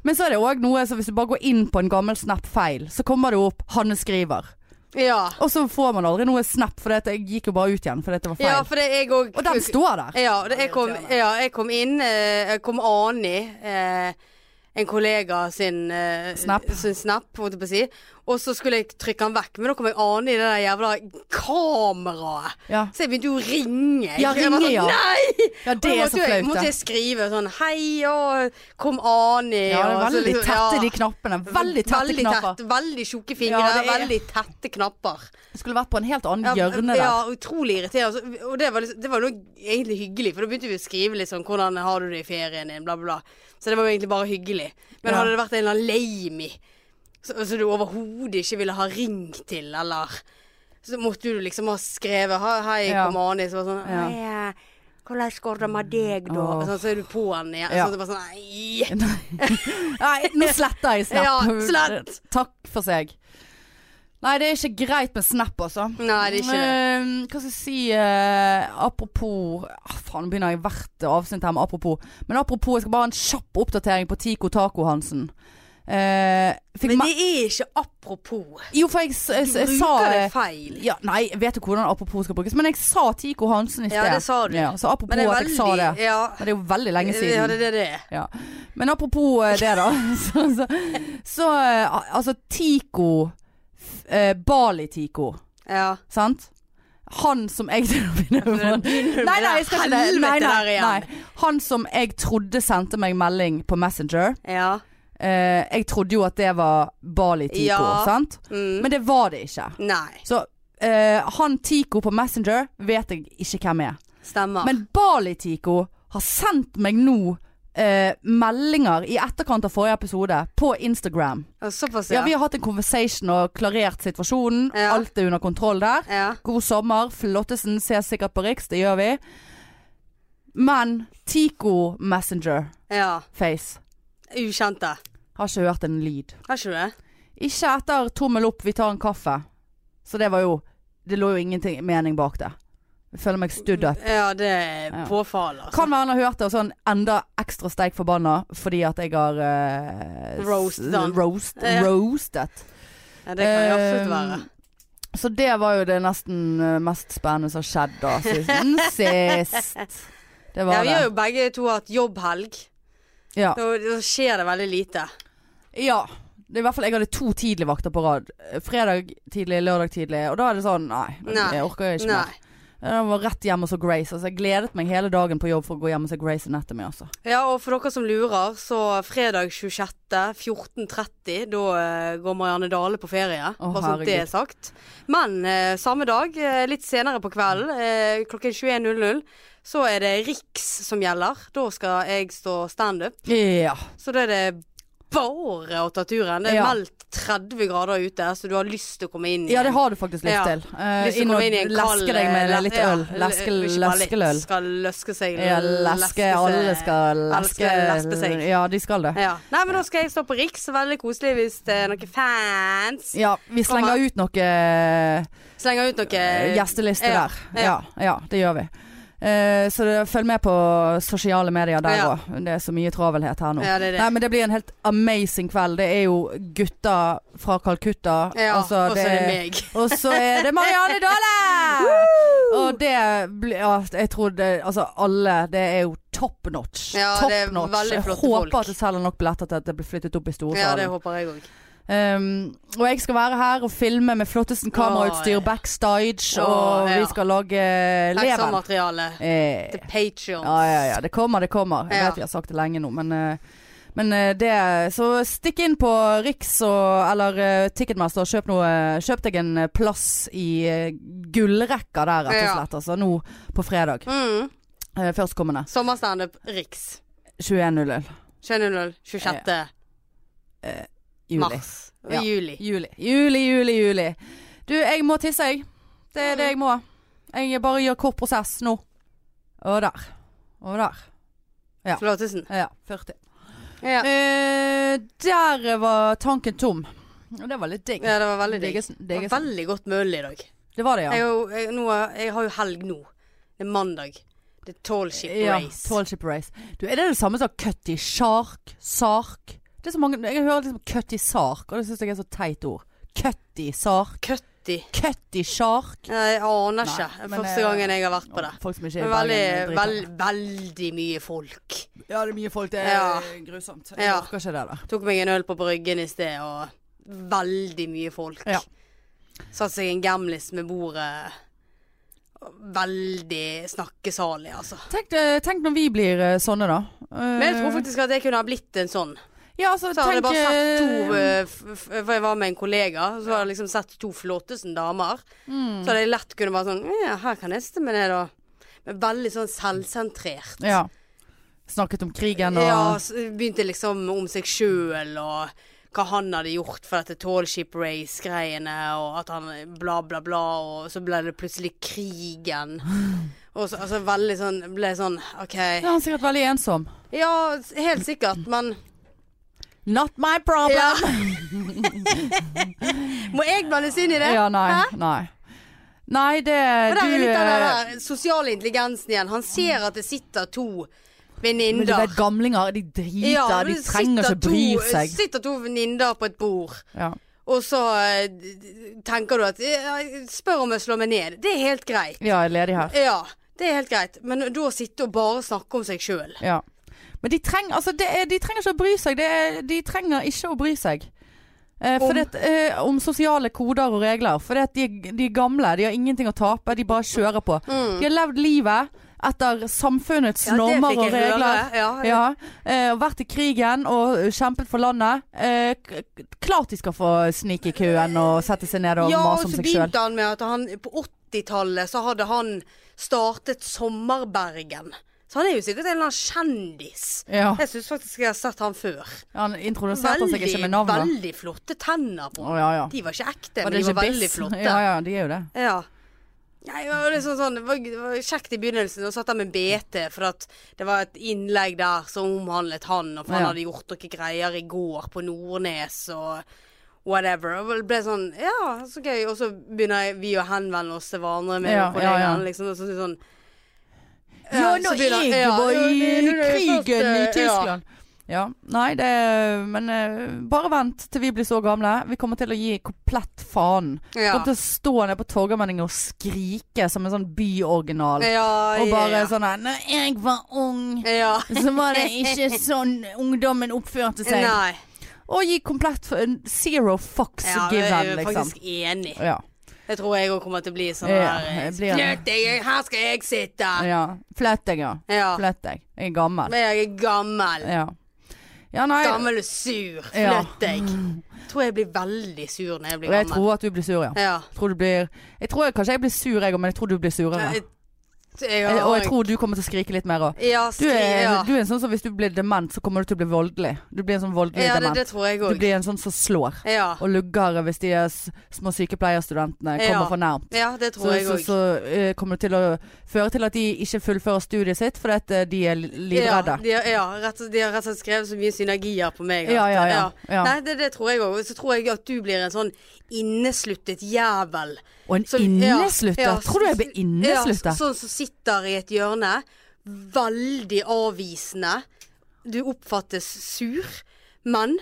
[SPEAKER 1] Men så er det òg noe, så hvis du bare går inn på en gammel snap feil, så kommer det opp 'Hanne skriver'.
[SPEAKER 2] Ja.
[SPEAKER 1] Og så får man aldri noe snap, for jeg gikk jo bare ut igjen fordi det var feil.
[SPEAKER 2] ja, for det er jeg òg
[SPEAKER 1] og den står der.
[SPEAKER 2] Ja, det, jeg, kom, ja jeg kom inn eh, Jeg kom an i eh, en kollega sin eh,
[SPEAKER 1] Snap.
[SPEAKER 2] Sin snap holdt jeg på å si. Og så skulle jeg trykke han vekk, men da kom jeg an i det der jævla kameraet.
[SPEAKER 1] Ja,
[SPEAKER 2] Så jeg begynte jo å ringe.
[SPEAKER 1] Ja,
[SPEAKER 2] Jeg var
[SPEAKER 1] ringe,
[SPEAKER 2] sånn,
[SPEAKER 1] ja.
[SPEAKER 2] Nei!
[SPEAKER 1] ja det
[SPEAKER 2] Og da
[SPEAKER 1] er så
[SPEAKER 2] måtte jeg-
[SPEAKER 1] flaut,
[SPEAKER 2] Måtte
[SPEAKER 1] det.
[SPEAKER 2] jeg skrive sånn Hei, og kom Ani.
[SPEAKER 1] Ja, det er
[SPEAKER 2] og så
[SPEAKER 1] veldig
[SPEAKER 2] liksom-
[SPEAKER 1] tette
[SPEAKER 2] ja.
[SPEAKER 1] de knappene. Veldig tette
[SPEAKER 2] veldig
[SPEAKER 1] knapper.
[SPEAKER 2] Tett, veldig tjukke fingre,
[SPEAKER 1] Ja, det er-
[SPEAKER 2] veldig tette knapper.
[SPEAKER 1] Skulle vært på en helt annen
[SPEAKER 2] Ja,
[SPEAKER 1] hjørne der.
[SPEAKER 2] ja, utrolig irriterende. Så- Og det var, liksom, det var noe egentlig hyggelig, for da begynte vi å skrive litt sånn Hvordan har du det i ferien din? Bla, bla, bla. Så det var jo egentlig bare hyggelig. Men
[SPEAKER 1] Ja.
[SPEAKER 2] hadde det vært en eller annen lamy som du overhodet ikke ville ha ringt til, eller Så måtte du liksom ha skrevet ha- Hei,
[SPEAKER 1] Ja.
[SPEAKER 2] kom Ani. Så var det sånn
[SPEAKER 1] Ja.
[SPEAKER 2] Hei, eh, hvordan går det med deg, da?
[SPEAKER 1] Åh.
[SPEAKER 2] Sånn, så er du på han igjen.
[SPEAKER 1] Ja.
[SPEAKER 2] Sånn, det var sånn Nei.
[SPEAKER 1] Nei, nå sletter jeg Snap.
[SPEAKER 2] Ja, slett.
[SPEAKER 1] Takk for seg. Nei, det er ikke greit med Snap, altså.
[SPEAKER 2] Nei, det er ikke det.
[SPEAKER 1] Eh, hva skal jeg si eh, Apropos ah, Faen, nå begynner jeg hvert avsnitt her med apropos. Men apropos, jeg skal bare ha en kjapp oppdatering på Tico Taco-Hansen. Eh, fikk
[SPEAKER 2] Men
[SPEAKER 1] me-
[SPEAKER 2] det er ikke apropos.
[SPEAKER 1] Jo, for jeg, s- jeg,
[SPEAKER 2] Du
[SPEAKER 1] s- jeg sa
[SPEAKER 2] bruker det
[SPEAKER 1] eh,
[SPEAKER 2] feil.
[SPEAKER 1] ja, Nei, jeg vet jo hvordan apropos skal brukes, men jeg sa Tico Hansen i sted.
[SPEAKER 2] Ja, det sa du.
[SPEAKER 1] Ja, så apropos
[SPEAKER 2] Men det er
[SPEAKER 1] at jeg
[SPEAKER 2] veldig
[SPEAKER 1] sa det.
[SPEAKER 2] Ja,
[SPEAKER 1] Men det er jo veldig lenge siden.
[SPEAKER 2] ja det er det det er.
[SPEAKER 1] Ja. Men apropos eh, det, da. Så, så, så eh, altså Tico eh, Bali-Tico,
[SPEAKER 2] Ja.
[SPEAKER 1] sant? Han som jeg
[SPEAKER 2] du med
[SPEAKER 1] Nei, nei, jeg skal ikke det.
[SPEAKER 2] helvete
[SPEAKER 1] Nei,
[SPEAKER 2] der
[SPEAKER 1] nei,
[SPEAKER 2] igjen.
[SPEAKER 1] nei. Han som jeg trodde sendte meg melding på Messenger.
[SPEAKER 2] Ja.
[SPEAKER 1] Eh, jeg trodde jo at det var Bali-Tico,
[SPEAKER 2] Ja.
[SPEAKER 1] sant?
[SPEAKER 2] Mm.
[SPEAKER 1] Men det var det ikke.
[SPEAKER 2] Nei.
[SPEAKER 1] Så eh, han Tico på Messenger vet jeg ikke hvem er.
[SPEAKER 2] Stemmer.
[SPEAKER 1] Men Bali-Tico har sendt meg nå eh, meldinger i etterkant av forrige episode på Instagram.
[SPEAKER 2] Ja, Såpass,
[SPEAKER 1] Ja,
[SPEAKER 2] ja.
[SPEAKER 1] vi har hatt en conversation og klarert situasjonen.
[SPEAKER 2] Ja.
[SPEAKER 1] Alt er under kontroll der.
[SPEAKER 2] Ja.
[SPEAKER 1] God sommer. Flottesen ses sikkert på Riks, det gjør vi. Men Tico Messenger-face
[SPEAKER 2] ja. Ukjente.
[SPEAKER 1] har ikke hørt en lyd.
[SPEAKER 2] Har ikke du det?
[SPEAKER 1] Ikke etter tommel opp, vi tar en kaffe. Så det var jo Det lå jo ingenting mening bak det. Jeg føler meg stood up.
[SPEAKER 2] Ja, det er
[SPEAKER 1] Ja.
[SPEAKER 2] påfall, altså.
[SPEAKER 1] Kan være han har hørt det og sånn enda ekstra steik forbanna fordi at jeg har eh,
[SPEAKER 2] Roast
[SPEAKER 1] s-
[SPEAKER 2] han.
[SPEAKER 1] roast,
[SPEAKER 2] Ja.
[SPEAKER 1] roastet.
[SPEAKER 2] Ja, det kan det absolutt
[SPEAKER 1] Eh,
[SPEAKER 2] være.
[SPEAKER 1] Så det var jo det nesten eh, mest spennende som har skjedd da siden sist. Det
[SPEAKER 2] Ja,
[SPEAKER 1] var
[SPEAKER 2] vi har
[SPEAKER 1] det.
[SPEAKER 2] jo begge to hatt jobbhelg.
[SPEAKER 1] Ja.
[SPEAKER 2] Da, da skjer det veldig lite.
[SPEAKER 1] ja. Det er i hvert fall Jeg hadde to tidligvakter på rad. Fredag tidlig, lørdag tidlig. Og da er det sånn Nei,
[SPEAKER 2] Nei.
[SPEAKER 1] jeg orker ikke
[SPEAKER 2] Nei.
[SPEAKER 1] mer. Jeg var rett hjem og så Grace. Altså, jeg gledet meg hele dagen på jobb for å gå hjem og se Grace Anatomy. Altså.
[SPEAKER 2] Ja, og for dere som lurer, så fredag 26. 14.30, da eh, går Marianne Dale på ferie.
[SPEAKER 1] Å,
[SPEAKER 2] bare sånn at det er sagt. Men eh, samme dag, eh, litt senere på kvelden, eh, klokken 21.00, så er det Riks som gjelder. Da skal jeg stå standup.
[SPEAKER 1] Ja.
[SPEAKER 2] Så da er det bare å ta turen. Det er
[SPEAKER 1] Ja.
[SPEAKER 2] meldt 30 grader ute, så du har lyst til å komme inn.
[SPEAKER 1] ja,
[SPEAKER 2] igjen.
[SPEAKER 1] det har du faktisk lyst
[SPEAKER 2] Ja.
[SPEAKER 1] til. Eh,
[SPEAKER 2] Lyst til å
[SPEAKER 1] inn og
[SPEAKER 2] komme inn i en kald,
[SPEAKER 1] leske deg med
[SPEAKER 2] eh,
[SPEAKER 1] litt
[SPEAKER 2] ja,
[SPEAKER 1] øl. Leske,
[SPEAKER 2] l- ikke bare litt,
[SPEAKER 1] leskeløl.
[SPEAKER 2] Skal løske seg.
[SPEAKER 1] Ja, leske, alle skal leske.
[SPEAKER 2] skal lespe seg.
[SPEAKER 1] Ja, de skal det.
[SPEAKER 2] Ja. Nei, men da skal jeg stå på Riks. Veldig koselig hvis det er noen fans.
[SPEAKER 1] Ja, vi slenger ut noe eh,
[SPEAKER 2] Slenger ut noe
[SPEAKER 1] gjesteliste
[SPEAKER 2] ja,
[SPEAKER 1] der.
[SPEAKER 2] ja.
[SPEAKER 1] Ja, ja, det gjør vi. Eh, så det, følg med på sosiale medier der
[SPEAKER 2] Ja.
[SPEAKER 1] òg. Det er så mye travelhet her nå.
[SPEAKER 2] Ja, det er det.
[SPEAKER 1] Nei, men det blir en helt amazing kveld. Det er jo gutter fra Calcutta.
[SPEAKER 2] Ja,
[SPEAKER 1] Altså,
[SPEAKER 2] og så er det meg.
[SPEAKER 1] Og så er det Marianne Dale! og det blir ja, Jeg tror det Altså, alle Det er jo top notch.
[SPEAKER 2] Ja,
[SPEAKER 1] top
[SPEAKER 2] det er
[SPEAKER 1] notch.
[SPEAKER 2] veldig
[SPEAKER 1] jeg
[SPEAKER 2] flotte
[SPEAKER 1] håper
[SPEAKER 2] folk.
[SPEAKER 1] at det selger nok billetter til at det blir flyttet opp
[SPEAKER 2] Ja,
[SPEAKER 1] i
[SPEAKER 2] det
[SPEAKER 1] storsalen.
[SPEAKER 2] håper jeg òg.
[SPEAKER 1] Um, og jeg skal være her og filme med flottesten kamerautstyr
[SPEAKER 2] Åh, ja.
[SPEAKER 1] backstage,
[SPEAKER 2] Åh,
[SPEAKER 1] og
[SPEAKER 2] ja.
[SPEAKER 1] vi skal lage leven.
[SPEAKER 2] Eksamateriale.
[SPEAKER 1] Eh,
[SPEAKER 2] The Patrions.
[SPEAKER 1] ja, ja, ja. Det kommer, det kommer. Jeg
[SPEAKER 2] Ja.
[SPEAKER 1] vet vi har sagt det lenge nå, men eh, men eh, det Så stikk inn på Riks og, eller eh, Ticketmaster og kjøp, noe, kjøp deg en eh, plass i eh, gullrekka der, rett
[SPEAKER 2] Ja.
[SPEAKER 1] og slett. Altså nå på fredag.
[SPEAKER 2] Mm.
[SPEAKER 1] Eh, Førstkommende.
[SPEAKER 2] Sommerstandup Riks.
[SPEAKER 1] 21.00.
[SPEAKER 2] 21.00. 26.
[SPEAKER 1] Juli.
[SPEAKER 2] mars. Og
[SPEAKER 1] Ja.
[SPEAKER 2] juli.
[SPEAKER 1] Juli. Juli, juli, juli. Du, jeg må tisse, jeg. Det er det jeg må. Jeg bare gjør kort prosess nå. Og der. Og der. Ja.
[SPEAKER 2] Flottesen.
[SPEAKER 1] Ja, 40.
[SPEAKER 2] Ja.
[SPEAKER 1] Eh, der var tanken tom. Og det var litt digg.
[SPEAKER 2] ja, det var veldig digg.
[SPEAKER 1] Diggesen,
[SPEAKER 2] Det var
[SPEAKER 1] diggesen.
[SPEAKER 2] veldig godt med øl i dag.
[SPEAKER 1] Det var det,
[SPEAKER 2] Jeg,
[SPEAKER 1] ja.
[SPEAKER 2] har jo, jeg, nå, er- jeg har jo helg nå. Det er mandag. Det er tall ship
[SPEAKER 1] ja
[SPEAKER 2] race.
[SPEAKER 1] tall ship race. Du, er det det samme som cutty shark? Sark? Det er så mange Jeg hører liksom cutty sark, og det syns jeg er så teit ord. Cutty sark.
[SPEAKER 2] Cutty.
[SPEAKER 1] Cutty shark.
[SPEAKER 2] Nei, Jeg aner
[SPEAKER 1] Nei,
[SPEAKER 2] ikke. Det er
[SPEAKER 1] men,
[SPEAKER 2] Første
[SPEAKER 1] eh,
[SPEAKER 2] gangen jeg har vært på det.
[SPEAKER 1] Folk som ikke
[SPEAKER 2] Det
[SPEAKER 1] er i
[SPEAKER 2] er Veldig,
[SPEAKER 1] Bergen,
[SPEAKER 2] veld,
[SPEAKER 1] driter.
[SPEAKER 2] veldig mye folk.
[SPEAKER 1] Ja, det er mye folk. Det er
[SPEAKER 2] Ja.
[SPEAKER 1] grusomt. Jeg
[SPEAKER 2] Ja.
[SPEAKER 1] orker ikke det der.
[SPEAKER 2] Tok meg en øl på bryggen i sted, og veldig mye folk.
[SPEAKER 1] Ja.
[SPEAKER 2] Satt seg en gamlis med bordet. Veldig snakkesalig, altså.
[SPEAKER 1] Tenk, det- tenk når vi blir eh, sånne, da.
[SPEAKER 2] Men jeg
[SPEAKER 1] Eh.
[SPEAKER 2] tror faktisk at jeg kunne ha blitt en sånn.
[SPEAKER 1] ja, altså,
[SPEAKER 2] Så hadde jeg bare sett
[SPEAKER 1] eh,
[SPEAKER 2] to eh, f- f- For jeg var med en kollega, så hadde jeg liksom sett to flottesen damer.
[SPEAKER 1] Mm.
[SPEAKER 2] Så hadde jeg lett kunne være sånn Ja, her kan jeg stemme ned, da. Men veldig sånn selvsentrert.
[SPEAKER 1] Ja. Snakket om krigen og
[SPEAKER 2] Ja, s- begynte liksom om seg sjøl og hva han hadde gjort for dette tall ship race-greiene, og at han bla, bla, bla, og så ble det plutselig krigen. Og så altså, veldig sånn ble sånn OK.
[SPEAKER 1] Det er han sikkert veldig ensom.
[SPEAKER 2] Ja, s- helt sikkert, men
[SPEAKER 1] Not my problem.
[SPEAKER 2] ja. Må jeg blandes inn i det?
[SPEAKER 1] Ja, nei.
[SPEAKER 2] Hæ?
[SPEAKER 1] Nei, nei det
[SPEAKER 2] Og der
[SPEAKER 1] du,
[SPEAKER 2] er litt av den
[SPEAKER 1] eh,
[SPEAKER 2] der sosiale intelligensen igjen. Han ser at det sitter to
[SPEAKER 1] men du vet,
[SPEAKER 2] venninner.
[SPEAKER 1] gamlinger, de driter.
[SPEAKER 2] Ja,
[SPEAKER 1] de
[SPEAKER 2] det
[SPEAKER 1] trenger
[SPEAKER 2] sitter
[SPEAKER 1] ikke bry
[SPEAKER 2] to-
[SPEAKER 1] seg.
[SPEAKER 2] Sitter to venninner på et bord.
[SPEAKER 1] Ja.
[SPEAKER 2] Og så eh, d- d- tenker du at eh, Spør om jeg slår meg ned. Det er helt greit.
[SPEAKER 1] ja, jeg er ledig her.
[SPEAKER 2] Ja, det er helt greit. Men da sitte og bare snakke om seg sjøl.
[SPEAKER 1] Ja. Men de, treng, altså, det er, de trenger ikke å bry seg. Det er, de trenger ikke å bry seg. Eh,
[SPEAKER 2] Om?
[SPEAKER 1] om? Det, eh, om sosiale koder og regler. For det at de, de er gamle, de har ingenting å tape. De bare kjører på.
[SPEAKER 2] Mm.
[SPEAKER 1] De har levd livet etter samfunnets normer og regler.
[SPEAKER 2] Ja, ja.
[SPEAKER 1] Ja, eh, og vært i krigen og kjempet for landet. Eh, k- k- klart de skal få snike i køen og sette seg ned og
[SPEAKER 2] ja,
[SPEAKER 1] mase
[SPEAKER 2] og
[SPEAKER 1] om
[SPEAKER 2] så
[SPEAKER 1] seg sjøl.
[SPEAKER 2] begynte han med at han på 80-tallet så hadde han startet Sommerbergen. Så han er jo sikkert en eller annen kjendis.
[SPEAKER 1] Ja,
[SPEAKER 2] Jeg syns faktisk jeg har sett han før.
[SPEAKER 1] han introduserte seg
[SPEAKER 2] Veldig,
[SPEAKER 1] ikke med navnet.
[SPEAKER 2] veldig flotte tenner på
[SPEAKER 1] Å
[SPEAKER 2] han.
[SPEAKER 1] ja, ja.
[SPEAKER 2] De var ikke ekte,
[SPEAKER 1] Var
[SPEAKER 2] men
[SPEAKER 1] det
[SPEAKER 2] de var
[SPEAKER 1] ikke
[SPEAKER 2] veldig
[SPEAKER 1] Biss?
[SPEAKER 2] flotte.
[SPEAKER 1] Ja, ja, de er jo det.
[SPEAKER 2] Ja. Nei, det var liksom sånn, det var, det var kjekt i begynnelsen. Og satt der med BT, for at det var et innlegg der som omhandlet han, og for han
[SPEAKER 1] Ja.
[SPEAKER 2] hadde gjort noen greier i går på Nordnes og whatever. Og det ble sånn Ja, så gøy. Og så begynner vi å henvende oss til hverandre med
[SPEAKER 1] Ja,
[SPEAKER 2] kollegaene,
[SPEAKER 1] ja, ja.
[SPEAKER 2] liksom. Og så, sånn
[SPEAKER 1] Ja,
[SPEAKER 2] så
[SPEAKER 1] nå
[SPEAKER 2] begynner-
[SPEAKER 1] jeg
[SPEAKER 2] ja,
[SPEAKER 1] var
[SPEAKER 2] ja,
[SPEAKER 1] i
[SPEAKER 2] nå er det
[SPEAKER 1] krigen i
[SPEAKER 2] først, eh, ja.
[SPEAKER 1] Tyskland. Ja, nei, det Men eh, bare vent til vi blir så gamle. Vi kommer til å gi komplett faen.
[SPEAKER 2] Ja.
[SPEAKER 1] Kommer til å stå nede på Torgallmenningen og skrike som en sånn byoriginal.
[SPEAKER 2] Ja,
[SPEAKER 1] Og bare
[SPEAKER 2] ja,
[SPEAKER 1] sånn her Når jeg var ung,
[SPEAKER 2] ja.
[SPEAKER 1] så var det ikke sånn ungdommen oppførte
[SPEAKER 2] ja.
[SPEAKER 1] seg.
[SPEAKER 2] Nei.
[SPEAKER 1] Og gi komplett for en zero fucks
[SPEAKER 2] Ja, jeg
[SPEAKER 1] given,
[SPEAKER 2] er
[SPEAKER 1] liksom.
[SPEAKER 2] faktisk enig.
[SPEAKER 1] Ja.
[SPEAKER 2] Jeg tror jeg òg kommer til å bli sånn
[SPEAKER 1] Ja,
[SPEAKER 2] der
[SPEAKER 1] jeg blir det.
[SPEAKER 2] Flytt deg, her skal jeg sitte!
[SPEAKER 1] Ja. Flett deg, ja.
[SPEAKER 2] Ja.
[SPEAKER 1] Flett deg. Jeg er gammel.
[SPEAKER 2] Men jeg er gammel.
[SPEAKER 1] Ja. ja, nei Og
[SPEAKER 2] Gammel og sur.
[SPEAKER 1] Ja.
[SPEAKER 2] Flytt deg. Jeg tror jeg blir veldig sur når jeg blir
[SPEAKER 1] jeg
[SPEAKER 2] gammel.
[SPEAKER 1] tror at du blir sur, ja.
[SPEAKER 2] Ja.
[SPEAKER 1] Tror du blir, jeg tror jeg, kanskje jeg blir sur, jeg òg, men jeg tror du blir surere.
[SPEAKER 2] Jeg, jeg,
[SPEAKER 1] Jeg, og jeg tror du kommer til å skrike litt mer òg.
[SPEAKER 2] ja,
[SPEAKER 1] Du,
[SPEAKER 2] skri, ja.
[SPEAKER 1] er- du er en sånn som hvis du blir dement, så kommer du til å bli voldelig. Du blir en sånn voldelig
[SPEAKER 2] ja, det,
[SPEAKER 1] dement.
[SPEAKER 2] det tror jeg
[SPEAKER 1] Du
[SPEAKER 2] òg.
[SPEAKER 1] blir en sånn som slår.
[SPEAKER 2] Ja.
[SPEAKER 1] Og lugger hvis de er s- små sykepleierstudentene kommer
[SPEAKER 2] Ja.
[SPEAKER 1] for nærmt.
[SPEAKER 2] ja, det
[SPEAKER 1] Så,
[SPEAKER 2] tror jeg
[SPEAKER 1] så,
[SPEAKER 2] òg.
[SPEAKER 1] så eh, kommer det til å føre til at de ikke fullfører studiet sitt fordi at eh, de er li- livredde.
[SPEAKER 2] Ja, de, har- ja rett, og- de har rett og slett skrevet så mye synergier på meg. at-
[SPEAKER 1] Ja, ja, ja, ja.
[SPEAKER 2] Nei, det, det tror jeg òg. Så tror jeg at du blir en sånn innesluttet jævel.
[SPEAKER 1] Og en
[SPEAKER 2] Som-
[SPEAKER 1] innesluttet!
[SPEAKER 2] ja, ja,
[SPEAKER 1] Tror du jeg blir
[SPEAKER 2] Ja,
[SPEAKER 1] innesluttet?
[SPEAKER 2] så- sånn som sitter i et hjørne. Veldig avvisende. Du oppfattes sur, men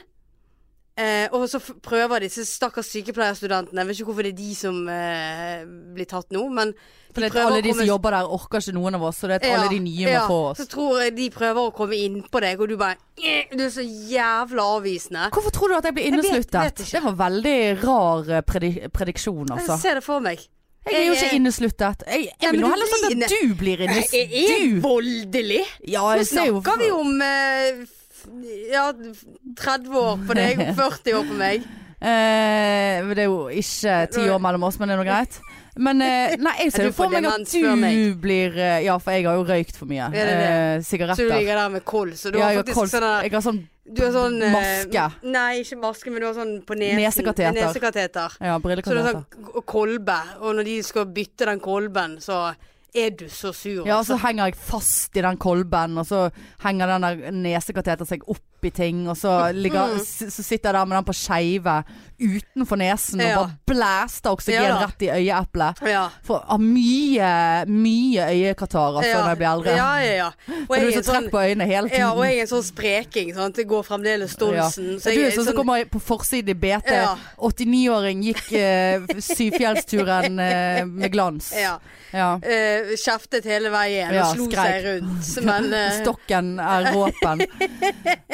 [SPEAKER 2] Eh, og så f- prøver disse stakkars sykepleierstudentene Jeg vet ikke hvorfor det er de som eh, blir tatt nå, men
[SPEAKER 1] For det,
[SPEAKER 2] prøver å
[SPEAKER 1] alle de
[SPEAKER 2] komme-
[SPEAKER 1] som jobber der orker ikke noen av oss, så det er at
[SPEAKER 2] Ja,
[SPEAKER 1] alle de nye må
[SPEAKER 2] ja.
[SPEAKER 1] få
[SPEAKER 2] Så
[SPEAKER 1] oss.
[SPEAKER 2] tror jeg de prøver å komme inn på deg, og du bare "Eh, Du er så jævla avvisende.
[SPEAKER 1] Hvorfor tror du at jeg blir
[SPEAKER 2] vet-
[SPEAKER 1] innesluttet?
[SPEAKER 2] vet ikke.
[SPEAKER 1] det var veldig rar eh, predi prediksjon, altså.
[SPEAKER 2] Jeg ser det for meg.
[SPEAKER 1] Jeg er jo ikke innesluttet. Jeg,
[SPEAKER 2] Ja,
[SPEAKER 1] jeg vil
[SPEAKER 2] men
[SPEAKER 1] nå
[SPEAKER 2] du
[SPEAKER 1] heller sagt
[SPEAKER 2] blir
[SPEAKER 1] at du blir
[SPEAKER 2] Jeg er
[SPEAKER 1] innesluttet.
[SPEAKER 2] voldelig.
[SPEAKER 1] Ja,
[SPEAKER 2] Nå
[SPEAKER 1] jeg ser jo
[SPEAKER 2] snakker vi om eh, f- ja, 30 år på deg og 40 år på meg.
[SPEAKER 1] Eh, det er jo ikke ti år mellom oss, men det er nå greit. Men eh, nei, jeg ser
[SPEAKER 2] Du
[SPEAKER 1] jo for
[SPEAKER 2] får
[SPEAKER 1] meg at
[SPEAKER 2] demens
[SPEAKER 1] du
[SPEAKER 2] før meg.
[SPEAKER 1] blir eh, Ja, for jeg har jo røykt for mye.
[SPEAKER 2] det det? Så
[SPEAKER 1] Eh,
[SPEAKER 2] du
[SPEAKER 1] sigaretter.
[SPEAKER 2] ligger der med kols, og du
[SPEAKER 1] Ja,
[SPEAKER 2] har
[SPEAKER 1] jeg, har
[SPEAKER 2] faktisk
[SPEAKER 1] kols,
[SPEAKER 2] sånn der
[SPEAKER 1] jeg har sånn
[SPEAKER 2] Du har sånn eh,
[SPEAKER 1] maske.
[SPEAKER 2] Nei, ikke maske, men du har sånn på nesen.
[SPEAKER 1] Nesekateter.
[SPEAKER 2] Nesekateter.
[SPEAKER 1] ja,
[SPEAKER 2] Så du har sånn
[SPEAKER 1] brillekateter.
[SPEAKER 2] k- kolbe, og når de skal bytte den kolben, så er du så sur.
[SPEAKER 1] Ja, og så henger jeg fast i den kolben, og så henger den der nesekateteren seg opp i ting, og så, ligger,
[SPEAKER 2] Mm.
[SPEAKER 1] s- så sitter jeg der med den på skeive utenfor nesen og
[SPEAKER 2] Ja.
[SPEAKER 1] bare blæster oksygen
[SPEAKER 2] Ja da.
[SPEAKER 1] rett i øyeeplet.
[SPEAKER 2] altså. Ja.
[SPEAKER 1] For har mye, mye øyekatarer altså, når jeg blir eldre.
[SPEAKER 2] Ja, ja, ja. Og
[SPEAKER 1] For
[SPEAKER 2] jeg
[SPEAKER 1] du
[SPEAKER 2] er
[SPEAKER 1] er
[SPEAKER 2] en
[SPEAKER 1] så
[SPEAKER 2] sånn,
[SPEAKER 1] trekk på øynene hele tiden.
[SPEAKER 2] ja, og jeg er en sånn spreking. Sant? Det går fremdeles stolsen.
[SPEAKER 1] Ja. Du er sånn som kommer på forsiden i BT.
[SPEAKER 2] Ja.
[SPEAKER 1] 89-åring gikk eh, Syfjellsturen eh, med glans.
[SPEAKER 2] ja,
[SPEAKER 1] Ja.
[SPEAKER 2] eh, kjeftet hele veien
[SPEAKER 1] Ja,
[SPEAKER 2] og slo
[SPEAKER 1] skreik.
[SPEAKER 2] seg rundt. Men eh,
[SPEAKER 1] Stokken er våpen.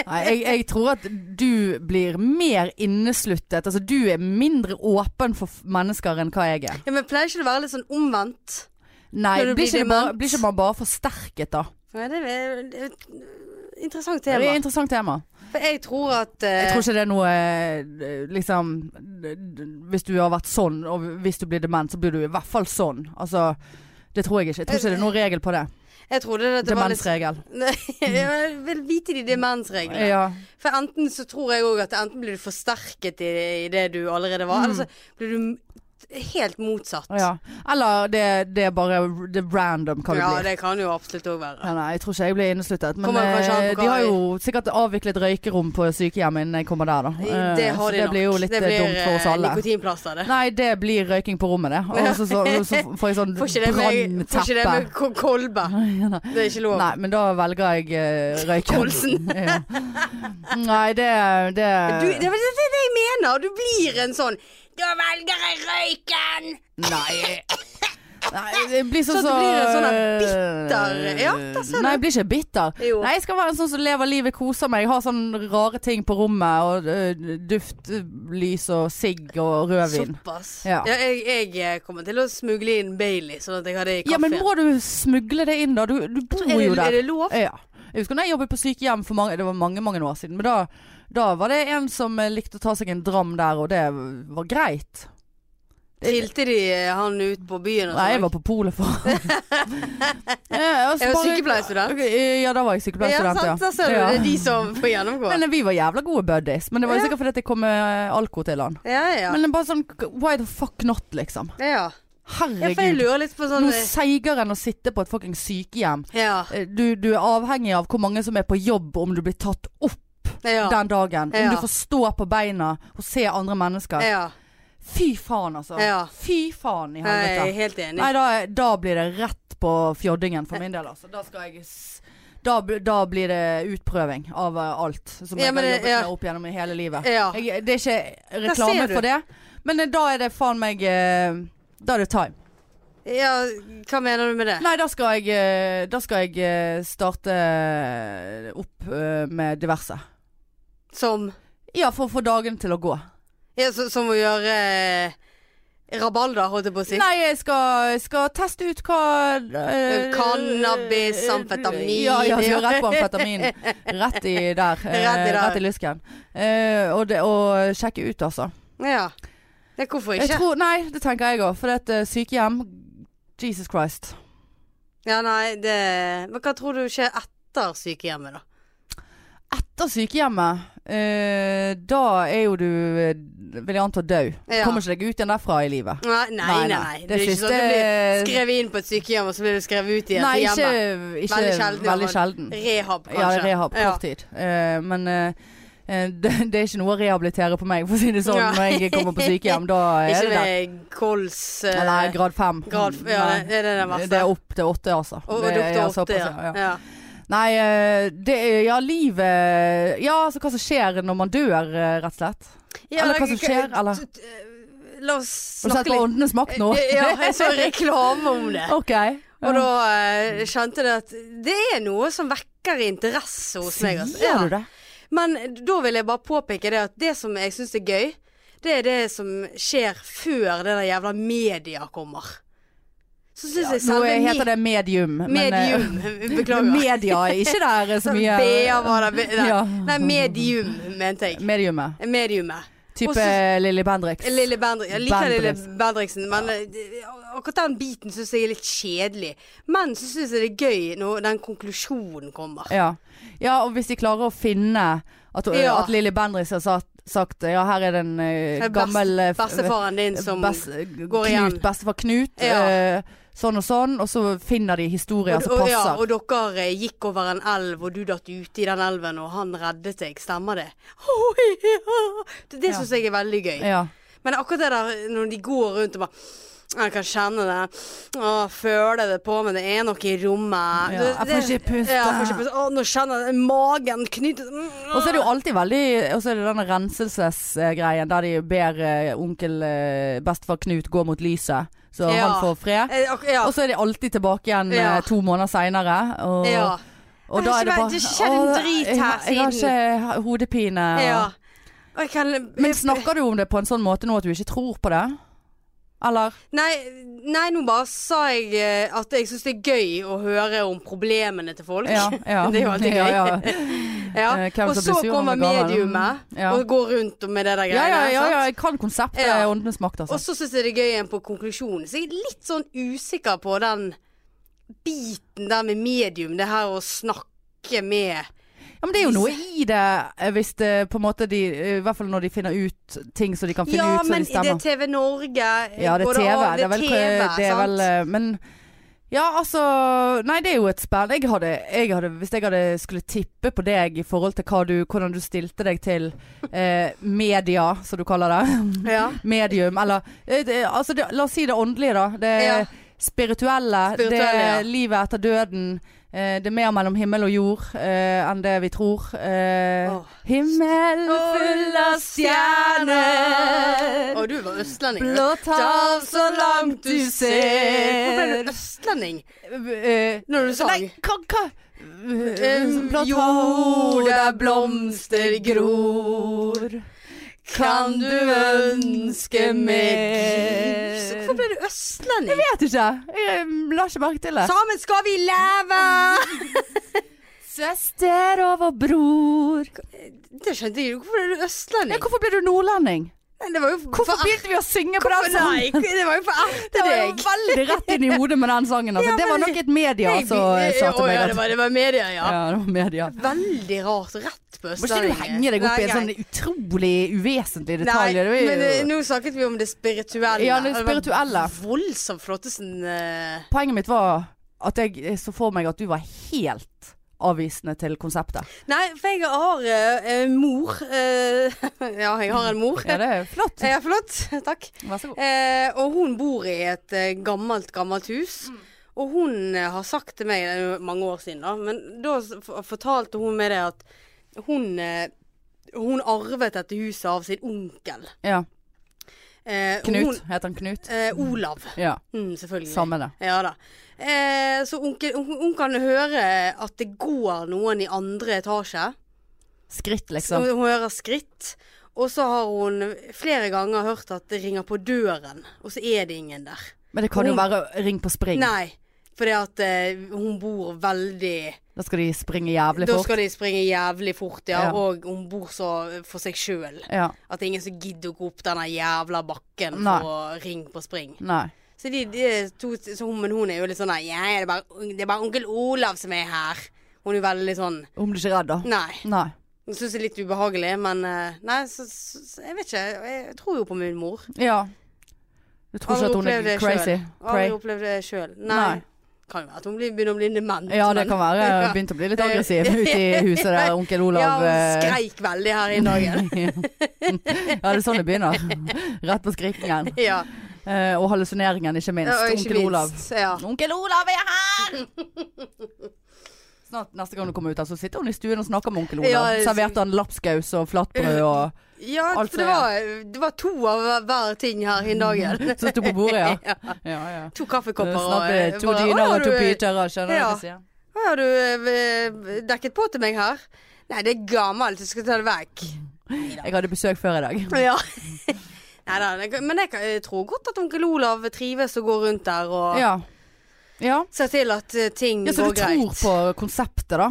[SPEAKER 1] Nei, jeg, jeg tror at du blir mer innesluttet. Altså du er mindre åpen for f- mennesker enn hva jeg er.
[SPEAKER 2] ja, men pleier ikke det å være litt sånn omvendt?
[SPEAKER 1] Nei,
[SPEAKER 2] Når du
[SPEAKER 1] blir
[SPEAKER 2] blir
[SPEAKER 1] ikke, det bare,
[SPEAKER 2] dement.
[SPEAKER 1] blir ikke man bare forsterket da?
[SPEAKER 2] Ja, det er det er et øh, interessant
[SPEAKER 1] Det er
[SPEAKER 2] tema.
[SPEAKER 1] et interessant tema.
[SPEAKER 2] For jeg tror at eh,
[SPEAKER 1] Jeg tror ikke det er noe eh, liksom d- d- Hvis du har vært sånn, og hvis du blir dement, så blir du i hvert fall sånn. Altså, det tror jeg ikke. Jeg tror ikke det er noen regel på det.
[SPEAKER 2] jeg trodde at det var litt
[SPEAKER 1] Demensregel.
[SPEAKER 2] Nei, Jeg vil vite de demensreglene.
[SPEAKER 1] Ja.
[SPEAKER 2] For enten så tror jeg òg at enten blir du forsterket i, i det du allerede var, eller så blir du m- helt motsatt.
[SPEAKER 1] Mm. ja. Eller det, det er bare det er random hva det
[SPEAKER 2] ja,
[SPEAKER 1] blir.
[SPEAKER 2] det kan jo absolutt òg være.
[SPEAKER 1] Ja, nei, jeg tror ikke jeg blir innesluttet. Men
[SPEAKER 2] Kommer kanskje an på
[SPEAKER 1] eh,
[SPEAKER 2] hva
[SPEAKER 1] de har
[SPEAKER 2] vi-
[SPEAKER 1] jo sikkert avviklet røykerom på sykehjemmet innen jeg kommer der, da. Eh,
[SPEAKER 2] Det har
[SPEAKER 1] så
[SPEAKER 2] de
[SPEAKER 1] det
[SPEAKER 2] nok.
[SPEAKER 1] blir jo litt
[SPEAKER 2] det
[SPEAKER 1] eh,
[SPEAKER 2] blir
[SPEAKER 1] dumt for oss
[SPEAKER 2] eh,
[SPEAKER 1] alle.
[SPEAKER 2] Nikotinplaster, det.
[SPEAKER 1] Nei, det blir røyking på rommet, det. Og så, så, så får jeg sånn
[SPEAKER 2] Får ikke det med, får ikke det
[SPEAKER 1] brannteppe.
[SPEAKER 2] med ko- kolbe. Det er ikke lov.
[SPEAKER 1] Nei, men da velger jeg eh, røyken.
[SPEAKER 2] Kolsen.
[SPEAKER 1] ja. Nei, det, det
[SPEAKER 2] Du, det er vel det, det jeg mener. Du blir en sånn Da velger jeg røyken!
[SPEAKER 1] Nei. Nei, det blir sånn
[SPEAKER 2] Så det
[SPEAKER 1] som-
[SPEAKER 2] blir en sånn der bitter- Ja, der ser du.
[SPEAKER 1] Nei, jeg blir ikke bitter.
[SPEAKER 2] Jo.
[SPEAKER 1] Nei, jeg skal være en sånn som lever livet, koser meg. Jeg har sånne rare ting på rommet. Og øh, duft, øh, lys og sigg og rødvin.
[SPEAKER 2] Såpass. Ja.
[SPEAKER 1] Ja.
[SPEAKER 2] jeg, jeg eh, kommer til å smugle inn Bailey, sånn at jeg har det i
[SPEAKER 1] Ja, men
[SPEAKER 2] kaffen.
[SPEAKER 1] må du smugle det inn, da? Du, du bor
[SPEAKER 2] er,
[SPEAKER 1] jo
[SPEAKER 2] det, er
[SPEAKER 1] der. Eh,
[SPEAKER 2] det lov?
[SPEAKER 1] Ja. Jeg husker når jeg jobbet på sykehjem for mange, det var mange mange år siden. Men da, da var det en som eh, likte å ta seg en dram der, og det var greit.
[SPEAKER 2] Trilte de eh, han ut på byen? og
[SPEAKER 1] Nei,
[SPEAKER 2] sånn?
[SPEAKER 1] jeg var på polet for ja, altså,
[SPEAKER 2] Jeg var
[SPEAKER 1] bare-
[SPEAKER 2] sykepleierstudent.
[SPEAKER 1] Ok, Ja, da var jeg sykepleierstudent,
[SPEAKER 2] Ja,
[SPEAKER 1] ja.
[SPEAKER 2] sant, da ser du.
[SPEAKER 1] Ja.
[SPEAKER 2] Det er de som får gjennomgå.
[SPEAKER 1] Men vi var jævla gode buddies. Men det var jo
[SPEAKER 2] Ja.
[SPEAKER 1] sikkert fordi at jeg kom med alko til han.
[SPEAKER 2] ja, ja.
[SPEAKER 1] Men det er bare sånn why the fuck not, liksom.
[SPEAKER 2] ja. ja, for jeg
[SPEAKER 1] Herregud.
[SPEAKER 2] lurer litt på sånn
[SPEAKER 1] Noe seigere enn å sitte på et fucking sykehjem.
[SPEAKER 2] Ja.
[SPEAKER 1] Eh, Du, du er avhengig av hvor mange som er på jobb om du blir tatt opp
[SPEAKER 2] Ja.
[SPEAKER 1] den dagen. Om
[SPEAKER 2] Ja.
[SPEAKER 1] du får stå på beina og se andre mennesker.
[SPEAKER 2] ja.
[SPEAKER 1] Fy faen, altså.
[SPEAKER 2] Ja.
[SPEAKER 1] Fy faen i
[SPEAKER 2] Jeg
[SPEAKER 1] helvete.
[SPEAKER 2] er helt enig.
[SPEAKER 1] Nei, da, da blir det rett på fjoddingen for min del, altså. Da skal jeg s- da, bl- da blir det utprøving av eh, alt som
[SPEAKER 2] Ja,
[SPEAKER 1] jeg
[SPEAKER 2] men
[SPEAKER 1] har
[SPEAKER 2] det-
[SPEAKER 1] jobbet
[SPEAKER 2] ja.
[SPEAKER 1] med opp gjennom i hele livet.
[SPEAKER 2] Ja.
[SPEAKER 1] Jeg, det er ikke
[SPEAKER 2] ser
[SPEAKER 1] reklame
[SPEAKER 2] du.
[SPEAKER 1] for det, men eh, da er det faen meg eh, Da er det time.
[SPEAKER 2] ja, hva mener du med det?
[SPEAKER 1] Nei, da skal jeg, eh, da skal jeg eh, starte opp eh, med diverse.
[SPEAKER 2] Som
[SPEAKER 1] Ja, for å få dagen til å gå.
[SPEAKER 2] Ja, så, som å gjøre eh, Rabalder, holdt jeg på å si.
[SPEAKER 1] Nei, jeg skal, jeg skal teste ut hva eh,
[SPEAKER 2] Cannabis, amfetamin.
[SPEAKER 1] Ja, ja, jeg skal rett på amfetamin. Rett i der. eh,
[SPEAKER 2] Rett i der.
[SPEAKER 1] Rett i lysken. Eh, og, det, og sjekke ut, altså.
[SPEAKER 2] Ja. Det, hvorfor
[SPEAKER 1] Jeg
[SPEAKER 2] ikke?
[SPEAKER 1] tror, nei, det tenker jeg òg. For det er et sykehjem Jesus Christ.
[SPEAKER 2] Ja, nei, det Men hva tror du skjer etter sykehjemmet, da?
[SPEAKER 1] Etter sykehjemmet, eh, da er jo du eh, Vil jeg anta død.
[SPEAKER 2] Ja.
[SPEAKER 1] Kommer ikke deg ut igjen derfra i livet.
[SPEAKER 2] Nei, nei, nei. nei. Det, er ikke sånn at du blir skrevet inn på et sykehjem, og så blir du skrevet ut igjen
[SPEAKER 1] Nei,
[SPEAKER 2] til
[SPEAKER 1] ikke,
[SPEAKER 2] hjemmet.
[SPEAKER 1] ikke
[SPEAKER 2] Veldig sjelden,
[SPEAKER 1] Veldig
[SPEAKER 2] ja,
[SPEAKER 1] sjelden.
[SPEAKER 2] Rehab, kanskje.
[SPEAKER 1] Ja, rehab. Kort tid. Eh, men eh, eh, det, det er ikke noe å rehabilitere på meg, for å si det sånn.
[SPEAKER 2] Ja.
[SPEAKER 1] Når jeg kommer på sykehjem, da er
[SPEAKER 2] Ikke
[SPEAKER 1] det det.
[SPEAKER 2] med kols eh,
[SPEAKER 1] Nei, grad fem.
[SPEAKER 2] grad f- Ja,
[SPEAKER 1] Nei.
[SPEAKER 2] det er det den verste.
[SPEAKER 1] Det er opp til åtte, altså.
[SPEAKER 2] og, og
[SPEAKER 1] Det er
[SPEAKER 2] doktor åtte,
[SPEAKER 1] såpass,
[SPEAKER 2] ja.
[SPEAKER 1] ja.
[SPEAKER 2] ja.
[SPEAKER 1] Nei, eh, det er Ja, livet Ja, altså hva som skjer når man dør, eh, rett og slett.
[SPEAKER 2] Ja,
[SPEAKER 1] Eller hva
[SPEAKER 2] jeg-
[SPEAKER 1] som skjer, eller?
[SPEAKER 2] t- t- La oss
[SPEAKER 1] Har du sett
[SPEAKER 2] snakke
[SPEAKER 1] på
[SPEAKER 2] litt.
[SPEAKER 1] Åndenes makt nå?
[SPEAKER 2] Ja, jeg så reklame om det.
[SPEAKER 1] OK.
[SPEAKER 2] Og da eh, kjente jeg at det er noe som vekker interesse hos meg. altså.
[SPEAKER 1] Sier du det?
[SPEAKER 2] Men da vil jeg bare påpeke det at det som jeg syns er gøy, det er det som skjer før det der jævla media kommer. Så syns jeg
[SPEAKER 1] Nå
[SPEAKER 2] selve
[SPEAKER 1] eh,
[SPEAKER 2] me-
[SPEAKER 1] heter det medium. men, eh,
[SPEAKER 2] medium Beklager.
[SPEAKER 1] Media er ikke der eh, så mye
[SPEAKER 2] BA var det. Nei,
[SPEAKER 1] Ja.
[SPEAKER 2] nei, medium mente jeg.
[SPEAKER 1] Mediumet.
[SPEAKER 2] Mediumet. Og
[SPEAKER 1] Type
[SPEAKER 2] så-
[SPEAKER 1] Lilly Bendriks.
[SPEAKER 2] Lille Bendrik. Jeg liker
[SPEAKER 1] Bendriksen.
[SPEAKER 2] Lille Bendriksen, men eh, det- akkurat den biten syns jeg er litt kjedelig. Men så syns jeg det er gøy når den konklusjonen kommer.
[SPEAKER 1] Ja. ja, og hvis de klarer å finne at,
[SPEAKER 2] Ja.
[SPEAKER 1] at Lilly Bendriss har sagt, sagt Ja, her er det en eh,
[SPEAKER 2] Det er best-
[SPEAKER 1] gammel eh, f-
[SPEAKER 2] Bestefaren din som
[SPEAKER 1] best- Knut,
[SPEAKER 2] igjen.
[SPEAKER 1] Bestefar Knut.
[SPEAKER 2] Ja.
[SPEAKER 1] eh, sånn og sånn. Og så finner de historier som
[SPEAKER 2] og, ja,
[SPEAKER 1] passer.
[SPEAKER 2] og dere eh, gikk over en elv, og du datt uti den elven, og han reddet deg. Stemmer det? Å, ja. Det, det
[SPEAKER 1] Ja.
[SPEAKER 2] syns jeg er veldig gøy.
[SPEAKER 1] Ja.
[SPEAKER 2] Men akkurat det der eh, når de går rundt og bare jeg kan kjenne det. Å, føle det på meg. Det er noe i rommet.
[SPEAKER 1] Ja,
[SPEAKER 2] Det-
[SPEAKER 1] jeg får
[SPEAKER 2] det-
[SPEAKER 1] ikke puste.
[SPEAKER 2] Ja, jeg får ikke puste. Å, nå kjenner jeg magen Mm, knyter
[SPEAKER 1] Og så er det jo alltid veldig Og så er det denne renselsesgreien der de ber eh, onkel eh, bestefar Knut gå mot lyset, så
[SPEAKER 2] Ja.
[SPEAKER 1] han får fred.
[SPEAKER 2] mm. Eh, Ja.
[SPEAKER 1] Og så er de alltid tilbake igjen eh,
[SPEAKER 2] Ja.
[SPEAKER 1] to måneder seinere. Og,
[SPEAKER 2] ja.
[SPEAKER 1] og
[SPEAKER 2] Men
[SPEAKER 1] da er
[SPEAKER 2] det
[SPEAKER 1] det
[SPEAKER 2] har
[SPEAKER 1] bare
[SPEAKER 2] ikke vært- det har ikke skjedd en
[SPEAKER 1] «Åh,
[SPEAKER 2] drit
[SPEAKER 1] jeg har-
[SPEAKER 2] her
[SPEAKER 1] Jeg har ikke hodepine. og-
[SPEAKER 2] ja. Og jeg kan
[SPEAKER 1] Men snakker du om det på en sånn måte nå at du ikke tror på det? Eller?
[SPEAKER 2] Nei, nei, nå bare sa jeg eh, at jeg syns det er gøy å høre om problemene til folk.
[SPEAKER 1] Ja, ja.
[SPEAKER 2] Det er jo alltid gøy.
[SPEAKER 1] Ja, ja.
[SPEAKER 2] Ja.
[SPEAKER 1] Eh, hvem
[SPEAKER 2] Og
[SPEAKER 1] som blir
[SPEAKER 2] så
[SPEAKER 1] sur når
[SPEAKER 2] kommer
[SPEAKER 1] man går her.
[SPEAKER 2] mediumet
[SPEAKER 1] Ja.
[SPEAKER 2] og går rundt med det der
[SPEAKER 1] Ja,
[SPEAKER 2] greiene.
[SPEAKER 1] ja, ja,
[SPEAKER 2] sant?
[SPEAKER 1] ja, jeg kan konseptet
[SPEAKER 2] Ja.
[SPEAKER 1] Åndenes makt, altså.
[SPEAKER 2] Og så syns jeg det er gøy igjen på konklusjonen. Så jeg er litt sånn usikker på den biten der med medium, det her å snakke med
[SPEAKER 1] Ja, men det er jo noe i det, eh, hvis det på en måte de eh, I hvert fall når de finner ut ting som de kan finne
[SPEAKER 2] Ja,
[SPEAKER 1] ut, så
[SPEAKER 2] men
[SPEAKER 1] de
[SPEAKER 2] i det
[SPEAKER 1] stemmer.
[SPEAKER 2] TV Norge eh,
[SPEAKER 1] ja, det er
[SPEAKER 2] går
[SPEAKER 1] TV.
[SPEAKER 2] an-
[SPEAKER 1] Det er vel,
[SPEAKER 2] TV,
[SPEAKER 1] det er
[SPEAKER 2] sant?
[SPEAKER 1] vel eh, Men ja, altså Nei, det er jo et spenn. Jeg hadde, jeg hadde Hvis jeg hadde skulle tippe på deg i forhold til hva du, hvordan du stilte deg til eh, media, som du kaller det.
[SPEAKER 2] ja.
[SPEAKER 1] medium, eller eh, det, altså, det, La oss si det åndelige, da. Det
[SPEAKER 2] Ja.
[SPEAKER 1] spirituelle.
[SPEAKER 2] Spirituelle,
[SPEAKER 1] det
[SPEAKER 2] ja.
[SPEAKER 1] livet etter døden. eh, det er mer mellom himmel og jord eh, enn det vi tror. Eh,
[SPEAKER 2] Åh.
[SPEAKER 1] Himmel full av stjerner.
[SPEAKER 2] Å, du var østlending. du.
[SPEAKER 1] Blått hav så langt du
[SPEAKER 2] Hvorfor ble
[SPEAKER 1] ser
[SPEAKER 2] du østlending
[SPEAKER 1] Eh,
[SPEAKER 2] når du sang?
[SPEAKER 1] Nei, hva, hva?
[SPEAKER 2] Em,
[SPEAKER 1] Blått hav
[SPEAKER 2] jord
[SPEAKER 1] der
[SPEAKER 2] Um, der
[SPEAKER 1] Um, blomster
[SPEAKER 2] blomster
[SPEAKER 1] gror.
[SPEAKER 2] gror.
[SPEAKER 1] Kan du ønske mer?
[SPEAKER 2] Så Hvorfor ble du østlending?
[SPEAKER 1] Vet ikke. Jeg mm, la ikke merke til det.
[SPEAKER 2] Sammen skal vi leve!
[SPEAKER 1] Søster over bror.
[SPEAKER 2] Det skjønte jeg ikke. Hvorfor er du
[SPEAKER 1] Ja,
[SPEAKER 2] østlending?
[SPEAKER 1] hvorfor ble du nordlending?
[SPEAKER 2] Nei, det var jo
[SPEAKER 1] Hvorfor
[SPEAKER 2] for-
[SPEAKER 1] begynte vi å synge på
[SPEAKER 2] Hvorfor-
[SPEAKER 1] den sangen?
[SPEAKER 2] Nei, det var jo for å erte
[SPEAKER 1] Det var jo
[SPEAKER 2] deg.
[SPEAKER 1] veldig rett inn i hodet med den sangen. Altså.
[SPEAKER 2] Ja,
[SPEAKER 1] det var
[SPEAKER 2] men-
[SPEAKER 1] nok et media
[SPEAKER 2] Jeg-
[SPEAKER 1] som eh, sa til
[SPEAKER 2] Å,
[SPEAKER 1] meg
[SPEAKER 2] ja,
[SPEAKER 1] det.
[SPEAKER 2] det. Var, det var media, ja.
[SPEAKER 1] Ja, det var media.
[SPEAKER 2] Veldig rart. Rett på
[SPEAKER 1] Må ikke
[SPEAKER 2] østlending.
[SPEAKER 1] du henge deg opp i en
[SPEAKER 2] Nei,
[SPEAKER 1] sånn utrolig uvesentlig
[SPEAKER 2] Nei,
[SPEAKER 1] detalj? det er jo-
[SPEAKER 2] men eh, nå snakket vi om det spirituelle.
[SPEAKER 1] Ja, det spirituelle.
[SPEAKER 2] var voldsomt flottesen eh,
[SPEAKER 1] Poenget mitt var at jeg så for meg at du var helt avvisende til konseptet.
[SPEAKER 2] Nei, for jeg har eh, eh, mor. eh, ja, jeg har en mor.
[SPEAKER 1] Ja, det er flott.
[SPEAKER 2] Ja, flott. Takk.
[SPEAKER 1] Vær så god.
[SPEAKER 2] Eh, og hun bor i et eh, gammelt, gammelt hus.
[SPEAKER 1] Mm.
[SPEAKER 2] Og hun eh, har sagt til meg, det er jo mange år siden da, men da s- f- fortalte hun meg det at hun, eh, hun arvet dette huset av sin onkel.
[SPEAKER 1] Ja.
[SPEAKER 2] Eh, og
[SPEAKER 1] Knut.
[SPEAKER 2] Hun,
[SPEAKER 1] Heter han Knut?
[SPEAKER 2] eh, Olav.
[SPEAKER 1] Ja.
[SPEAKER 2] Mm, selvfølgelig.
[SPEAKER 1] Samme det.
[SPEAKER 2] Ja da. Eh, så hun, hun kan høre at det går noen i andre etasje.
[SPEAKER 1] Skritt,
[SPEAKER 2] Så
[SPEAKER 1] liksom.
[SPEAKER 2] hun hører skritt. Og så har hun flere ganger hørt at det ringer på døren, og så er det ingen der.
[SPEAKER 1] Men det kan jo
[SPEAKER 2] Hun-
[SPEAKER 1] være ring på spring.
[SPEAKER 2] Nei, fordi at eh, hun bor veldig
[SPEAKER 1] Da skal de springe jævlig
[SPEAKER 2] Da
[SPEAKER 1] fort.
[SPEAKER 2] skal de springe jævlig fort, ja.
[SPEAKER 1] Ja.
[SPEAKER 2] Og hun bor så for seg sjøl.
[SPEAKER 1] Ja.
[SPEAKER 2] At det er ingen som gidder å gå opp denne jævla bakken
[SPEAKER 1] Nei.
[SPEAKER 2] for å ringe på spring.
[SPEAKER 1] Nei.
[SPEAKER 2] Så de, de to, så hun, men hun er jo litt sånn nei, ja, det, er bare, det er bare onkel Olav som er her. Hun er jo veldig sånn
[SPEAKER 1] Hun blir ikke redd, da?
[SPEAKER 2] Nei.
[SPEAKER 1] Nei.
[SPEAKER 2] Hun syns det er litt ubehagelig, men eh, Nei, så, så, så jeg vet ikke. Jeg tror jo på min mor.
[SPEAKER 1] Ja. Du tror
[SPEAKER 2] Aldri
[SPEAKER 1] ikke at hun
[SPEAKER 2] opplevd
[SPEAKER 1] er
[SPEAKER 2] det
[SPEAKER 1] crazy?
[SPEAKER 2] selv.
[SPEAKER 1] Cray?
[SPEAKER 2] Aldri opplevd det sjøl. Nei.
[SPEAKER 1] Nei.
[SPEAKER 2] Kan jo være at hun blir, begynner å bli dement.
[SPEAKER 1] Ja, det
[SPEAKER 2] men-
[SPEAKER 1] kan være. Jeg
[SPEAKER 2] Ja.
[SPEAKER 1] har begynt å bli litt aggressiv ute i huset der onkel
[SPEAKER 2] Ja,
[SPEAKER 1] Olav
[SPEAKER 2] hun
[SPEAKER 1] eh,
[SPEAKER 2] skreik veldig her i dagen.
[SPEAKER 1] Ja, det er sånn det begynner. Rett på skrikingen.
[SPEAKER 2] ja.
[SPEAKER 1] Eh, og hallusineringen, ikke minst.
[SPEAKER 2] Og ikke
[SPEAKER 1] Onkel Olav.
[SPEAKER 2] minst. Ja.
[SPEAKER 1] Onkel Olav er her! Snart neste gang du kommer ut her, så sitter hun i stuen og snakker med onkel Olav.
[SPEAKER 2] Ja, jeg-
[SPEAKER 1] Serverte han lapskaus og flatbrød og
[SPEAKER 2] ja
[SPEAKER 1] Alt
[SPEAKER 2] for det
[SPEAKER 1] for-
[SPEAKER 2] var, det var to av hver ting her i dagen.
[SPEAKER 1] som sto på bordet, ja. ja, ja.
[SPEAKER 2] To
[SPEAKER 1] Det er
[SPEAKER 2] kaffekopper
[SPEAKER 1] Snart blir det
[SPEAKER 2] eh,
[SPEAKER 1] to
[SPEAKER 2] bare,
[SPEAKER 1] dyner
[SPEAKER 2] «Å,
[SPEAKER 1] og
[SPEAKER 2] har
[SPEAKER 1] to
[SPEAKER 2] du, eh,
[SPEAKER 1] pyter, skjønner du hva
[SPEAKER 2] Ja.
[SPEAKER 1] jeg sier?
[SPEAKER 2] Hva har du eh, dekket på til meg her? Nei, det er gammelt, jeg skal ta det vekk.
[SPEAKER 1] Jeg hadde besøk før i dag.
[SPEAKER 2] Ja. Nei da, det- men jeg, kan- jeg tror godt at onkel Olav trives og går rundt der og
[SPEAKER 1] Ja. ja.
[SPEAKER 2] ser til at eh, ting
[SPEAKER 1] Ja, Så
[SPEAKER 2] går
[SPEAKER 1] du tror
[SPEAKER 2] greit.
[SPEAKER 1] på konseptet, da?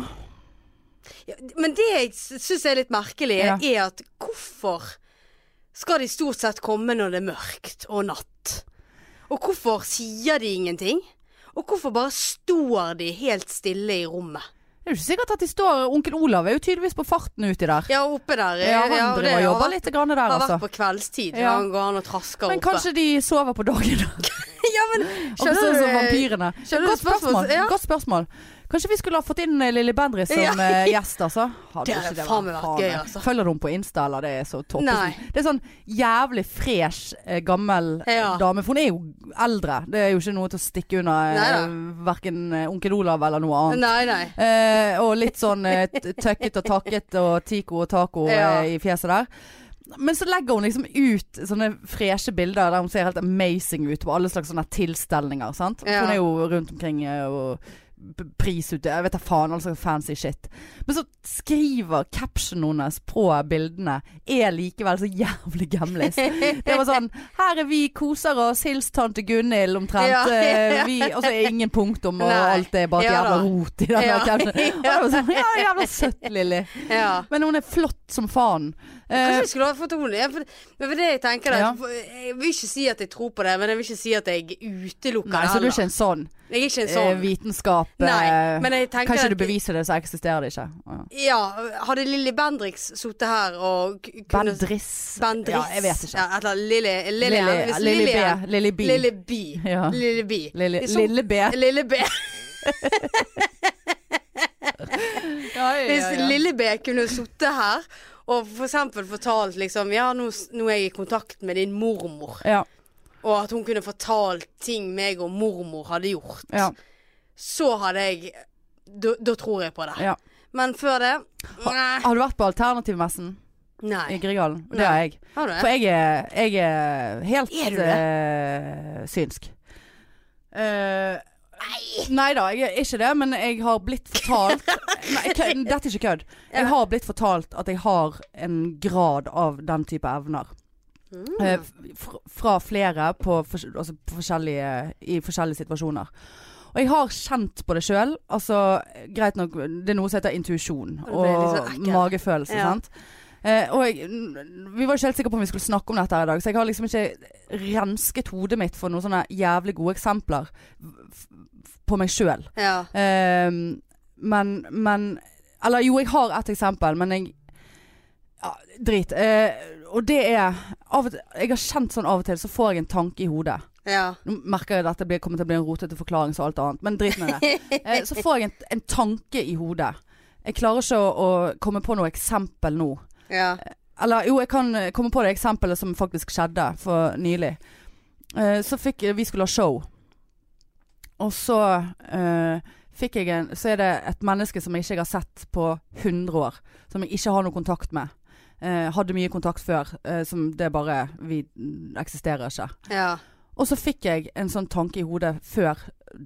[SPEAKER 2] Ja, men det jeg syns er litt merkelig,
[SPEAKER 1] Ja.
[SPEAKER 2] er at hvorfor skal de stort sett komme når det er mørkt og natt? Og hvorfor sier de ingenting? Og hvorfor bare står de helt stille i rommet?
[SPEAKER 1] Det er jo ikke sikkert at de står Onkel Olav er jo tydeligvis på farten uti der.
[SPEAKER 2] Ja, oppe der. eh,
[SPEAKER 1] Ja, han
[SPEAKER 2] ja, det
[SPEAKER 1] driver og
[SPEAKER 2] har
[SPEAKER 1] jobber
[SPEAKER 2] vært-
[SPEAKER 1] litt grann der,
[SPEAKER 2] Har
[SPEAKER 1] altså.
[SPEAKER 2] vært på kveldstid.
[SPEAKER 1] Ja.
[SPEAKER 2] Han går an og trasker
[SPEAKER 1] Men
[SPEAKER 2] oppe.
[SPEAKER 1] kanskje de sover på dagen.
[SPEAKER 2] Ja, men
[SPEAKER 1] Akkurat sånn som
[SPEAKER 2] du eh,
[SPEAKER 1] vampyrene.
[SPEAKER 2] skjønner du
[SPEAKER 1] Godt spørsmål.
[SPEAKER 2] spørsmål- ja.
[SPEAKER 1] Godt spørsmål. Kanskje vi skulle ha fått inn eh, Lilly Bendriss som
[SPEAKER 2] Ja.
[SPEAKER 1] eh, gjest, altså. Hadde
[SPEAKER 2] Det
[SPEAKER 1] ikke
[SPEAKER 2] hadde
[SPEAKER 1] vært
[SPEAKER 2] faen meg vært
[SPEAKER 1] faen
[SPEAKER 2] gøy,
[SPEAKER 1] meg.
[SPEAKER 2] altså.
[SPEAKER 1] Følger du henne på Insta, eller det er så topp?
[SPEAKER 2] Nei.
[SPEAKER 1] Det er sånn jævlig fresh, eh, gammel eh,
[SPEAKER 2] Ja.
[SPEAKER 1] dame. For hun er jo eldre. Det er jo ikke noe til å stikke unna verken eh, onkel Olav eller noe annet.
[SPEAKER 2] Nei, nei.
[SPEAKER 1] Eh, og litt sånn eh, t- tøkket og takket og tico og taco
[SPEAKER 2] Ja.
[SPEAKER 1] eh, i fjeset der. Men så legger hun liksom ut sånne freshe bilder der hun ser helt amazing ut på alle slags sånne tilstelninger. Sant?
[SPEAKER 2] Ja.
[SPEAKER 1] Hun er jo rundt omkring eh, og p- prisute, jeg vet da faen, all slags fancy shit. Men så skriver captionen hennes på bildene er likevel så jævlig gamlis. Det var sånn Her er vi, koser oss, hils tante Gunhild omtrent.
[SPEAKER 2] Ja.
[SPEAKER 1] Eh, Vi, og så er ingen punktum, og
[SPEAKER 2] Nei.
[SPEAKER 1] alt er bare
[SPEAKER 2] Ja
[SPEAKER 1] et jævla
[SPEAKER 2] da.
[SPEAKER 1] rot i den
[SPEAKER 2] Ja.
[SPEAKER 1] captionen. Og det var sånn, ja, jævla søtt, Lilly.
[SPEAKER 2] Ja.
[SPEAKER 1] Men hun er flott som faen. sånn- Eh,
[SPEAKER 2] Kanskje vi skulle ha fått henne ja, for, Men for det jeg tenker
[SPEAKER 1] Ja.
[SPEAKER 2] at, Jeg vil ikke si at jeg tror på det, men jeg vil ikke si at jeg utelukker
[SPEAKER 1] nei,
[SPEAKER 2] det
[SPEAKER 1] så du er
[SPEAKER 2] heller.
[SPEAKER 1] ikke en sånn,
[SPEAKER 2] Jeg er ikke en
[SPEAKER 1] eh,
[SPEAKER 2] sånn.
[SPEAKER 1] vitenskap
[SPEAKER 2] Nei,
[SPEAKER 1] eh,
[SPEAKER 2] men jeg tenker
[SPEAKER 1] Kanskje
[SPEAKER 2] at-
[SPEAKER 1] du beviser det, så eksisterer det ikke. Ja.
[SPEAKER 2] Ja, hadde Lilly Bendriks sittet her og k- kunne
[SPEAKER 1] Bendriss.
[SPEAKER 2] Bendriss.
[SPEAKER 1] Ja, jeg vet ikke.
[SPEAKER 2] Ja, eller Lilly Lilly
[SPEAKER 1] Lilly-
[SPEAKER 2] hvis
[SPEAKER 1] Lilly
[SPEAKER 2] Lilly-
[SPEAKER 1] B. Lilly B.
[SPEAKER 2] Lilly B.
[SPEAKER 1] Ja.
[SPEAKER 2] Lilly B.
[SPEAKER 1] Lille,
[SPEAKER 2] Hvis hun-
[SPEAKER 1] lille B.
[SPEAKER 2] Lilly B. Hvis Lilly B kunne sittet her og for eksempel fortalt liksom Ja, nå, s- nå er jeg i kontakt med din mormor.
[SPEAKER 1] Ja,
[SPEAKER 2] Og at hun kunne fortalt ting meg og mormor hadde gjort.
[SPEAKER 1] ja,
[SPEAKER 2] Så hadde jeg Da da tror jeg på det.
[SPEAKER 1] ja.
[SPEAKER 2] Men før det Nei.
[SPEAKER 1] Har du vært på alternativmessen i
[SPEAKER 2] Nei.
[SPEAKER 1] Grieghallen? Det
[SPEAKER 2] Nei.
[SPEAKER 1] har jeg.
[SPEAKER 2] Har du
[SPEAKER 1] For
[SPEAKER 2] det?
[SPEAKER 1] jeg er, jeg er helt
[SPEAKER 2] Er du
[SPEAKER 1] eh, synsk. Eh, nei da, jeg er ikke det, men jeg har blitt fortalt nei, kø- Dette er ikke kødd. Jeg har blitt fortalt at jeg har en grad av den type evner.
[SPEAKER 2] Mm.
[SPEAKER 1] Eh, f- fra flere på, fors- altså på forskjellige, i forskjellige situasjoner. Og jeg har kjent på det sjøl. Altså, greit nok, det er noe som heter intuisjon
[SPEAKER 2] Og det blir
[SPEAKER 1] og
[SPEAKER 2] litt sånn ekkel.
[SPEAKER 1] magefølelse.
[SPEAKER 2] Ja.
[SPEAKER 1] Sant? Eh, og jeg, vi var ikke helt sikre på om vi skulle snakke om dette her i dag, så jeg har liksom ikke rensket hodet mitt for noen sånne jævlig gode eksempler f- f- på meg sjøl.
[SPEAKER 2] Ja.
[SPEAKER 1] Ehm, men, men Eller jo, jeg har et eksempel, men jeg ja, Drit. Eh, og det er av og til, Jeg har kjent sånn av og til, så får jeg en tanke i hodet.
[SPEAKER 2] Ja.
[SPEAKER 1] Nå merker jeg at dette blir, kommer til å bli en rotete forklaring som alt annet, men drit med det. Eh, så får jeg en, en tanke i hodet. Jeg klarer ikke å, å komme på noe eksempel nå.
[SPEAKER 2] Ja.
[SPEAKER 1] Eller jo, jeg kan eh, komme på det eksempelet som faktisk skjedde for nylig. Eh, så fikk vi skulle ha show. Og så eh, fikk jeg en Så er det et menneske som jeg ikke har sett på 100 år. Som jeg ikke har noe kontakt med. Eh, hadde mye kontakt før. eh, som det bare Vi mm, eksisterer ikke.
[SPEAKER 2] Ja.
[SPEAKER 1] Og så fikk jeg en sånn tanke i hodet før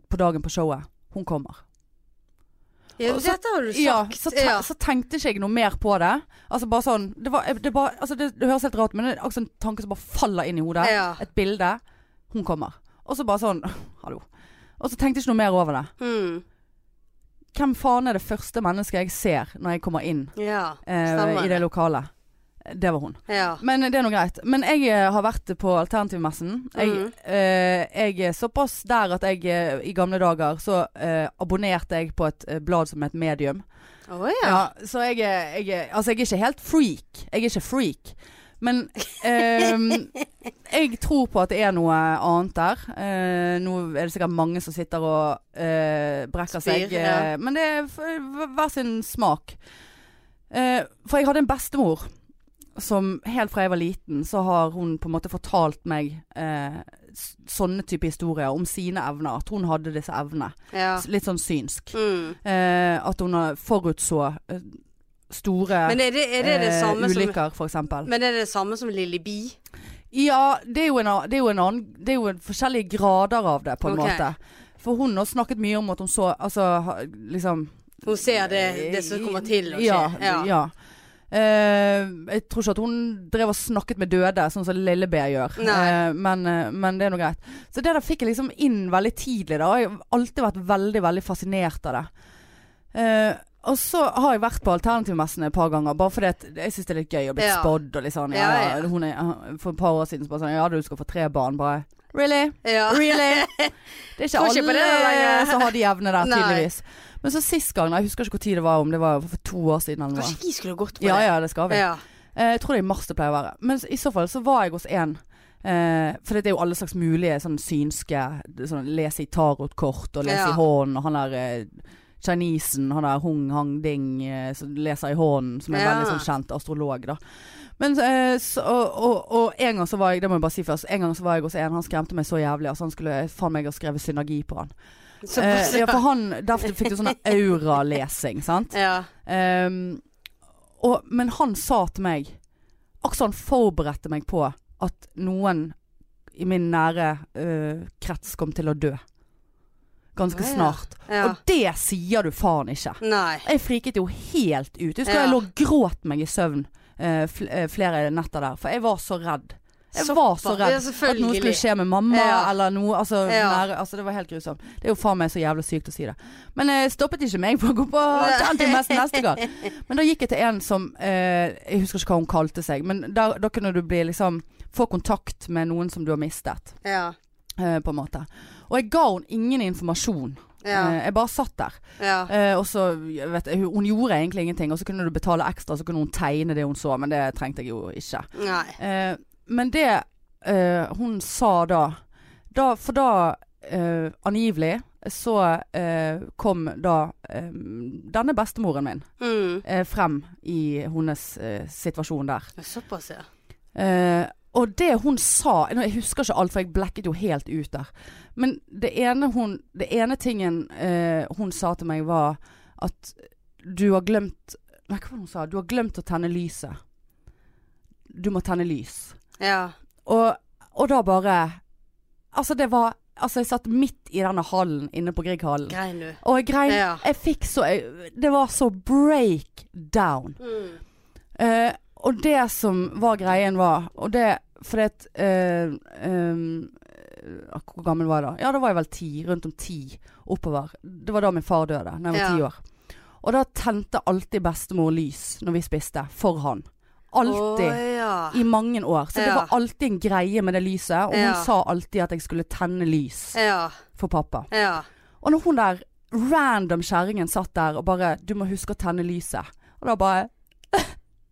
[SPEAKER 1] på dagen på showet. Hun kommer.
[SPEAKER 2] Ja,
[SPEAKER 1] Og så-
[SPEAKER 2] dette har du sagt.
[SPEAKER 1] Ja, så, te
[SPEAKER 2] ja.
[SPEAKER 1] så tenkte ikke jeg noe mer på det. Altså bare sånn Det, var, det, bare, altså det, det høres helt rart ut, men det er akkurat en tanke som bare faller inn i hodet.
[SPEAKER 2] Ja.
[SPEAKER 1] Et bilde. Hun kommer. Og så bare sånn Hallo. Og så tenkte jeg ikke noe mer over det.
[SPEAKER 2] Mm.
[SPEAKER 1] Hvem faen er det første mennesket jeg ser når jeg kommer inn
[SPEAKER 2] ja.
[SPEAKER 1] eh,
[SPEAKER 2] Stemmer.
[SPEAKER 1] i det lokalet? Det var hun.
[SPEAKER 2] ja.
[SPEAKER 1] Men det er nå greit. Men jeg eh, har vært på alternativmessen. Jeg,
[SPEAKER 2] Mhm.
[SPEAKER 1] eh, jeg er såpass der at jeg eh, i gamle dager så eh, abonnerte jeg på et eh, blad som het Medium.
[SPEAKER 2] Å
[SPEAKER 1] Ja.
[SPEAKER 2] ja.
[SPEAKER 1] så jeg, er- jeg, er- altså jeg er ikke helt freak. Jeg er ikke freak. Men ehm, jeg tror på at det er noe annet der. Eh, nå er det sikkert mange som sitter og eh, brekker
[SPEAKER 2] Spyr,
[SPEAKER 1] seg. eh, Men det er f- hver sin smak. Eh, for jeg hadde en bestemor som helt fra jeg var liten, så har hun på en måte fortalt meg eh, s- sånne type historier om sine evner. At hun hadde disse evnene.
[SPEAKER 2] ja.
[SPEAKER 1] S- Litt sånn synsk.
[SPEAKER 2] Mm.
[SPEAKER 1] Eh, at hun har forutså eh, store
[SPEAKER 2] Men er det, er det, det
[SPEAKER 1] eh,
[SPEAKER 2] samme som
[SPEAKER 1] ulykker, for eksempel.
[SPEAKER 2] Men er det det samme som Lilly Bi?
[SPEAKER 1] Ja, det er jo, en, a- det er jo, en annen, det er jo en forskjellige grader av det, på en
[SPEAKER 2] Ok.
[SPEAKER 1] måte. For hun har snakket mye om at hun så Altså, ha- liksom
[SPEAKER 2] Hun ser det, det som kommer til å skje.
[SPEAKER 1] Ja. ja. Eh, jeg tror ikke at hun drev og snakket med døde, sånn som Lille B gjør.
[SPEAKER 2] Nei.
[SPEAKER 1] Eh, men, eh, men det er nå greit. Så det der fikk jeg liksom inn veldig tidlig. Da. og Jeg har alltid vært veldig, veldig fascinert av det. Eh, og så har jeg vært på alternativmessen et par ganger, bare fordi at jeg syns det er litt gøy å bli
[SPEAKER 2] Ja.
[SPEAKER 1] spådd og litt sånn. Ja,
[SPEAKER 2] Ja,
[SPEAKER 1] ja.
[SPEAKER 2] ja.
[SPEAKER 1] Hun er, eh, for et par år siden så bare sånn Ja, du skal få tre barn. Bare Really?
[SPEAKER 2] Ja.
[SPEAKER 1] Really? Det er ikke
[SPEAKER 2] Tror ikke på det da,
[SPEAKER 1] alle
[SPEAKER 2] lenger.
[SPEAKER 1] som har de evnene der,
[SPEAKER 2] Nei.
[SPEAKER 1] tydeligvis. Men så sist gang, jeg husker ikke hvor tid det var, om det var for to år siden eller noe.
[SPEAKER 2] Kanskje vi skulle gått på
[SPEAKER 1] Ja
[SPEAKER 2] det?
[SPEAKER 1] ja, det skal vi.
[SPEAKER 2] Ja.
[SPEAKER 1] Eh, Jeg tror det er i mars det pleier å være. Men i så fall så var jeg hos en. Eh, for det er jo alle slags mulige sånn synske sånn, Lese i tarotkort og lese
[SPEAKER 2] Ja.
[SPEAKER 1] i hånden. Og han der eh, kinesen, han der Hung Hang Ding, eh, som leser i hånden. Som er en
[SPEAKER 2] Ja.
[SPEAKER 1] veldig sånn kjent astrolog, da. Men eh, så, og, og, og en gang så var jeg Det må jeg bare si først. En gang så var jeg hos en, han skremte meg så jævlig. Altså han skulle faen meg ha skrevet synergi på han.
[SPEAKER 2] Så,
[SPEAKER 1] Eh, ja, for han Der fikk du sånn auralesing, sant.
[SPEAKER 2] ja.
[SPEAKER 1] Ehm, og, men han sa til meg Akkurat som han forberedte meg på at noen i min nære øh, krets kom til å dø. Ganske
[SPEAKER 2] Å, ja.
[SPEAKER 1] snart.
[SPEAKER 2] ja.
[SPEAKER 1] Og det sier du faen ikke.
[SPEAKER 2] Nei.
[SPEAKER 1] Jeg friket jo helt ut. Jeg husker
[SPEAKER 2] Ja.
[SPEAKER 1] jeg lå og gråt meg i søvn eh, fl eh, flere netter der, for jeg var så redd. Jeg var så
[SPEAKER 2] Såpass.
[SPEAKER 1] redd
[SPEAKER 2] Ja,
[SPEAKER 1] at noe skulle
[SPEAKER 2] selvfølgelig.
[SPEAKER 1] skje med mamma
[SPEAKER 2] Ja.
[SPEAKER 1] eller noe. Altså,
[SPEAKER 2] Ja.
[SPEAKER 1] nære, altså, det var helt grusomt. Det er jo faen meg så jævlig sykt å si det. Men det stoppet ikke meg for å gå på Alternativmessen neste gang. Men da gikk jeg til en som eh, Jeg husker ikke hva hun kalte seg, men der, da kunne du bli liksom Få kontakt med noen som du har mistet,
[SPEAKER 2] Ja.
[SPEAKER 1] eh, på en måte. Og jeg ga henne ingen informasjon.
[SPEAKER 2] Ja.
[SPEAKER 1] Eh, jeg bare satt der.
[SPEAKER 2] ja.
[SPEAKER 1] Eh, og så, jeg vet, hun, hun gjorde egentlig ingenting, og så kunne du betale ekstra, så kunne hun tegne det hun så, men det trengte jeg jo ikke.
[SPEAKER 2] Nei.
[SPEAKER 1] Eh, men det eh, hun sa da, da For da, eh, angivelig, så eh, kom da eh, denne bestemoren min
[SPEAKER 2] Mm.
[SPEAKER 1] eh, frem i hennes eh, situasjon der.
[SPEAKER 2] Såpass, ja.
[SPEAKER 1] Eh, og det hun sa nå, Jeg husker ikke alt, for jeg blekket jo helt ut der. Men det ene, hun, det ene tingen eh, hun sa til meg, var at du har glemt Nei, hva var det hun sa? Du har glemt å tenne lyset. Du må tenne lys.
[SPEAKER 2] Ja.
[SPEAKER 1] Og, og da bare Altså, det var Altså, jeg satt midt i denne hallen inne på Grieghallen.
[SPEAKER 2] Grein du.
[SPEAKER 1] Og jeg grein
[SPEAKER 2] Ja.
[SPEAKER 1] Jeg fikk så jeg, Det var så breakdown.
[SPEAKER 2] Mm.
[SPEAKER 1] Eh, og det som var greien var Og det fordi at eh, ehm, eh, Hvor gammel var jeg da? Ja, da var jeg vel ti. Rundt om ti oppover. Det var da min far døde, da jeg var
[SPEAKER 2] Ja.
[SPEAKER 1] ti år. Og da tente alltid bestemor lys når vi spiste, for han.
[SPEAKER 2] Å,
[SPEAKER 1] Alltid.
[SPEAKER 2] ja.
[SPEAKER 1] I mange år. Så det
[SPEAKER 2] Ja.
[SPEAKER 1] var alltid en greie med det lyset. Og
[SPEAKER 2] Ja.
[SPEAKER 1] hun sa alltid at jeg skulle tenne lys
[SPEAKER 2] Ja.
[SPEAKER 1] for pappa.
[SPEAKER 2] Ja.
[SPEAKER 1] Og når hun der random kjerringen satt der og bare 'Du må huske å tenne lyset'. Og da bare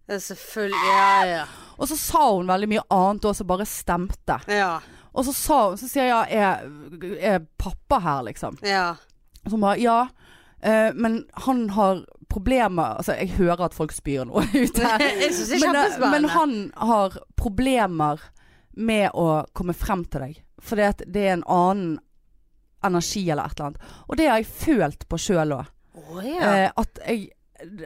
[SPEAKER 2] Ja, Selvfølgelig. Ja, ja.
[SPEAKER 1] Og så sa hun veldig mye annet også, bare stemte.
[SPEAKER 2] Ja.
[SPEAKER 1] Og så sa hun, så sier jeg, er, er pappa her, liksom?
[SPEAKER 2] Ja.
[SPEAKER 1] Og så hun bare, ja. eh, men han har problemer Altså, jeg hører at folk spyr nå ute.
[SPEAKER 2] Jeg syns det er
[SPEAKER 1] Men, eh, men
[SPEAKER 2] kjempespennende.
[SPEAKER 1] han har problemer med å komme frem til deg. Fordi at det er en annen energi eller et eller annet. Og det har jeg følt på sjøl òg.
[SPEAKER 2] Å ja.
[SPEAKER 1] At jeg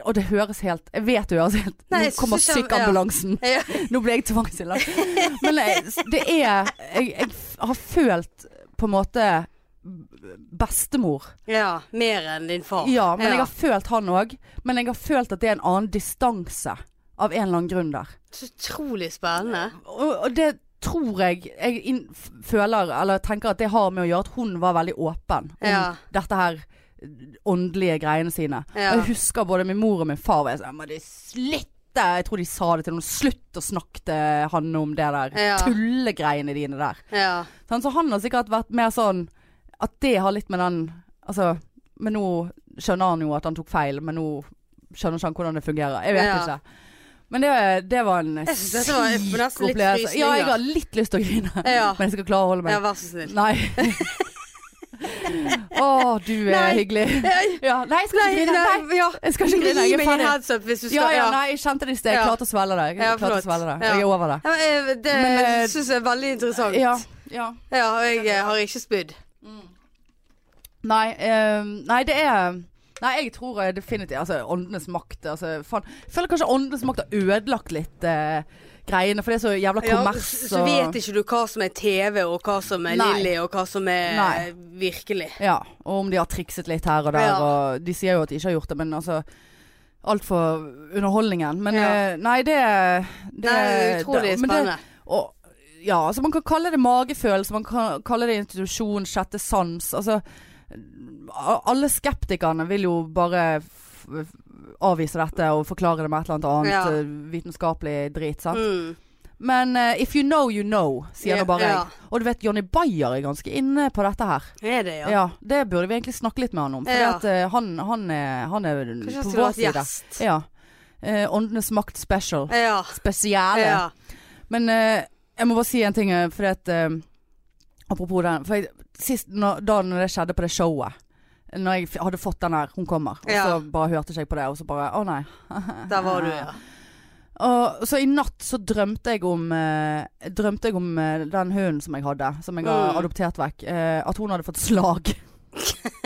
[SPEAKER 1] Og det høres helt Jeg vet det høres helt
[SPEAKER 2] Nei, jeg
[SPEAKER 1] Nå kommer
[SPEAKER 2] synes jeg-
[SPEAKER 1] sykeambulansen.
[SPEAKER 2] ja.
[SPEAKER 1] Nå ble jeg eh, tvangsinnlagt. Men jeg, det er jeg, jeg f- har følt på en måte b- bestemor.
[SPEAKER 2] Ja, mer enn din far.
[SPEAKER 1] Ja, men jeg har følt han òg. Men jeg har følt at det er en annen distanse av en eller annen grunn der.
[SPEAKER 2] Så utrolig spennende.
[SPEAKER 1] Og, og det tror jeg jeg inn, f- føler, eller tenker at det har med å gjøre at hun var veldig åpen om
[SPEAKER 2] Ja.
[SPEAKER 1] dette her åndelige greiene sine.
[SPEAKER 2] Ja.
[SPEAKER 1] Og jeg husker både min mor og min far var sånn Men det slutte! Jeg tror de sa det til noen. Slutt å snakke til Hanne om det der
[SPEAKER 2] Ja.
[SPEAKER 1] tullegreiene dine der.
[SPEAKER 2] Ja.
[SPEAKER 1] Sånn, så han har sikkert vært mer sånn at det har litt med den Altså, men nå skjønner han jo at han tok feil, men nå skjønner ikke han hvordan det fungerer. Jeg vet
[SPEAKER 2] Ja.
[SPEAKER 1] ikke. Men det, det var en
[SPEAKER 2] Jeg synes dette var nesten litt
[SPEAKER 1] opplevelse. Ja, jeg
[SPEAKER 2] frysninger.
[SPEAKER 1] har litt lyst til å grine,
[SPEAKER 2] Ja.
[SPEAKER 1] men jeg skal klare å holde meg.
[SPEAKER 2] ja, vær så snill.
[SPEAKER 1] Nei. Å, du er
[SPEAKER 2] Nei.
[SPEAKER 1] hyggelig. Ja, nei, jeg skal
[SPEAKER 2] Nei,
[SPEAKER 1] ikke grine.
[SPEAKER 2] nei,
[SPEAKER 1] Nei.
[SPEAKER 2] ja.
[SPEAKER 1] Jeg skal ikke grine.
[SPEAKER 2] Gi
[SPEAKER 1] Jeg er
[SPEAKER 2] meg en
[SPEAKER 1] ferdig.
[SPEAKER 2] heads up hvis du skal
[SPEAKER 1] Ja, ja, nei, jeg kjente det i sted. Jeg
[SPEAKER 2] Ja.
[SPEAKER 1] klarte å svelge det.
[SPEAKER 2] Ja,
[SPEAKER 1] Jeg klarte å
[SPEAKER 2] fløtt.
[SPEAKER 1] svelge det.
[SPEAKER 2] Ja.
[SPEAKER 1] Jeg er over det.
[SPEAKER 2] Ja, men, eh, det
[SPEAKER 1] Men, eh,
[SPEAKER 2] syns jeg er veldig interessant.
[SPEAKER 1] Ja, ja.
[SPEAKER 2] Ja, og jeg eh, har ikke spydd.
[SPEAKER 1] Nei, eh, nei det er Nei, jeg tror jeg definitivt Altså, åndenes makt altså, faen. Jeg føler kanskje åndenes makt har ødelagt litt eh, greiene, for det er så jævla
[SPEAKER 2] Ja,
[SPEAKER 1] kommers
[SPEAKER 2] så, så vet ikke du hva som er TV, og hva som er
[SPEAKER 1] Nei.
[SPEAKER 2] Lilly, og hva som er
[SPEAKER 1] Nei.
[SPEAKER 2] virkelig.
[SPEAKER 1] Ja, og om de har trikset litt her og der,
[SPEAKER 2] Ja.
[SPEAKER 1] og de sier jo at de ikke har gjort det, men altså Alt for underholdningen. Men
[SPEAKER 2] Ja.
[SPEAKER 1] eh, nei, det, det
[SPEAKER 2] Det er utrolig
[SPEAKER 1] men det-
[SPEAKER 2] spennende.
[SPEAKER 1] Og, ja, altså man kan kalle det magefølelse, man kan kalle det institusjon, sjette sans. Altså, a- alle skeptikerne vil jo bare f f- avvise dette og forklare det med et eller annet annet
[SPEAKER 2] Ja.
[SPEAKER 1] eh, vitenskapelig drit. Sant?
[SPEAKER 2] Mm.
[SPEAKER 1] Men eh, if you know, you know, sier
[SPEAKER 2] Ja,
[SPEAKER 1] nå bare
[SPEAKER 2] ja.
[SPEAKER 1] jeg. Og du vet, Johnny Bayer er ganske inne på dette her.
[SPEAKER 2] Er det,
[SPEAKER 1] Ja.
[SPEAKER 2] ja?
[SPEAKER 1] Det burde vi egentlig snakke litt med han om. For
[SPEAKER 2] Ja.
[SPEAKER 1] at, eh, han, han er, han er
[SPEAKER 2] Kanskje jeg
[SPEAKER 1] på
[SPEAKER 2] skulle
[SPEAKER 1] vår
[SPEAKER 2] vært
[SPEAKER 1] side.
[SPEAKER 2] gjest.
[SPEAKER 1] Ja. Eh, Åndenes makt special.
[SPEAKER 2] Ja.
[SPEAKER 1] Spesiale.
[SPEAKER 2] ja.
[SPEAKER 1] Men eh, jeg må bare si en ting, eh, fordi at eh, Apropos den. For jeg, sist, når, da når det skjedde på det showet Når jeg f- hadde fått den her 'Hun kommer', og
[SPEAKER 2] Ja.
[SPEAKER 1] så bare hørte ikke jeg på det, og så bare Å, nei.
[SPEAKER 2] Der var du, ja.
[SPEAKER 1] Og så i natt så drømte jeg om eh, Drømte jeg om eh, den hunden som jeg hadde, som jeg har
[SPEAKER 2] Mm.
[SPEAKER 1] adoptert vekk, eh, at hun hadde fått slag.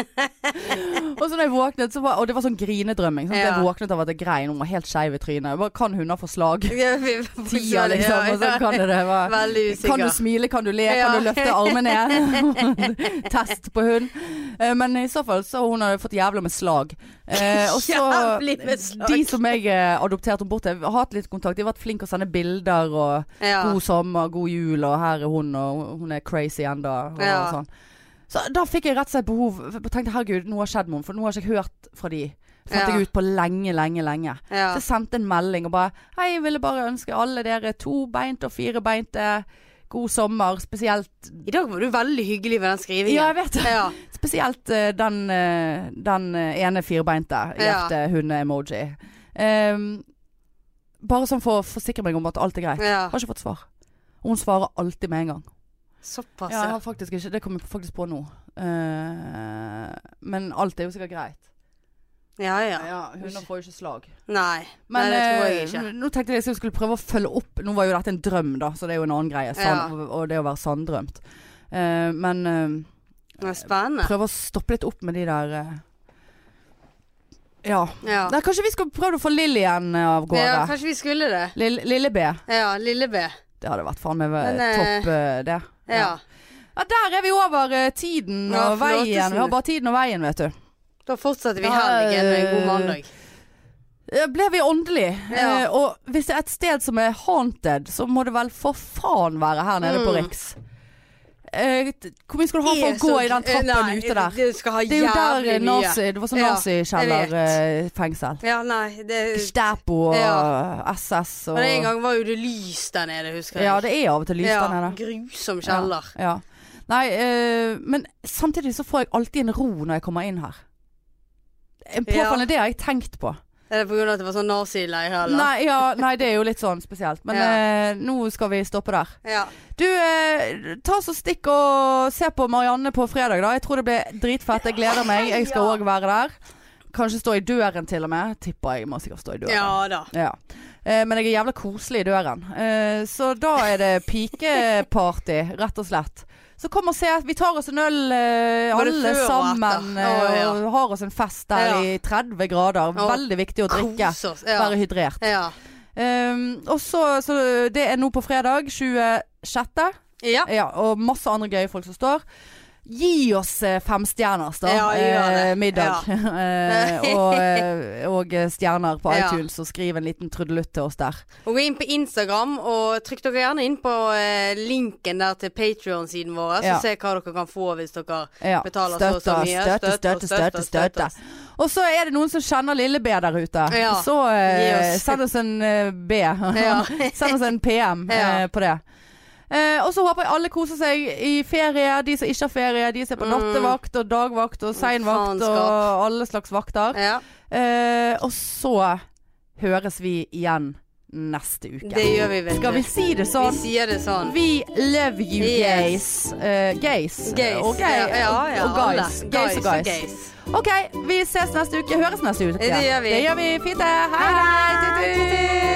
[SPEAKER 1] og så da jeg våknet, så var, og det var sånn grinedrømming. Sånn at
[SPEAKER 2] Ja.
[SPEAKER 1] Jeg våknet av at jeg grein, hun var helt skeiv i trynet. Jeg bare, Kan hunder få slag?
[SPEAKER 2] Ja, vi-
[SPEAKER 1] Tida, liksom.
[SPEAKER 2] Ja,
[SPEAKER 1] Og så kan det det. Jeg bare-
[SPEAKER 2] Veldig
[SPEAKER 1] kan du
[SPEAKER 2] usikker.
[SPEAKER 1] smile, kan du le,
[SPEAKER 2] Ja.
[SPEAKER 1] kan du løfte armene ned? Test på hund. Eh, Men i så fall så har hun har fått jævla med slag. Eh, og så
[SPEAKER 2] Jævlig med slag.
[SPEAKER 1] De som jeg eh, adopterte henne bort til, har hatt litt kontakt. De har vært flinke å sende bilder og
[SPEAKER 2] Ja.
[SPEAKER 1] 'god sommer, god jul', og 'her er hun', og 'hun er crazy enda', og
[SPEAKER 2] Ja.
[SPEAKER 1] sånn. Så da fikk jeg rett og slett behov Jeg tenkte 'herregud, noe har skjedd med henne', for nå har ikke jeg hørt fra de. Fant
[SPEAKER 2] Ja.
[SPEAKER 1] jeg ut på lenge, lenge, lenge.
[SPEAKER 2] ja.
[SPEAKER 1] Så jeg sendte en melding og bare Hei, jeg ville bare ønske alle dere tobeinte og firebeinte god sommer. Spesielt
[SPEAKER 2] I dag var du veldig hyggelig med den skrivingen.
[SPEAKER 1] Ja, jeg vet det.
[SPEAKER 2] Ja.
[SPEAKER 1] Spesielt eh, den, eh, den eh, ene firbeinte
[SPEAKER 2] Ja.
[SPEAKER 1] hjerte-hunde-emoji. Ehm, bare sånn for å forsikre meg om at alt er greit.
[SPEAKER 2] ja.
[SPEAKER 1] Har ikke fått svar. Og hun svarer alltid med en gang.
[SPEAKER 2] Såpass,
[SPEAKER 1] Ja, jeg
[SPEAKER 2] ja.
[SPEAKER 1] har faktisk ikke Det kom jeg faktisk på nå. Eh, men alt er jo sikkert greit.
[SPEAKER 2] Ja, ja.
[SPEAKER 1] Ja, Hunder får jo ikke slag.
[SPEAKER 2] Nei. Nei,
[SPEAKER 1] Men
[SPEAKER 2] det tror jeg
[SPEAKER 1] eh,
[SPEAKER 2] ikke.
[SPEAKER 1] nå tenkte jeg liksom jeg skulle prøve å følge opp Nå var jo dette en drøm da, så det er jo en annen greie sand, Og det å være sanndrømt Eh, Men eh,
[SPEAKER 2] Det var spennende.
[SPEAKER 1] prøve å stoppe litt opp med de der eh, Ja
[SPEAKER 2] Ja.
[SPEAKER 1] Nei, Kanskje vi skal prøve å få Lillian av gårde
[SPEAKER 2] ja, kanskje vi skulle det.
[SPEAKER 1] Lill- Lille B
[SPEAKER 2] Ja, lille B.
[SPEAKER 1] Det hadde vært faen meg
[SPEAKER 2] Men,
[SPEAKER 1] eh,
[SPEAKER 2] eh,
[SPEAKER 1] topp eh, det
[SPEAKER 2] Ja.
[SPEAKER 1] Ja, Der er vi over eh, tiden og
[SPEAKER 2] Ja,
[SPEAKER 1] veien Vi
[SPEAKER 2] forlatelsen.
[SPEAKER 1] har bare tiden og veien, vet du
[SPEAKER 2] Da fortsetter vi
[SPEAKER 1] Da,
[SPEAKER 2] helgen med en god
[SPEAKER 1] eh,
[SPEAKER 2] mandag.
[SPEAKER 1] Eh, ble vi åndelig
[SPEAKER 2] Ja.
[SPEAKER 1] Eh, Og hvis det er et sted som er haunted Så må det vel for faen være her nede på
[SPEAKER 2] Mm.
[SPEAKER 1] Riks Eh, Hvor mye skal du ha for å gå i den trappen
[SPEAKER 2] eh, Nei,
[SPEAKER 1] ute der?
[SPEAKER 2] Du skal ha
[SPEAKER 1] Det er jo der
[SPEAKER 2] jævlig
[SPEAKER 1] eh,
[SPEAKER 2] mye.
[SPEAKER 1] nazi, det var sånn
[SPEAKER 2] Ja,
[SPEAKER 1] nazikjellerfengsel
[SPEAKER 2] Ja, nei, det
[SPEAKER 1] Gestapo og
[SPEAKER 2] Ja.
[SPEAKER 1] SS og
[SPEAKER 2] Men en gang var jo det lys der nede, husker jeg.
[SPEAKER 1] Ja, det er av og til lys der nede
[SPEAKER 2] Grusom kjeller.
[SPEAKER 1] ja. ja. Nei, eh, men samtidig så får jeg alltid en ro når jeg kommer inn her En
[SPEAKER 2] Ja.
[SPEAKER 1] påfallende det har jeg tenkt på
[SPEAKER 2] Er det på grunn av at det var sånn nazileir, eller?
[SPEAKER 1] Nei, ja, nei, det er jo litt sånn spesielt Men
[SPEAKER 2] Ja.
[SPEAKER 1] eh, nå skal vi stoppe der
[SPEAKER 2] Ja.
[SPEAKER 1] Du, eh, ta så stikk og se på Marianne på fredag da. Jeg tror det blir dritfett. Jeg gleder meg. Jeg skal
[SPEAKER 2] Ja.
[SPEAKER 1] òg være der. Kanskje stå i døren til og med. Tipper jeg må sikkert stå i døren.
[SPEAKER 2] ja da.
[SPEAKER 1] Ja. Eh, men jeg er jævla koselig i døren. Eh, så da er det pikeparty, rett og slett. Så kom og se. Vi tar oss en øl eh,
[SPEAKER 2] Var det
[SPEAKER 1] alle
[SPEAKER 2] før og
[SPEAKER 1] sammen.
[SPEAKER 2] etter?
[SPEAKER 1] eh,
[SPEAKER 2] Å, ja.
[SPEAKER 1] Og har oss en fest der
[SPEAKER 2] Ja.
[SPEAKER 1] i 30 grader.
[SPEAKER 2] Å,
[SPEAKER 1] Veldig viktig å drikke.
[SPEAKER 2] Kos oss. Ja.
[SPEAKER 1] Være hydrert.
[SPEAKER 2] Ja.
[SPEAKER 1] Eh, og så, så det er nå på fredag 26.
[SPEAKER 2] ja.
[SPEAKER 1] Ja, og masse andre gøye folk som står. Gi oss eh, fem stjerners, da.
[SPEAKER 2] Ja, gjør det.
[SPEAKER 1] Eh, middag. Eh, og, eh, og eh, stjerner på
[SPEAKER 2] Ja.
[SPEAKER 1] iTunes, og skriv en liten trudelutt til oss der.
[SPEAKER 2] Og gå inn på Instagram, og trykk dere gjerne inn på eh, linken der til Patrion-siden vår, så
[SPEAKER 1] Ja.
[SPEAKER 2] se hva dere kan få hvis dere
[SPEAKER 1] Ja.
[SPEAKER 2] betaler så og så
[SPEAKER 1] Støtte,
[SPEAKER 2] mye.
[SPEAKER 1] støtte, støtte, støtte. støtte. Og så er det noen som kjenner Lille B der ute.
[SPEAKER 2] Ja.
[SPEAKER 1] Så eh,
[SPEAKER 2] Gi oss.
[SPEAKER 1] send oss en eh, B.
[SPEAKER 2] Ja.
[SPEAKER 1] send oss en PM eh,
[SPEAKER 2] Ja.
[SPEAKER 1] på det. Eh, og så håper jeg alle koser seg i ferie. De som ikke har ferie, de som er på nattevakt og dagvakt og
[SPEAKER 2] Mm.
[SPEAKER 1] seinvakt og
[SPEAKER 2] Faenskap.
[SPEAKER 1] alle slags vakter.
[SPEAKER 2] Ja,
[SPEAKER 1] Eh, og så høres vi igjen neste uke.
[SPEAKER 2] det gjør vi, vet du.
[SPEAKER 1] Skal vi si det
[SPEAKER 2] Vi
[SPEAKER 1] sånn?
[SPEAKER 2] sier det sånn.
[SPEAKER 1] We love you,
[SPEAKER 2] Yes.
[SPEAKER 1] gays. Eh, gays.
[SPEAKER 2] Gays.
[SPEAKER 1] Og, gay,
[SPEAKER 2] ja, ja, ja,
[SPEAKER 1] og guys.
[SPEAKER 2] alle.
[SPEAKER 1] Gays og guys.
[SPEAKER 2] gays.
[SPEAKER 1] OK, vi ses neste uke. Høres neste uke.
[SPEAKER 2] Det gjør vi.
[SPEAKER 1] Det gjør vi. Fint, det. Hei,
[SPEAKER 2] Hei,
[SPEAKER 1] hei. Tut, tut.
[SPEAKER 2] tut, tut.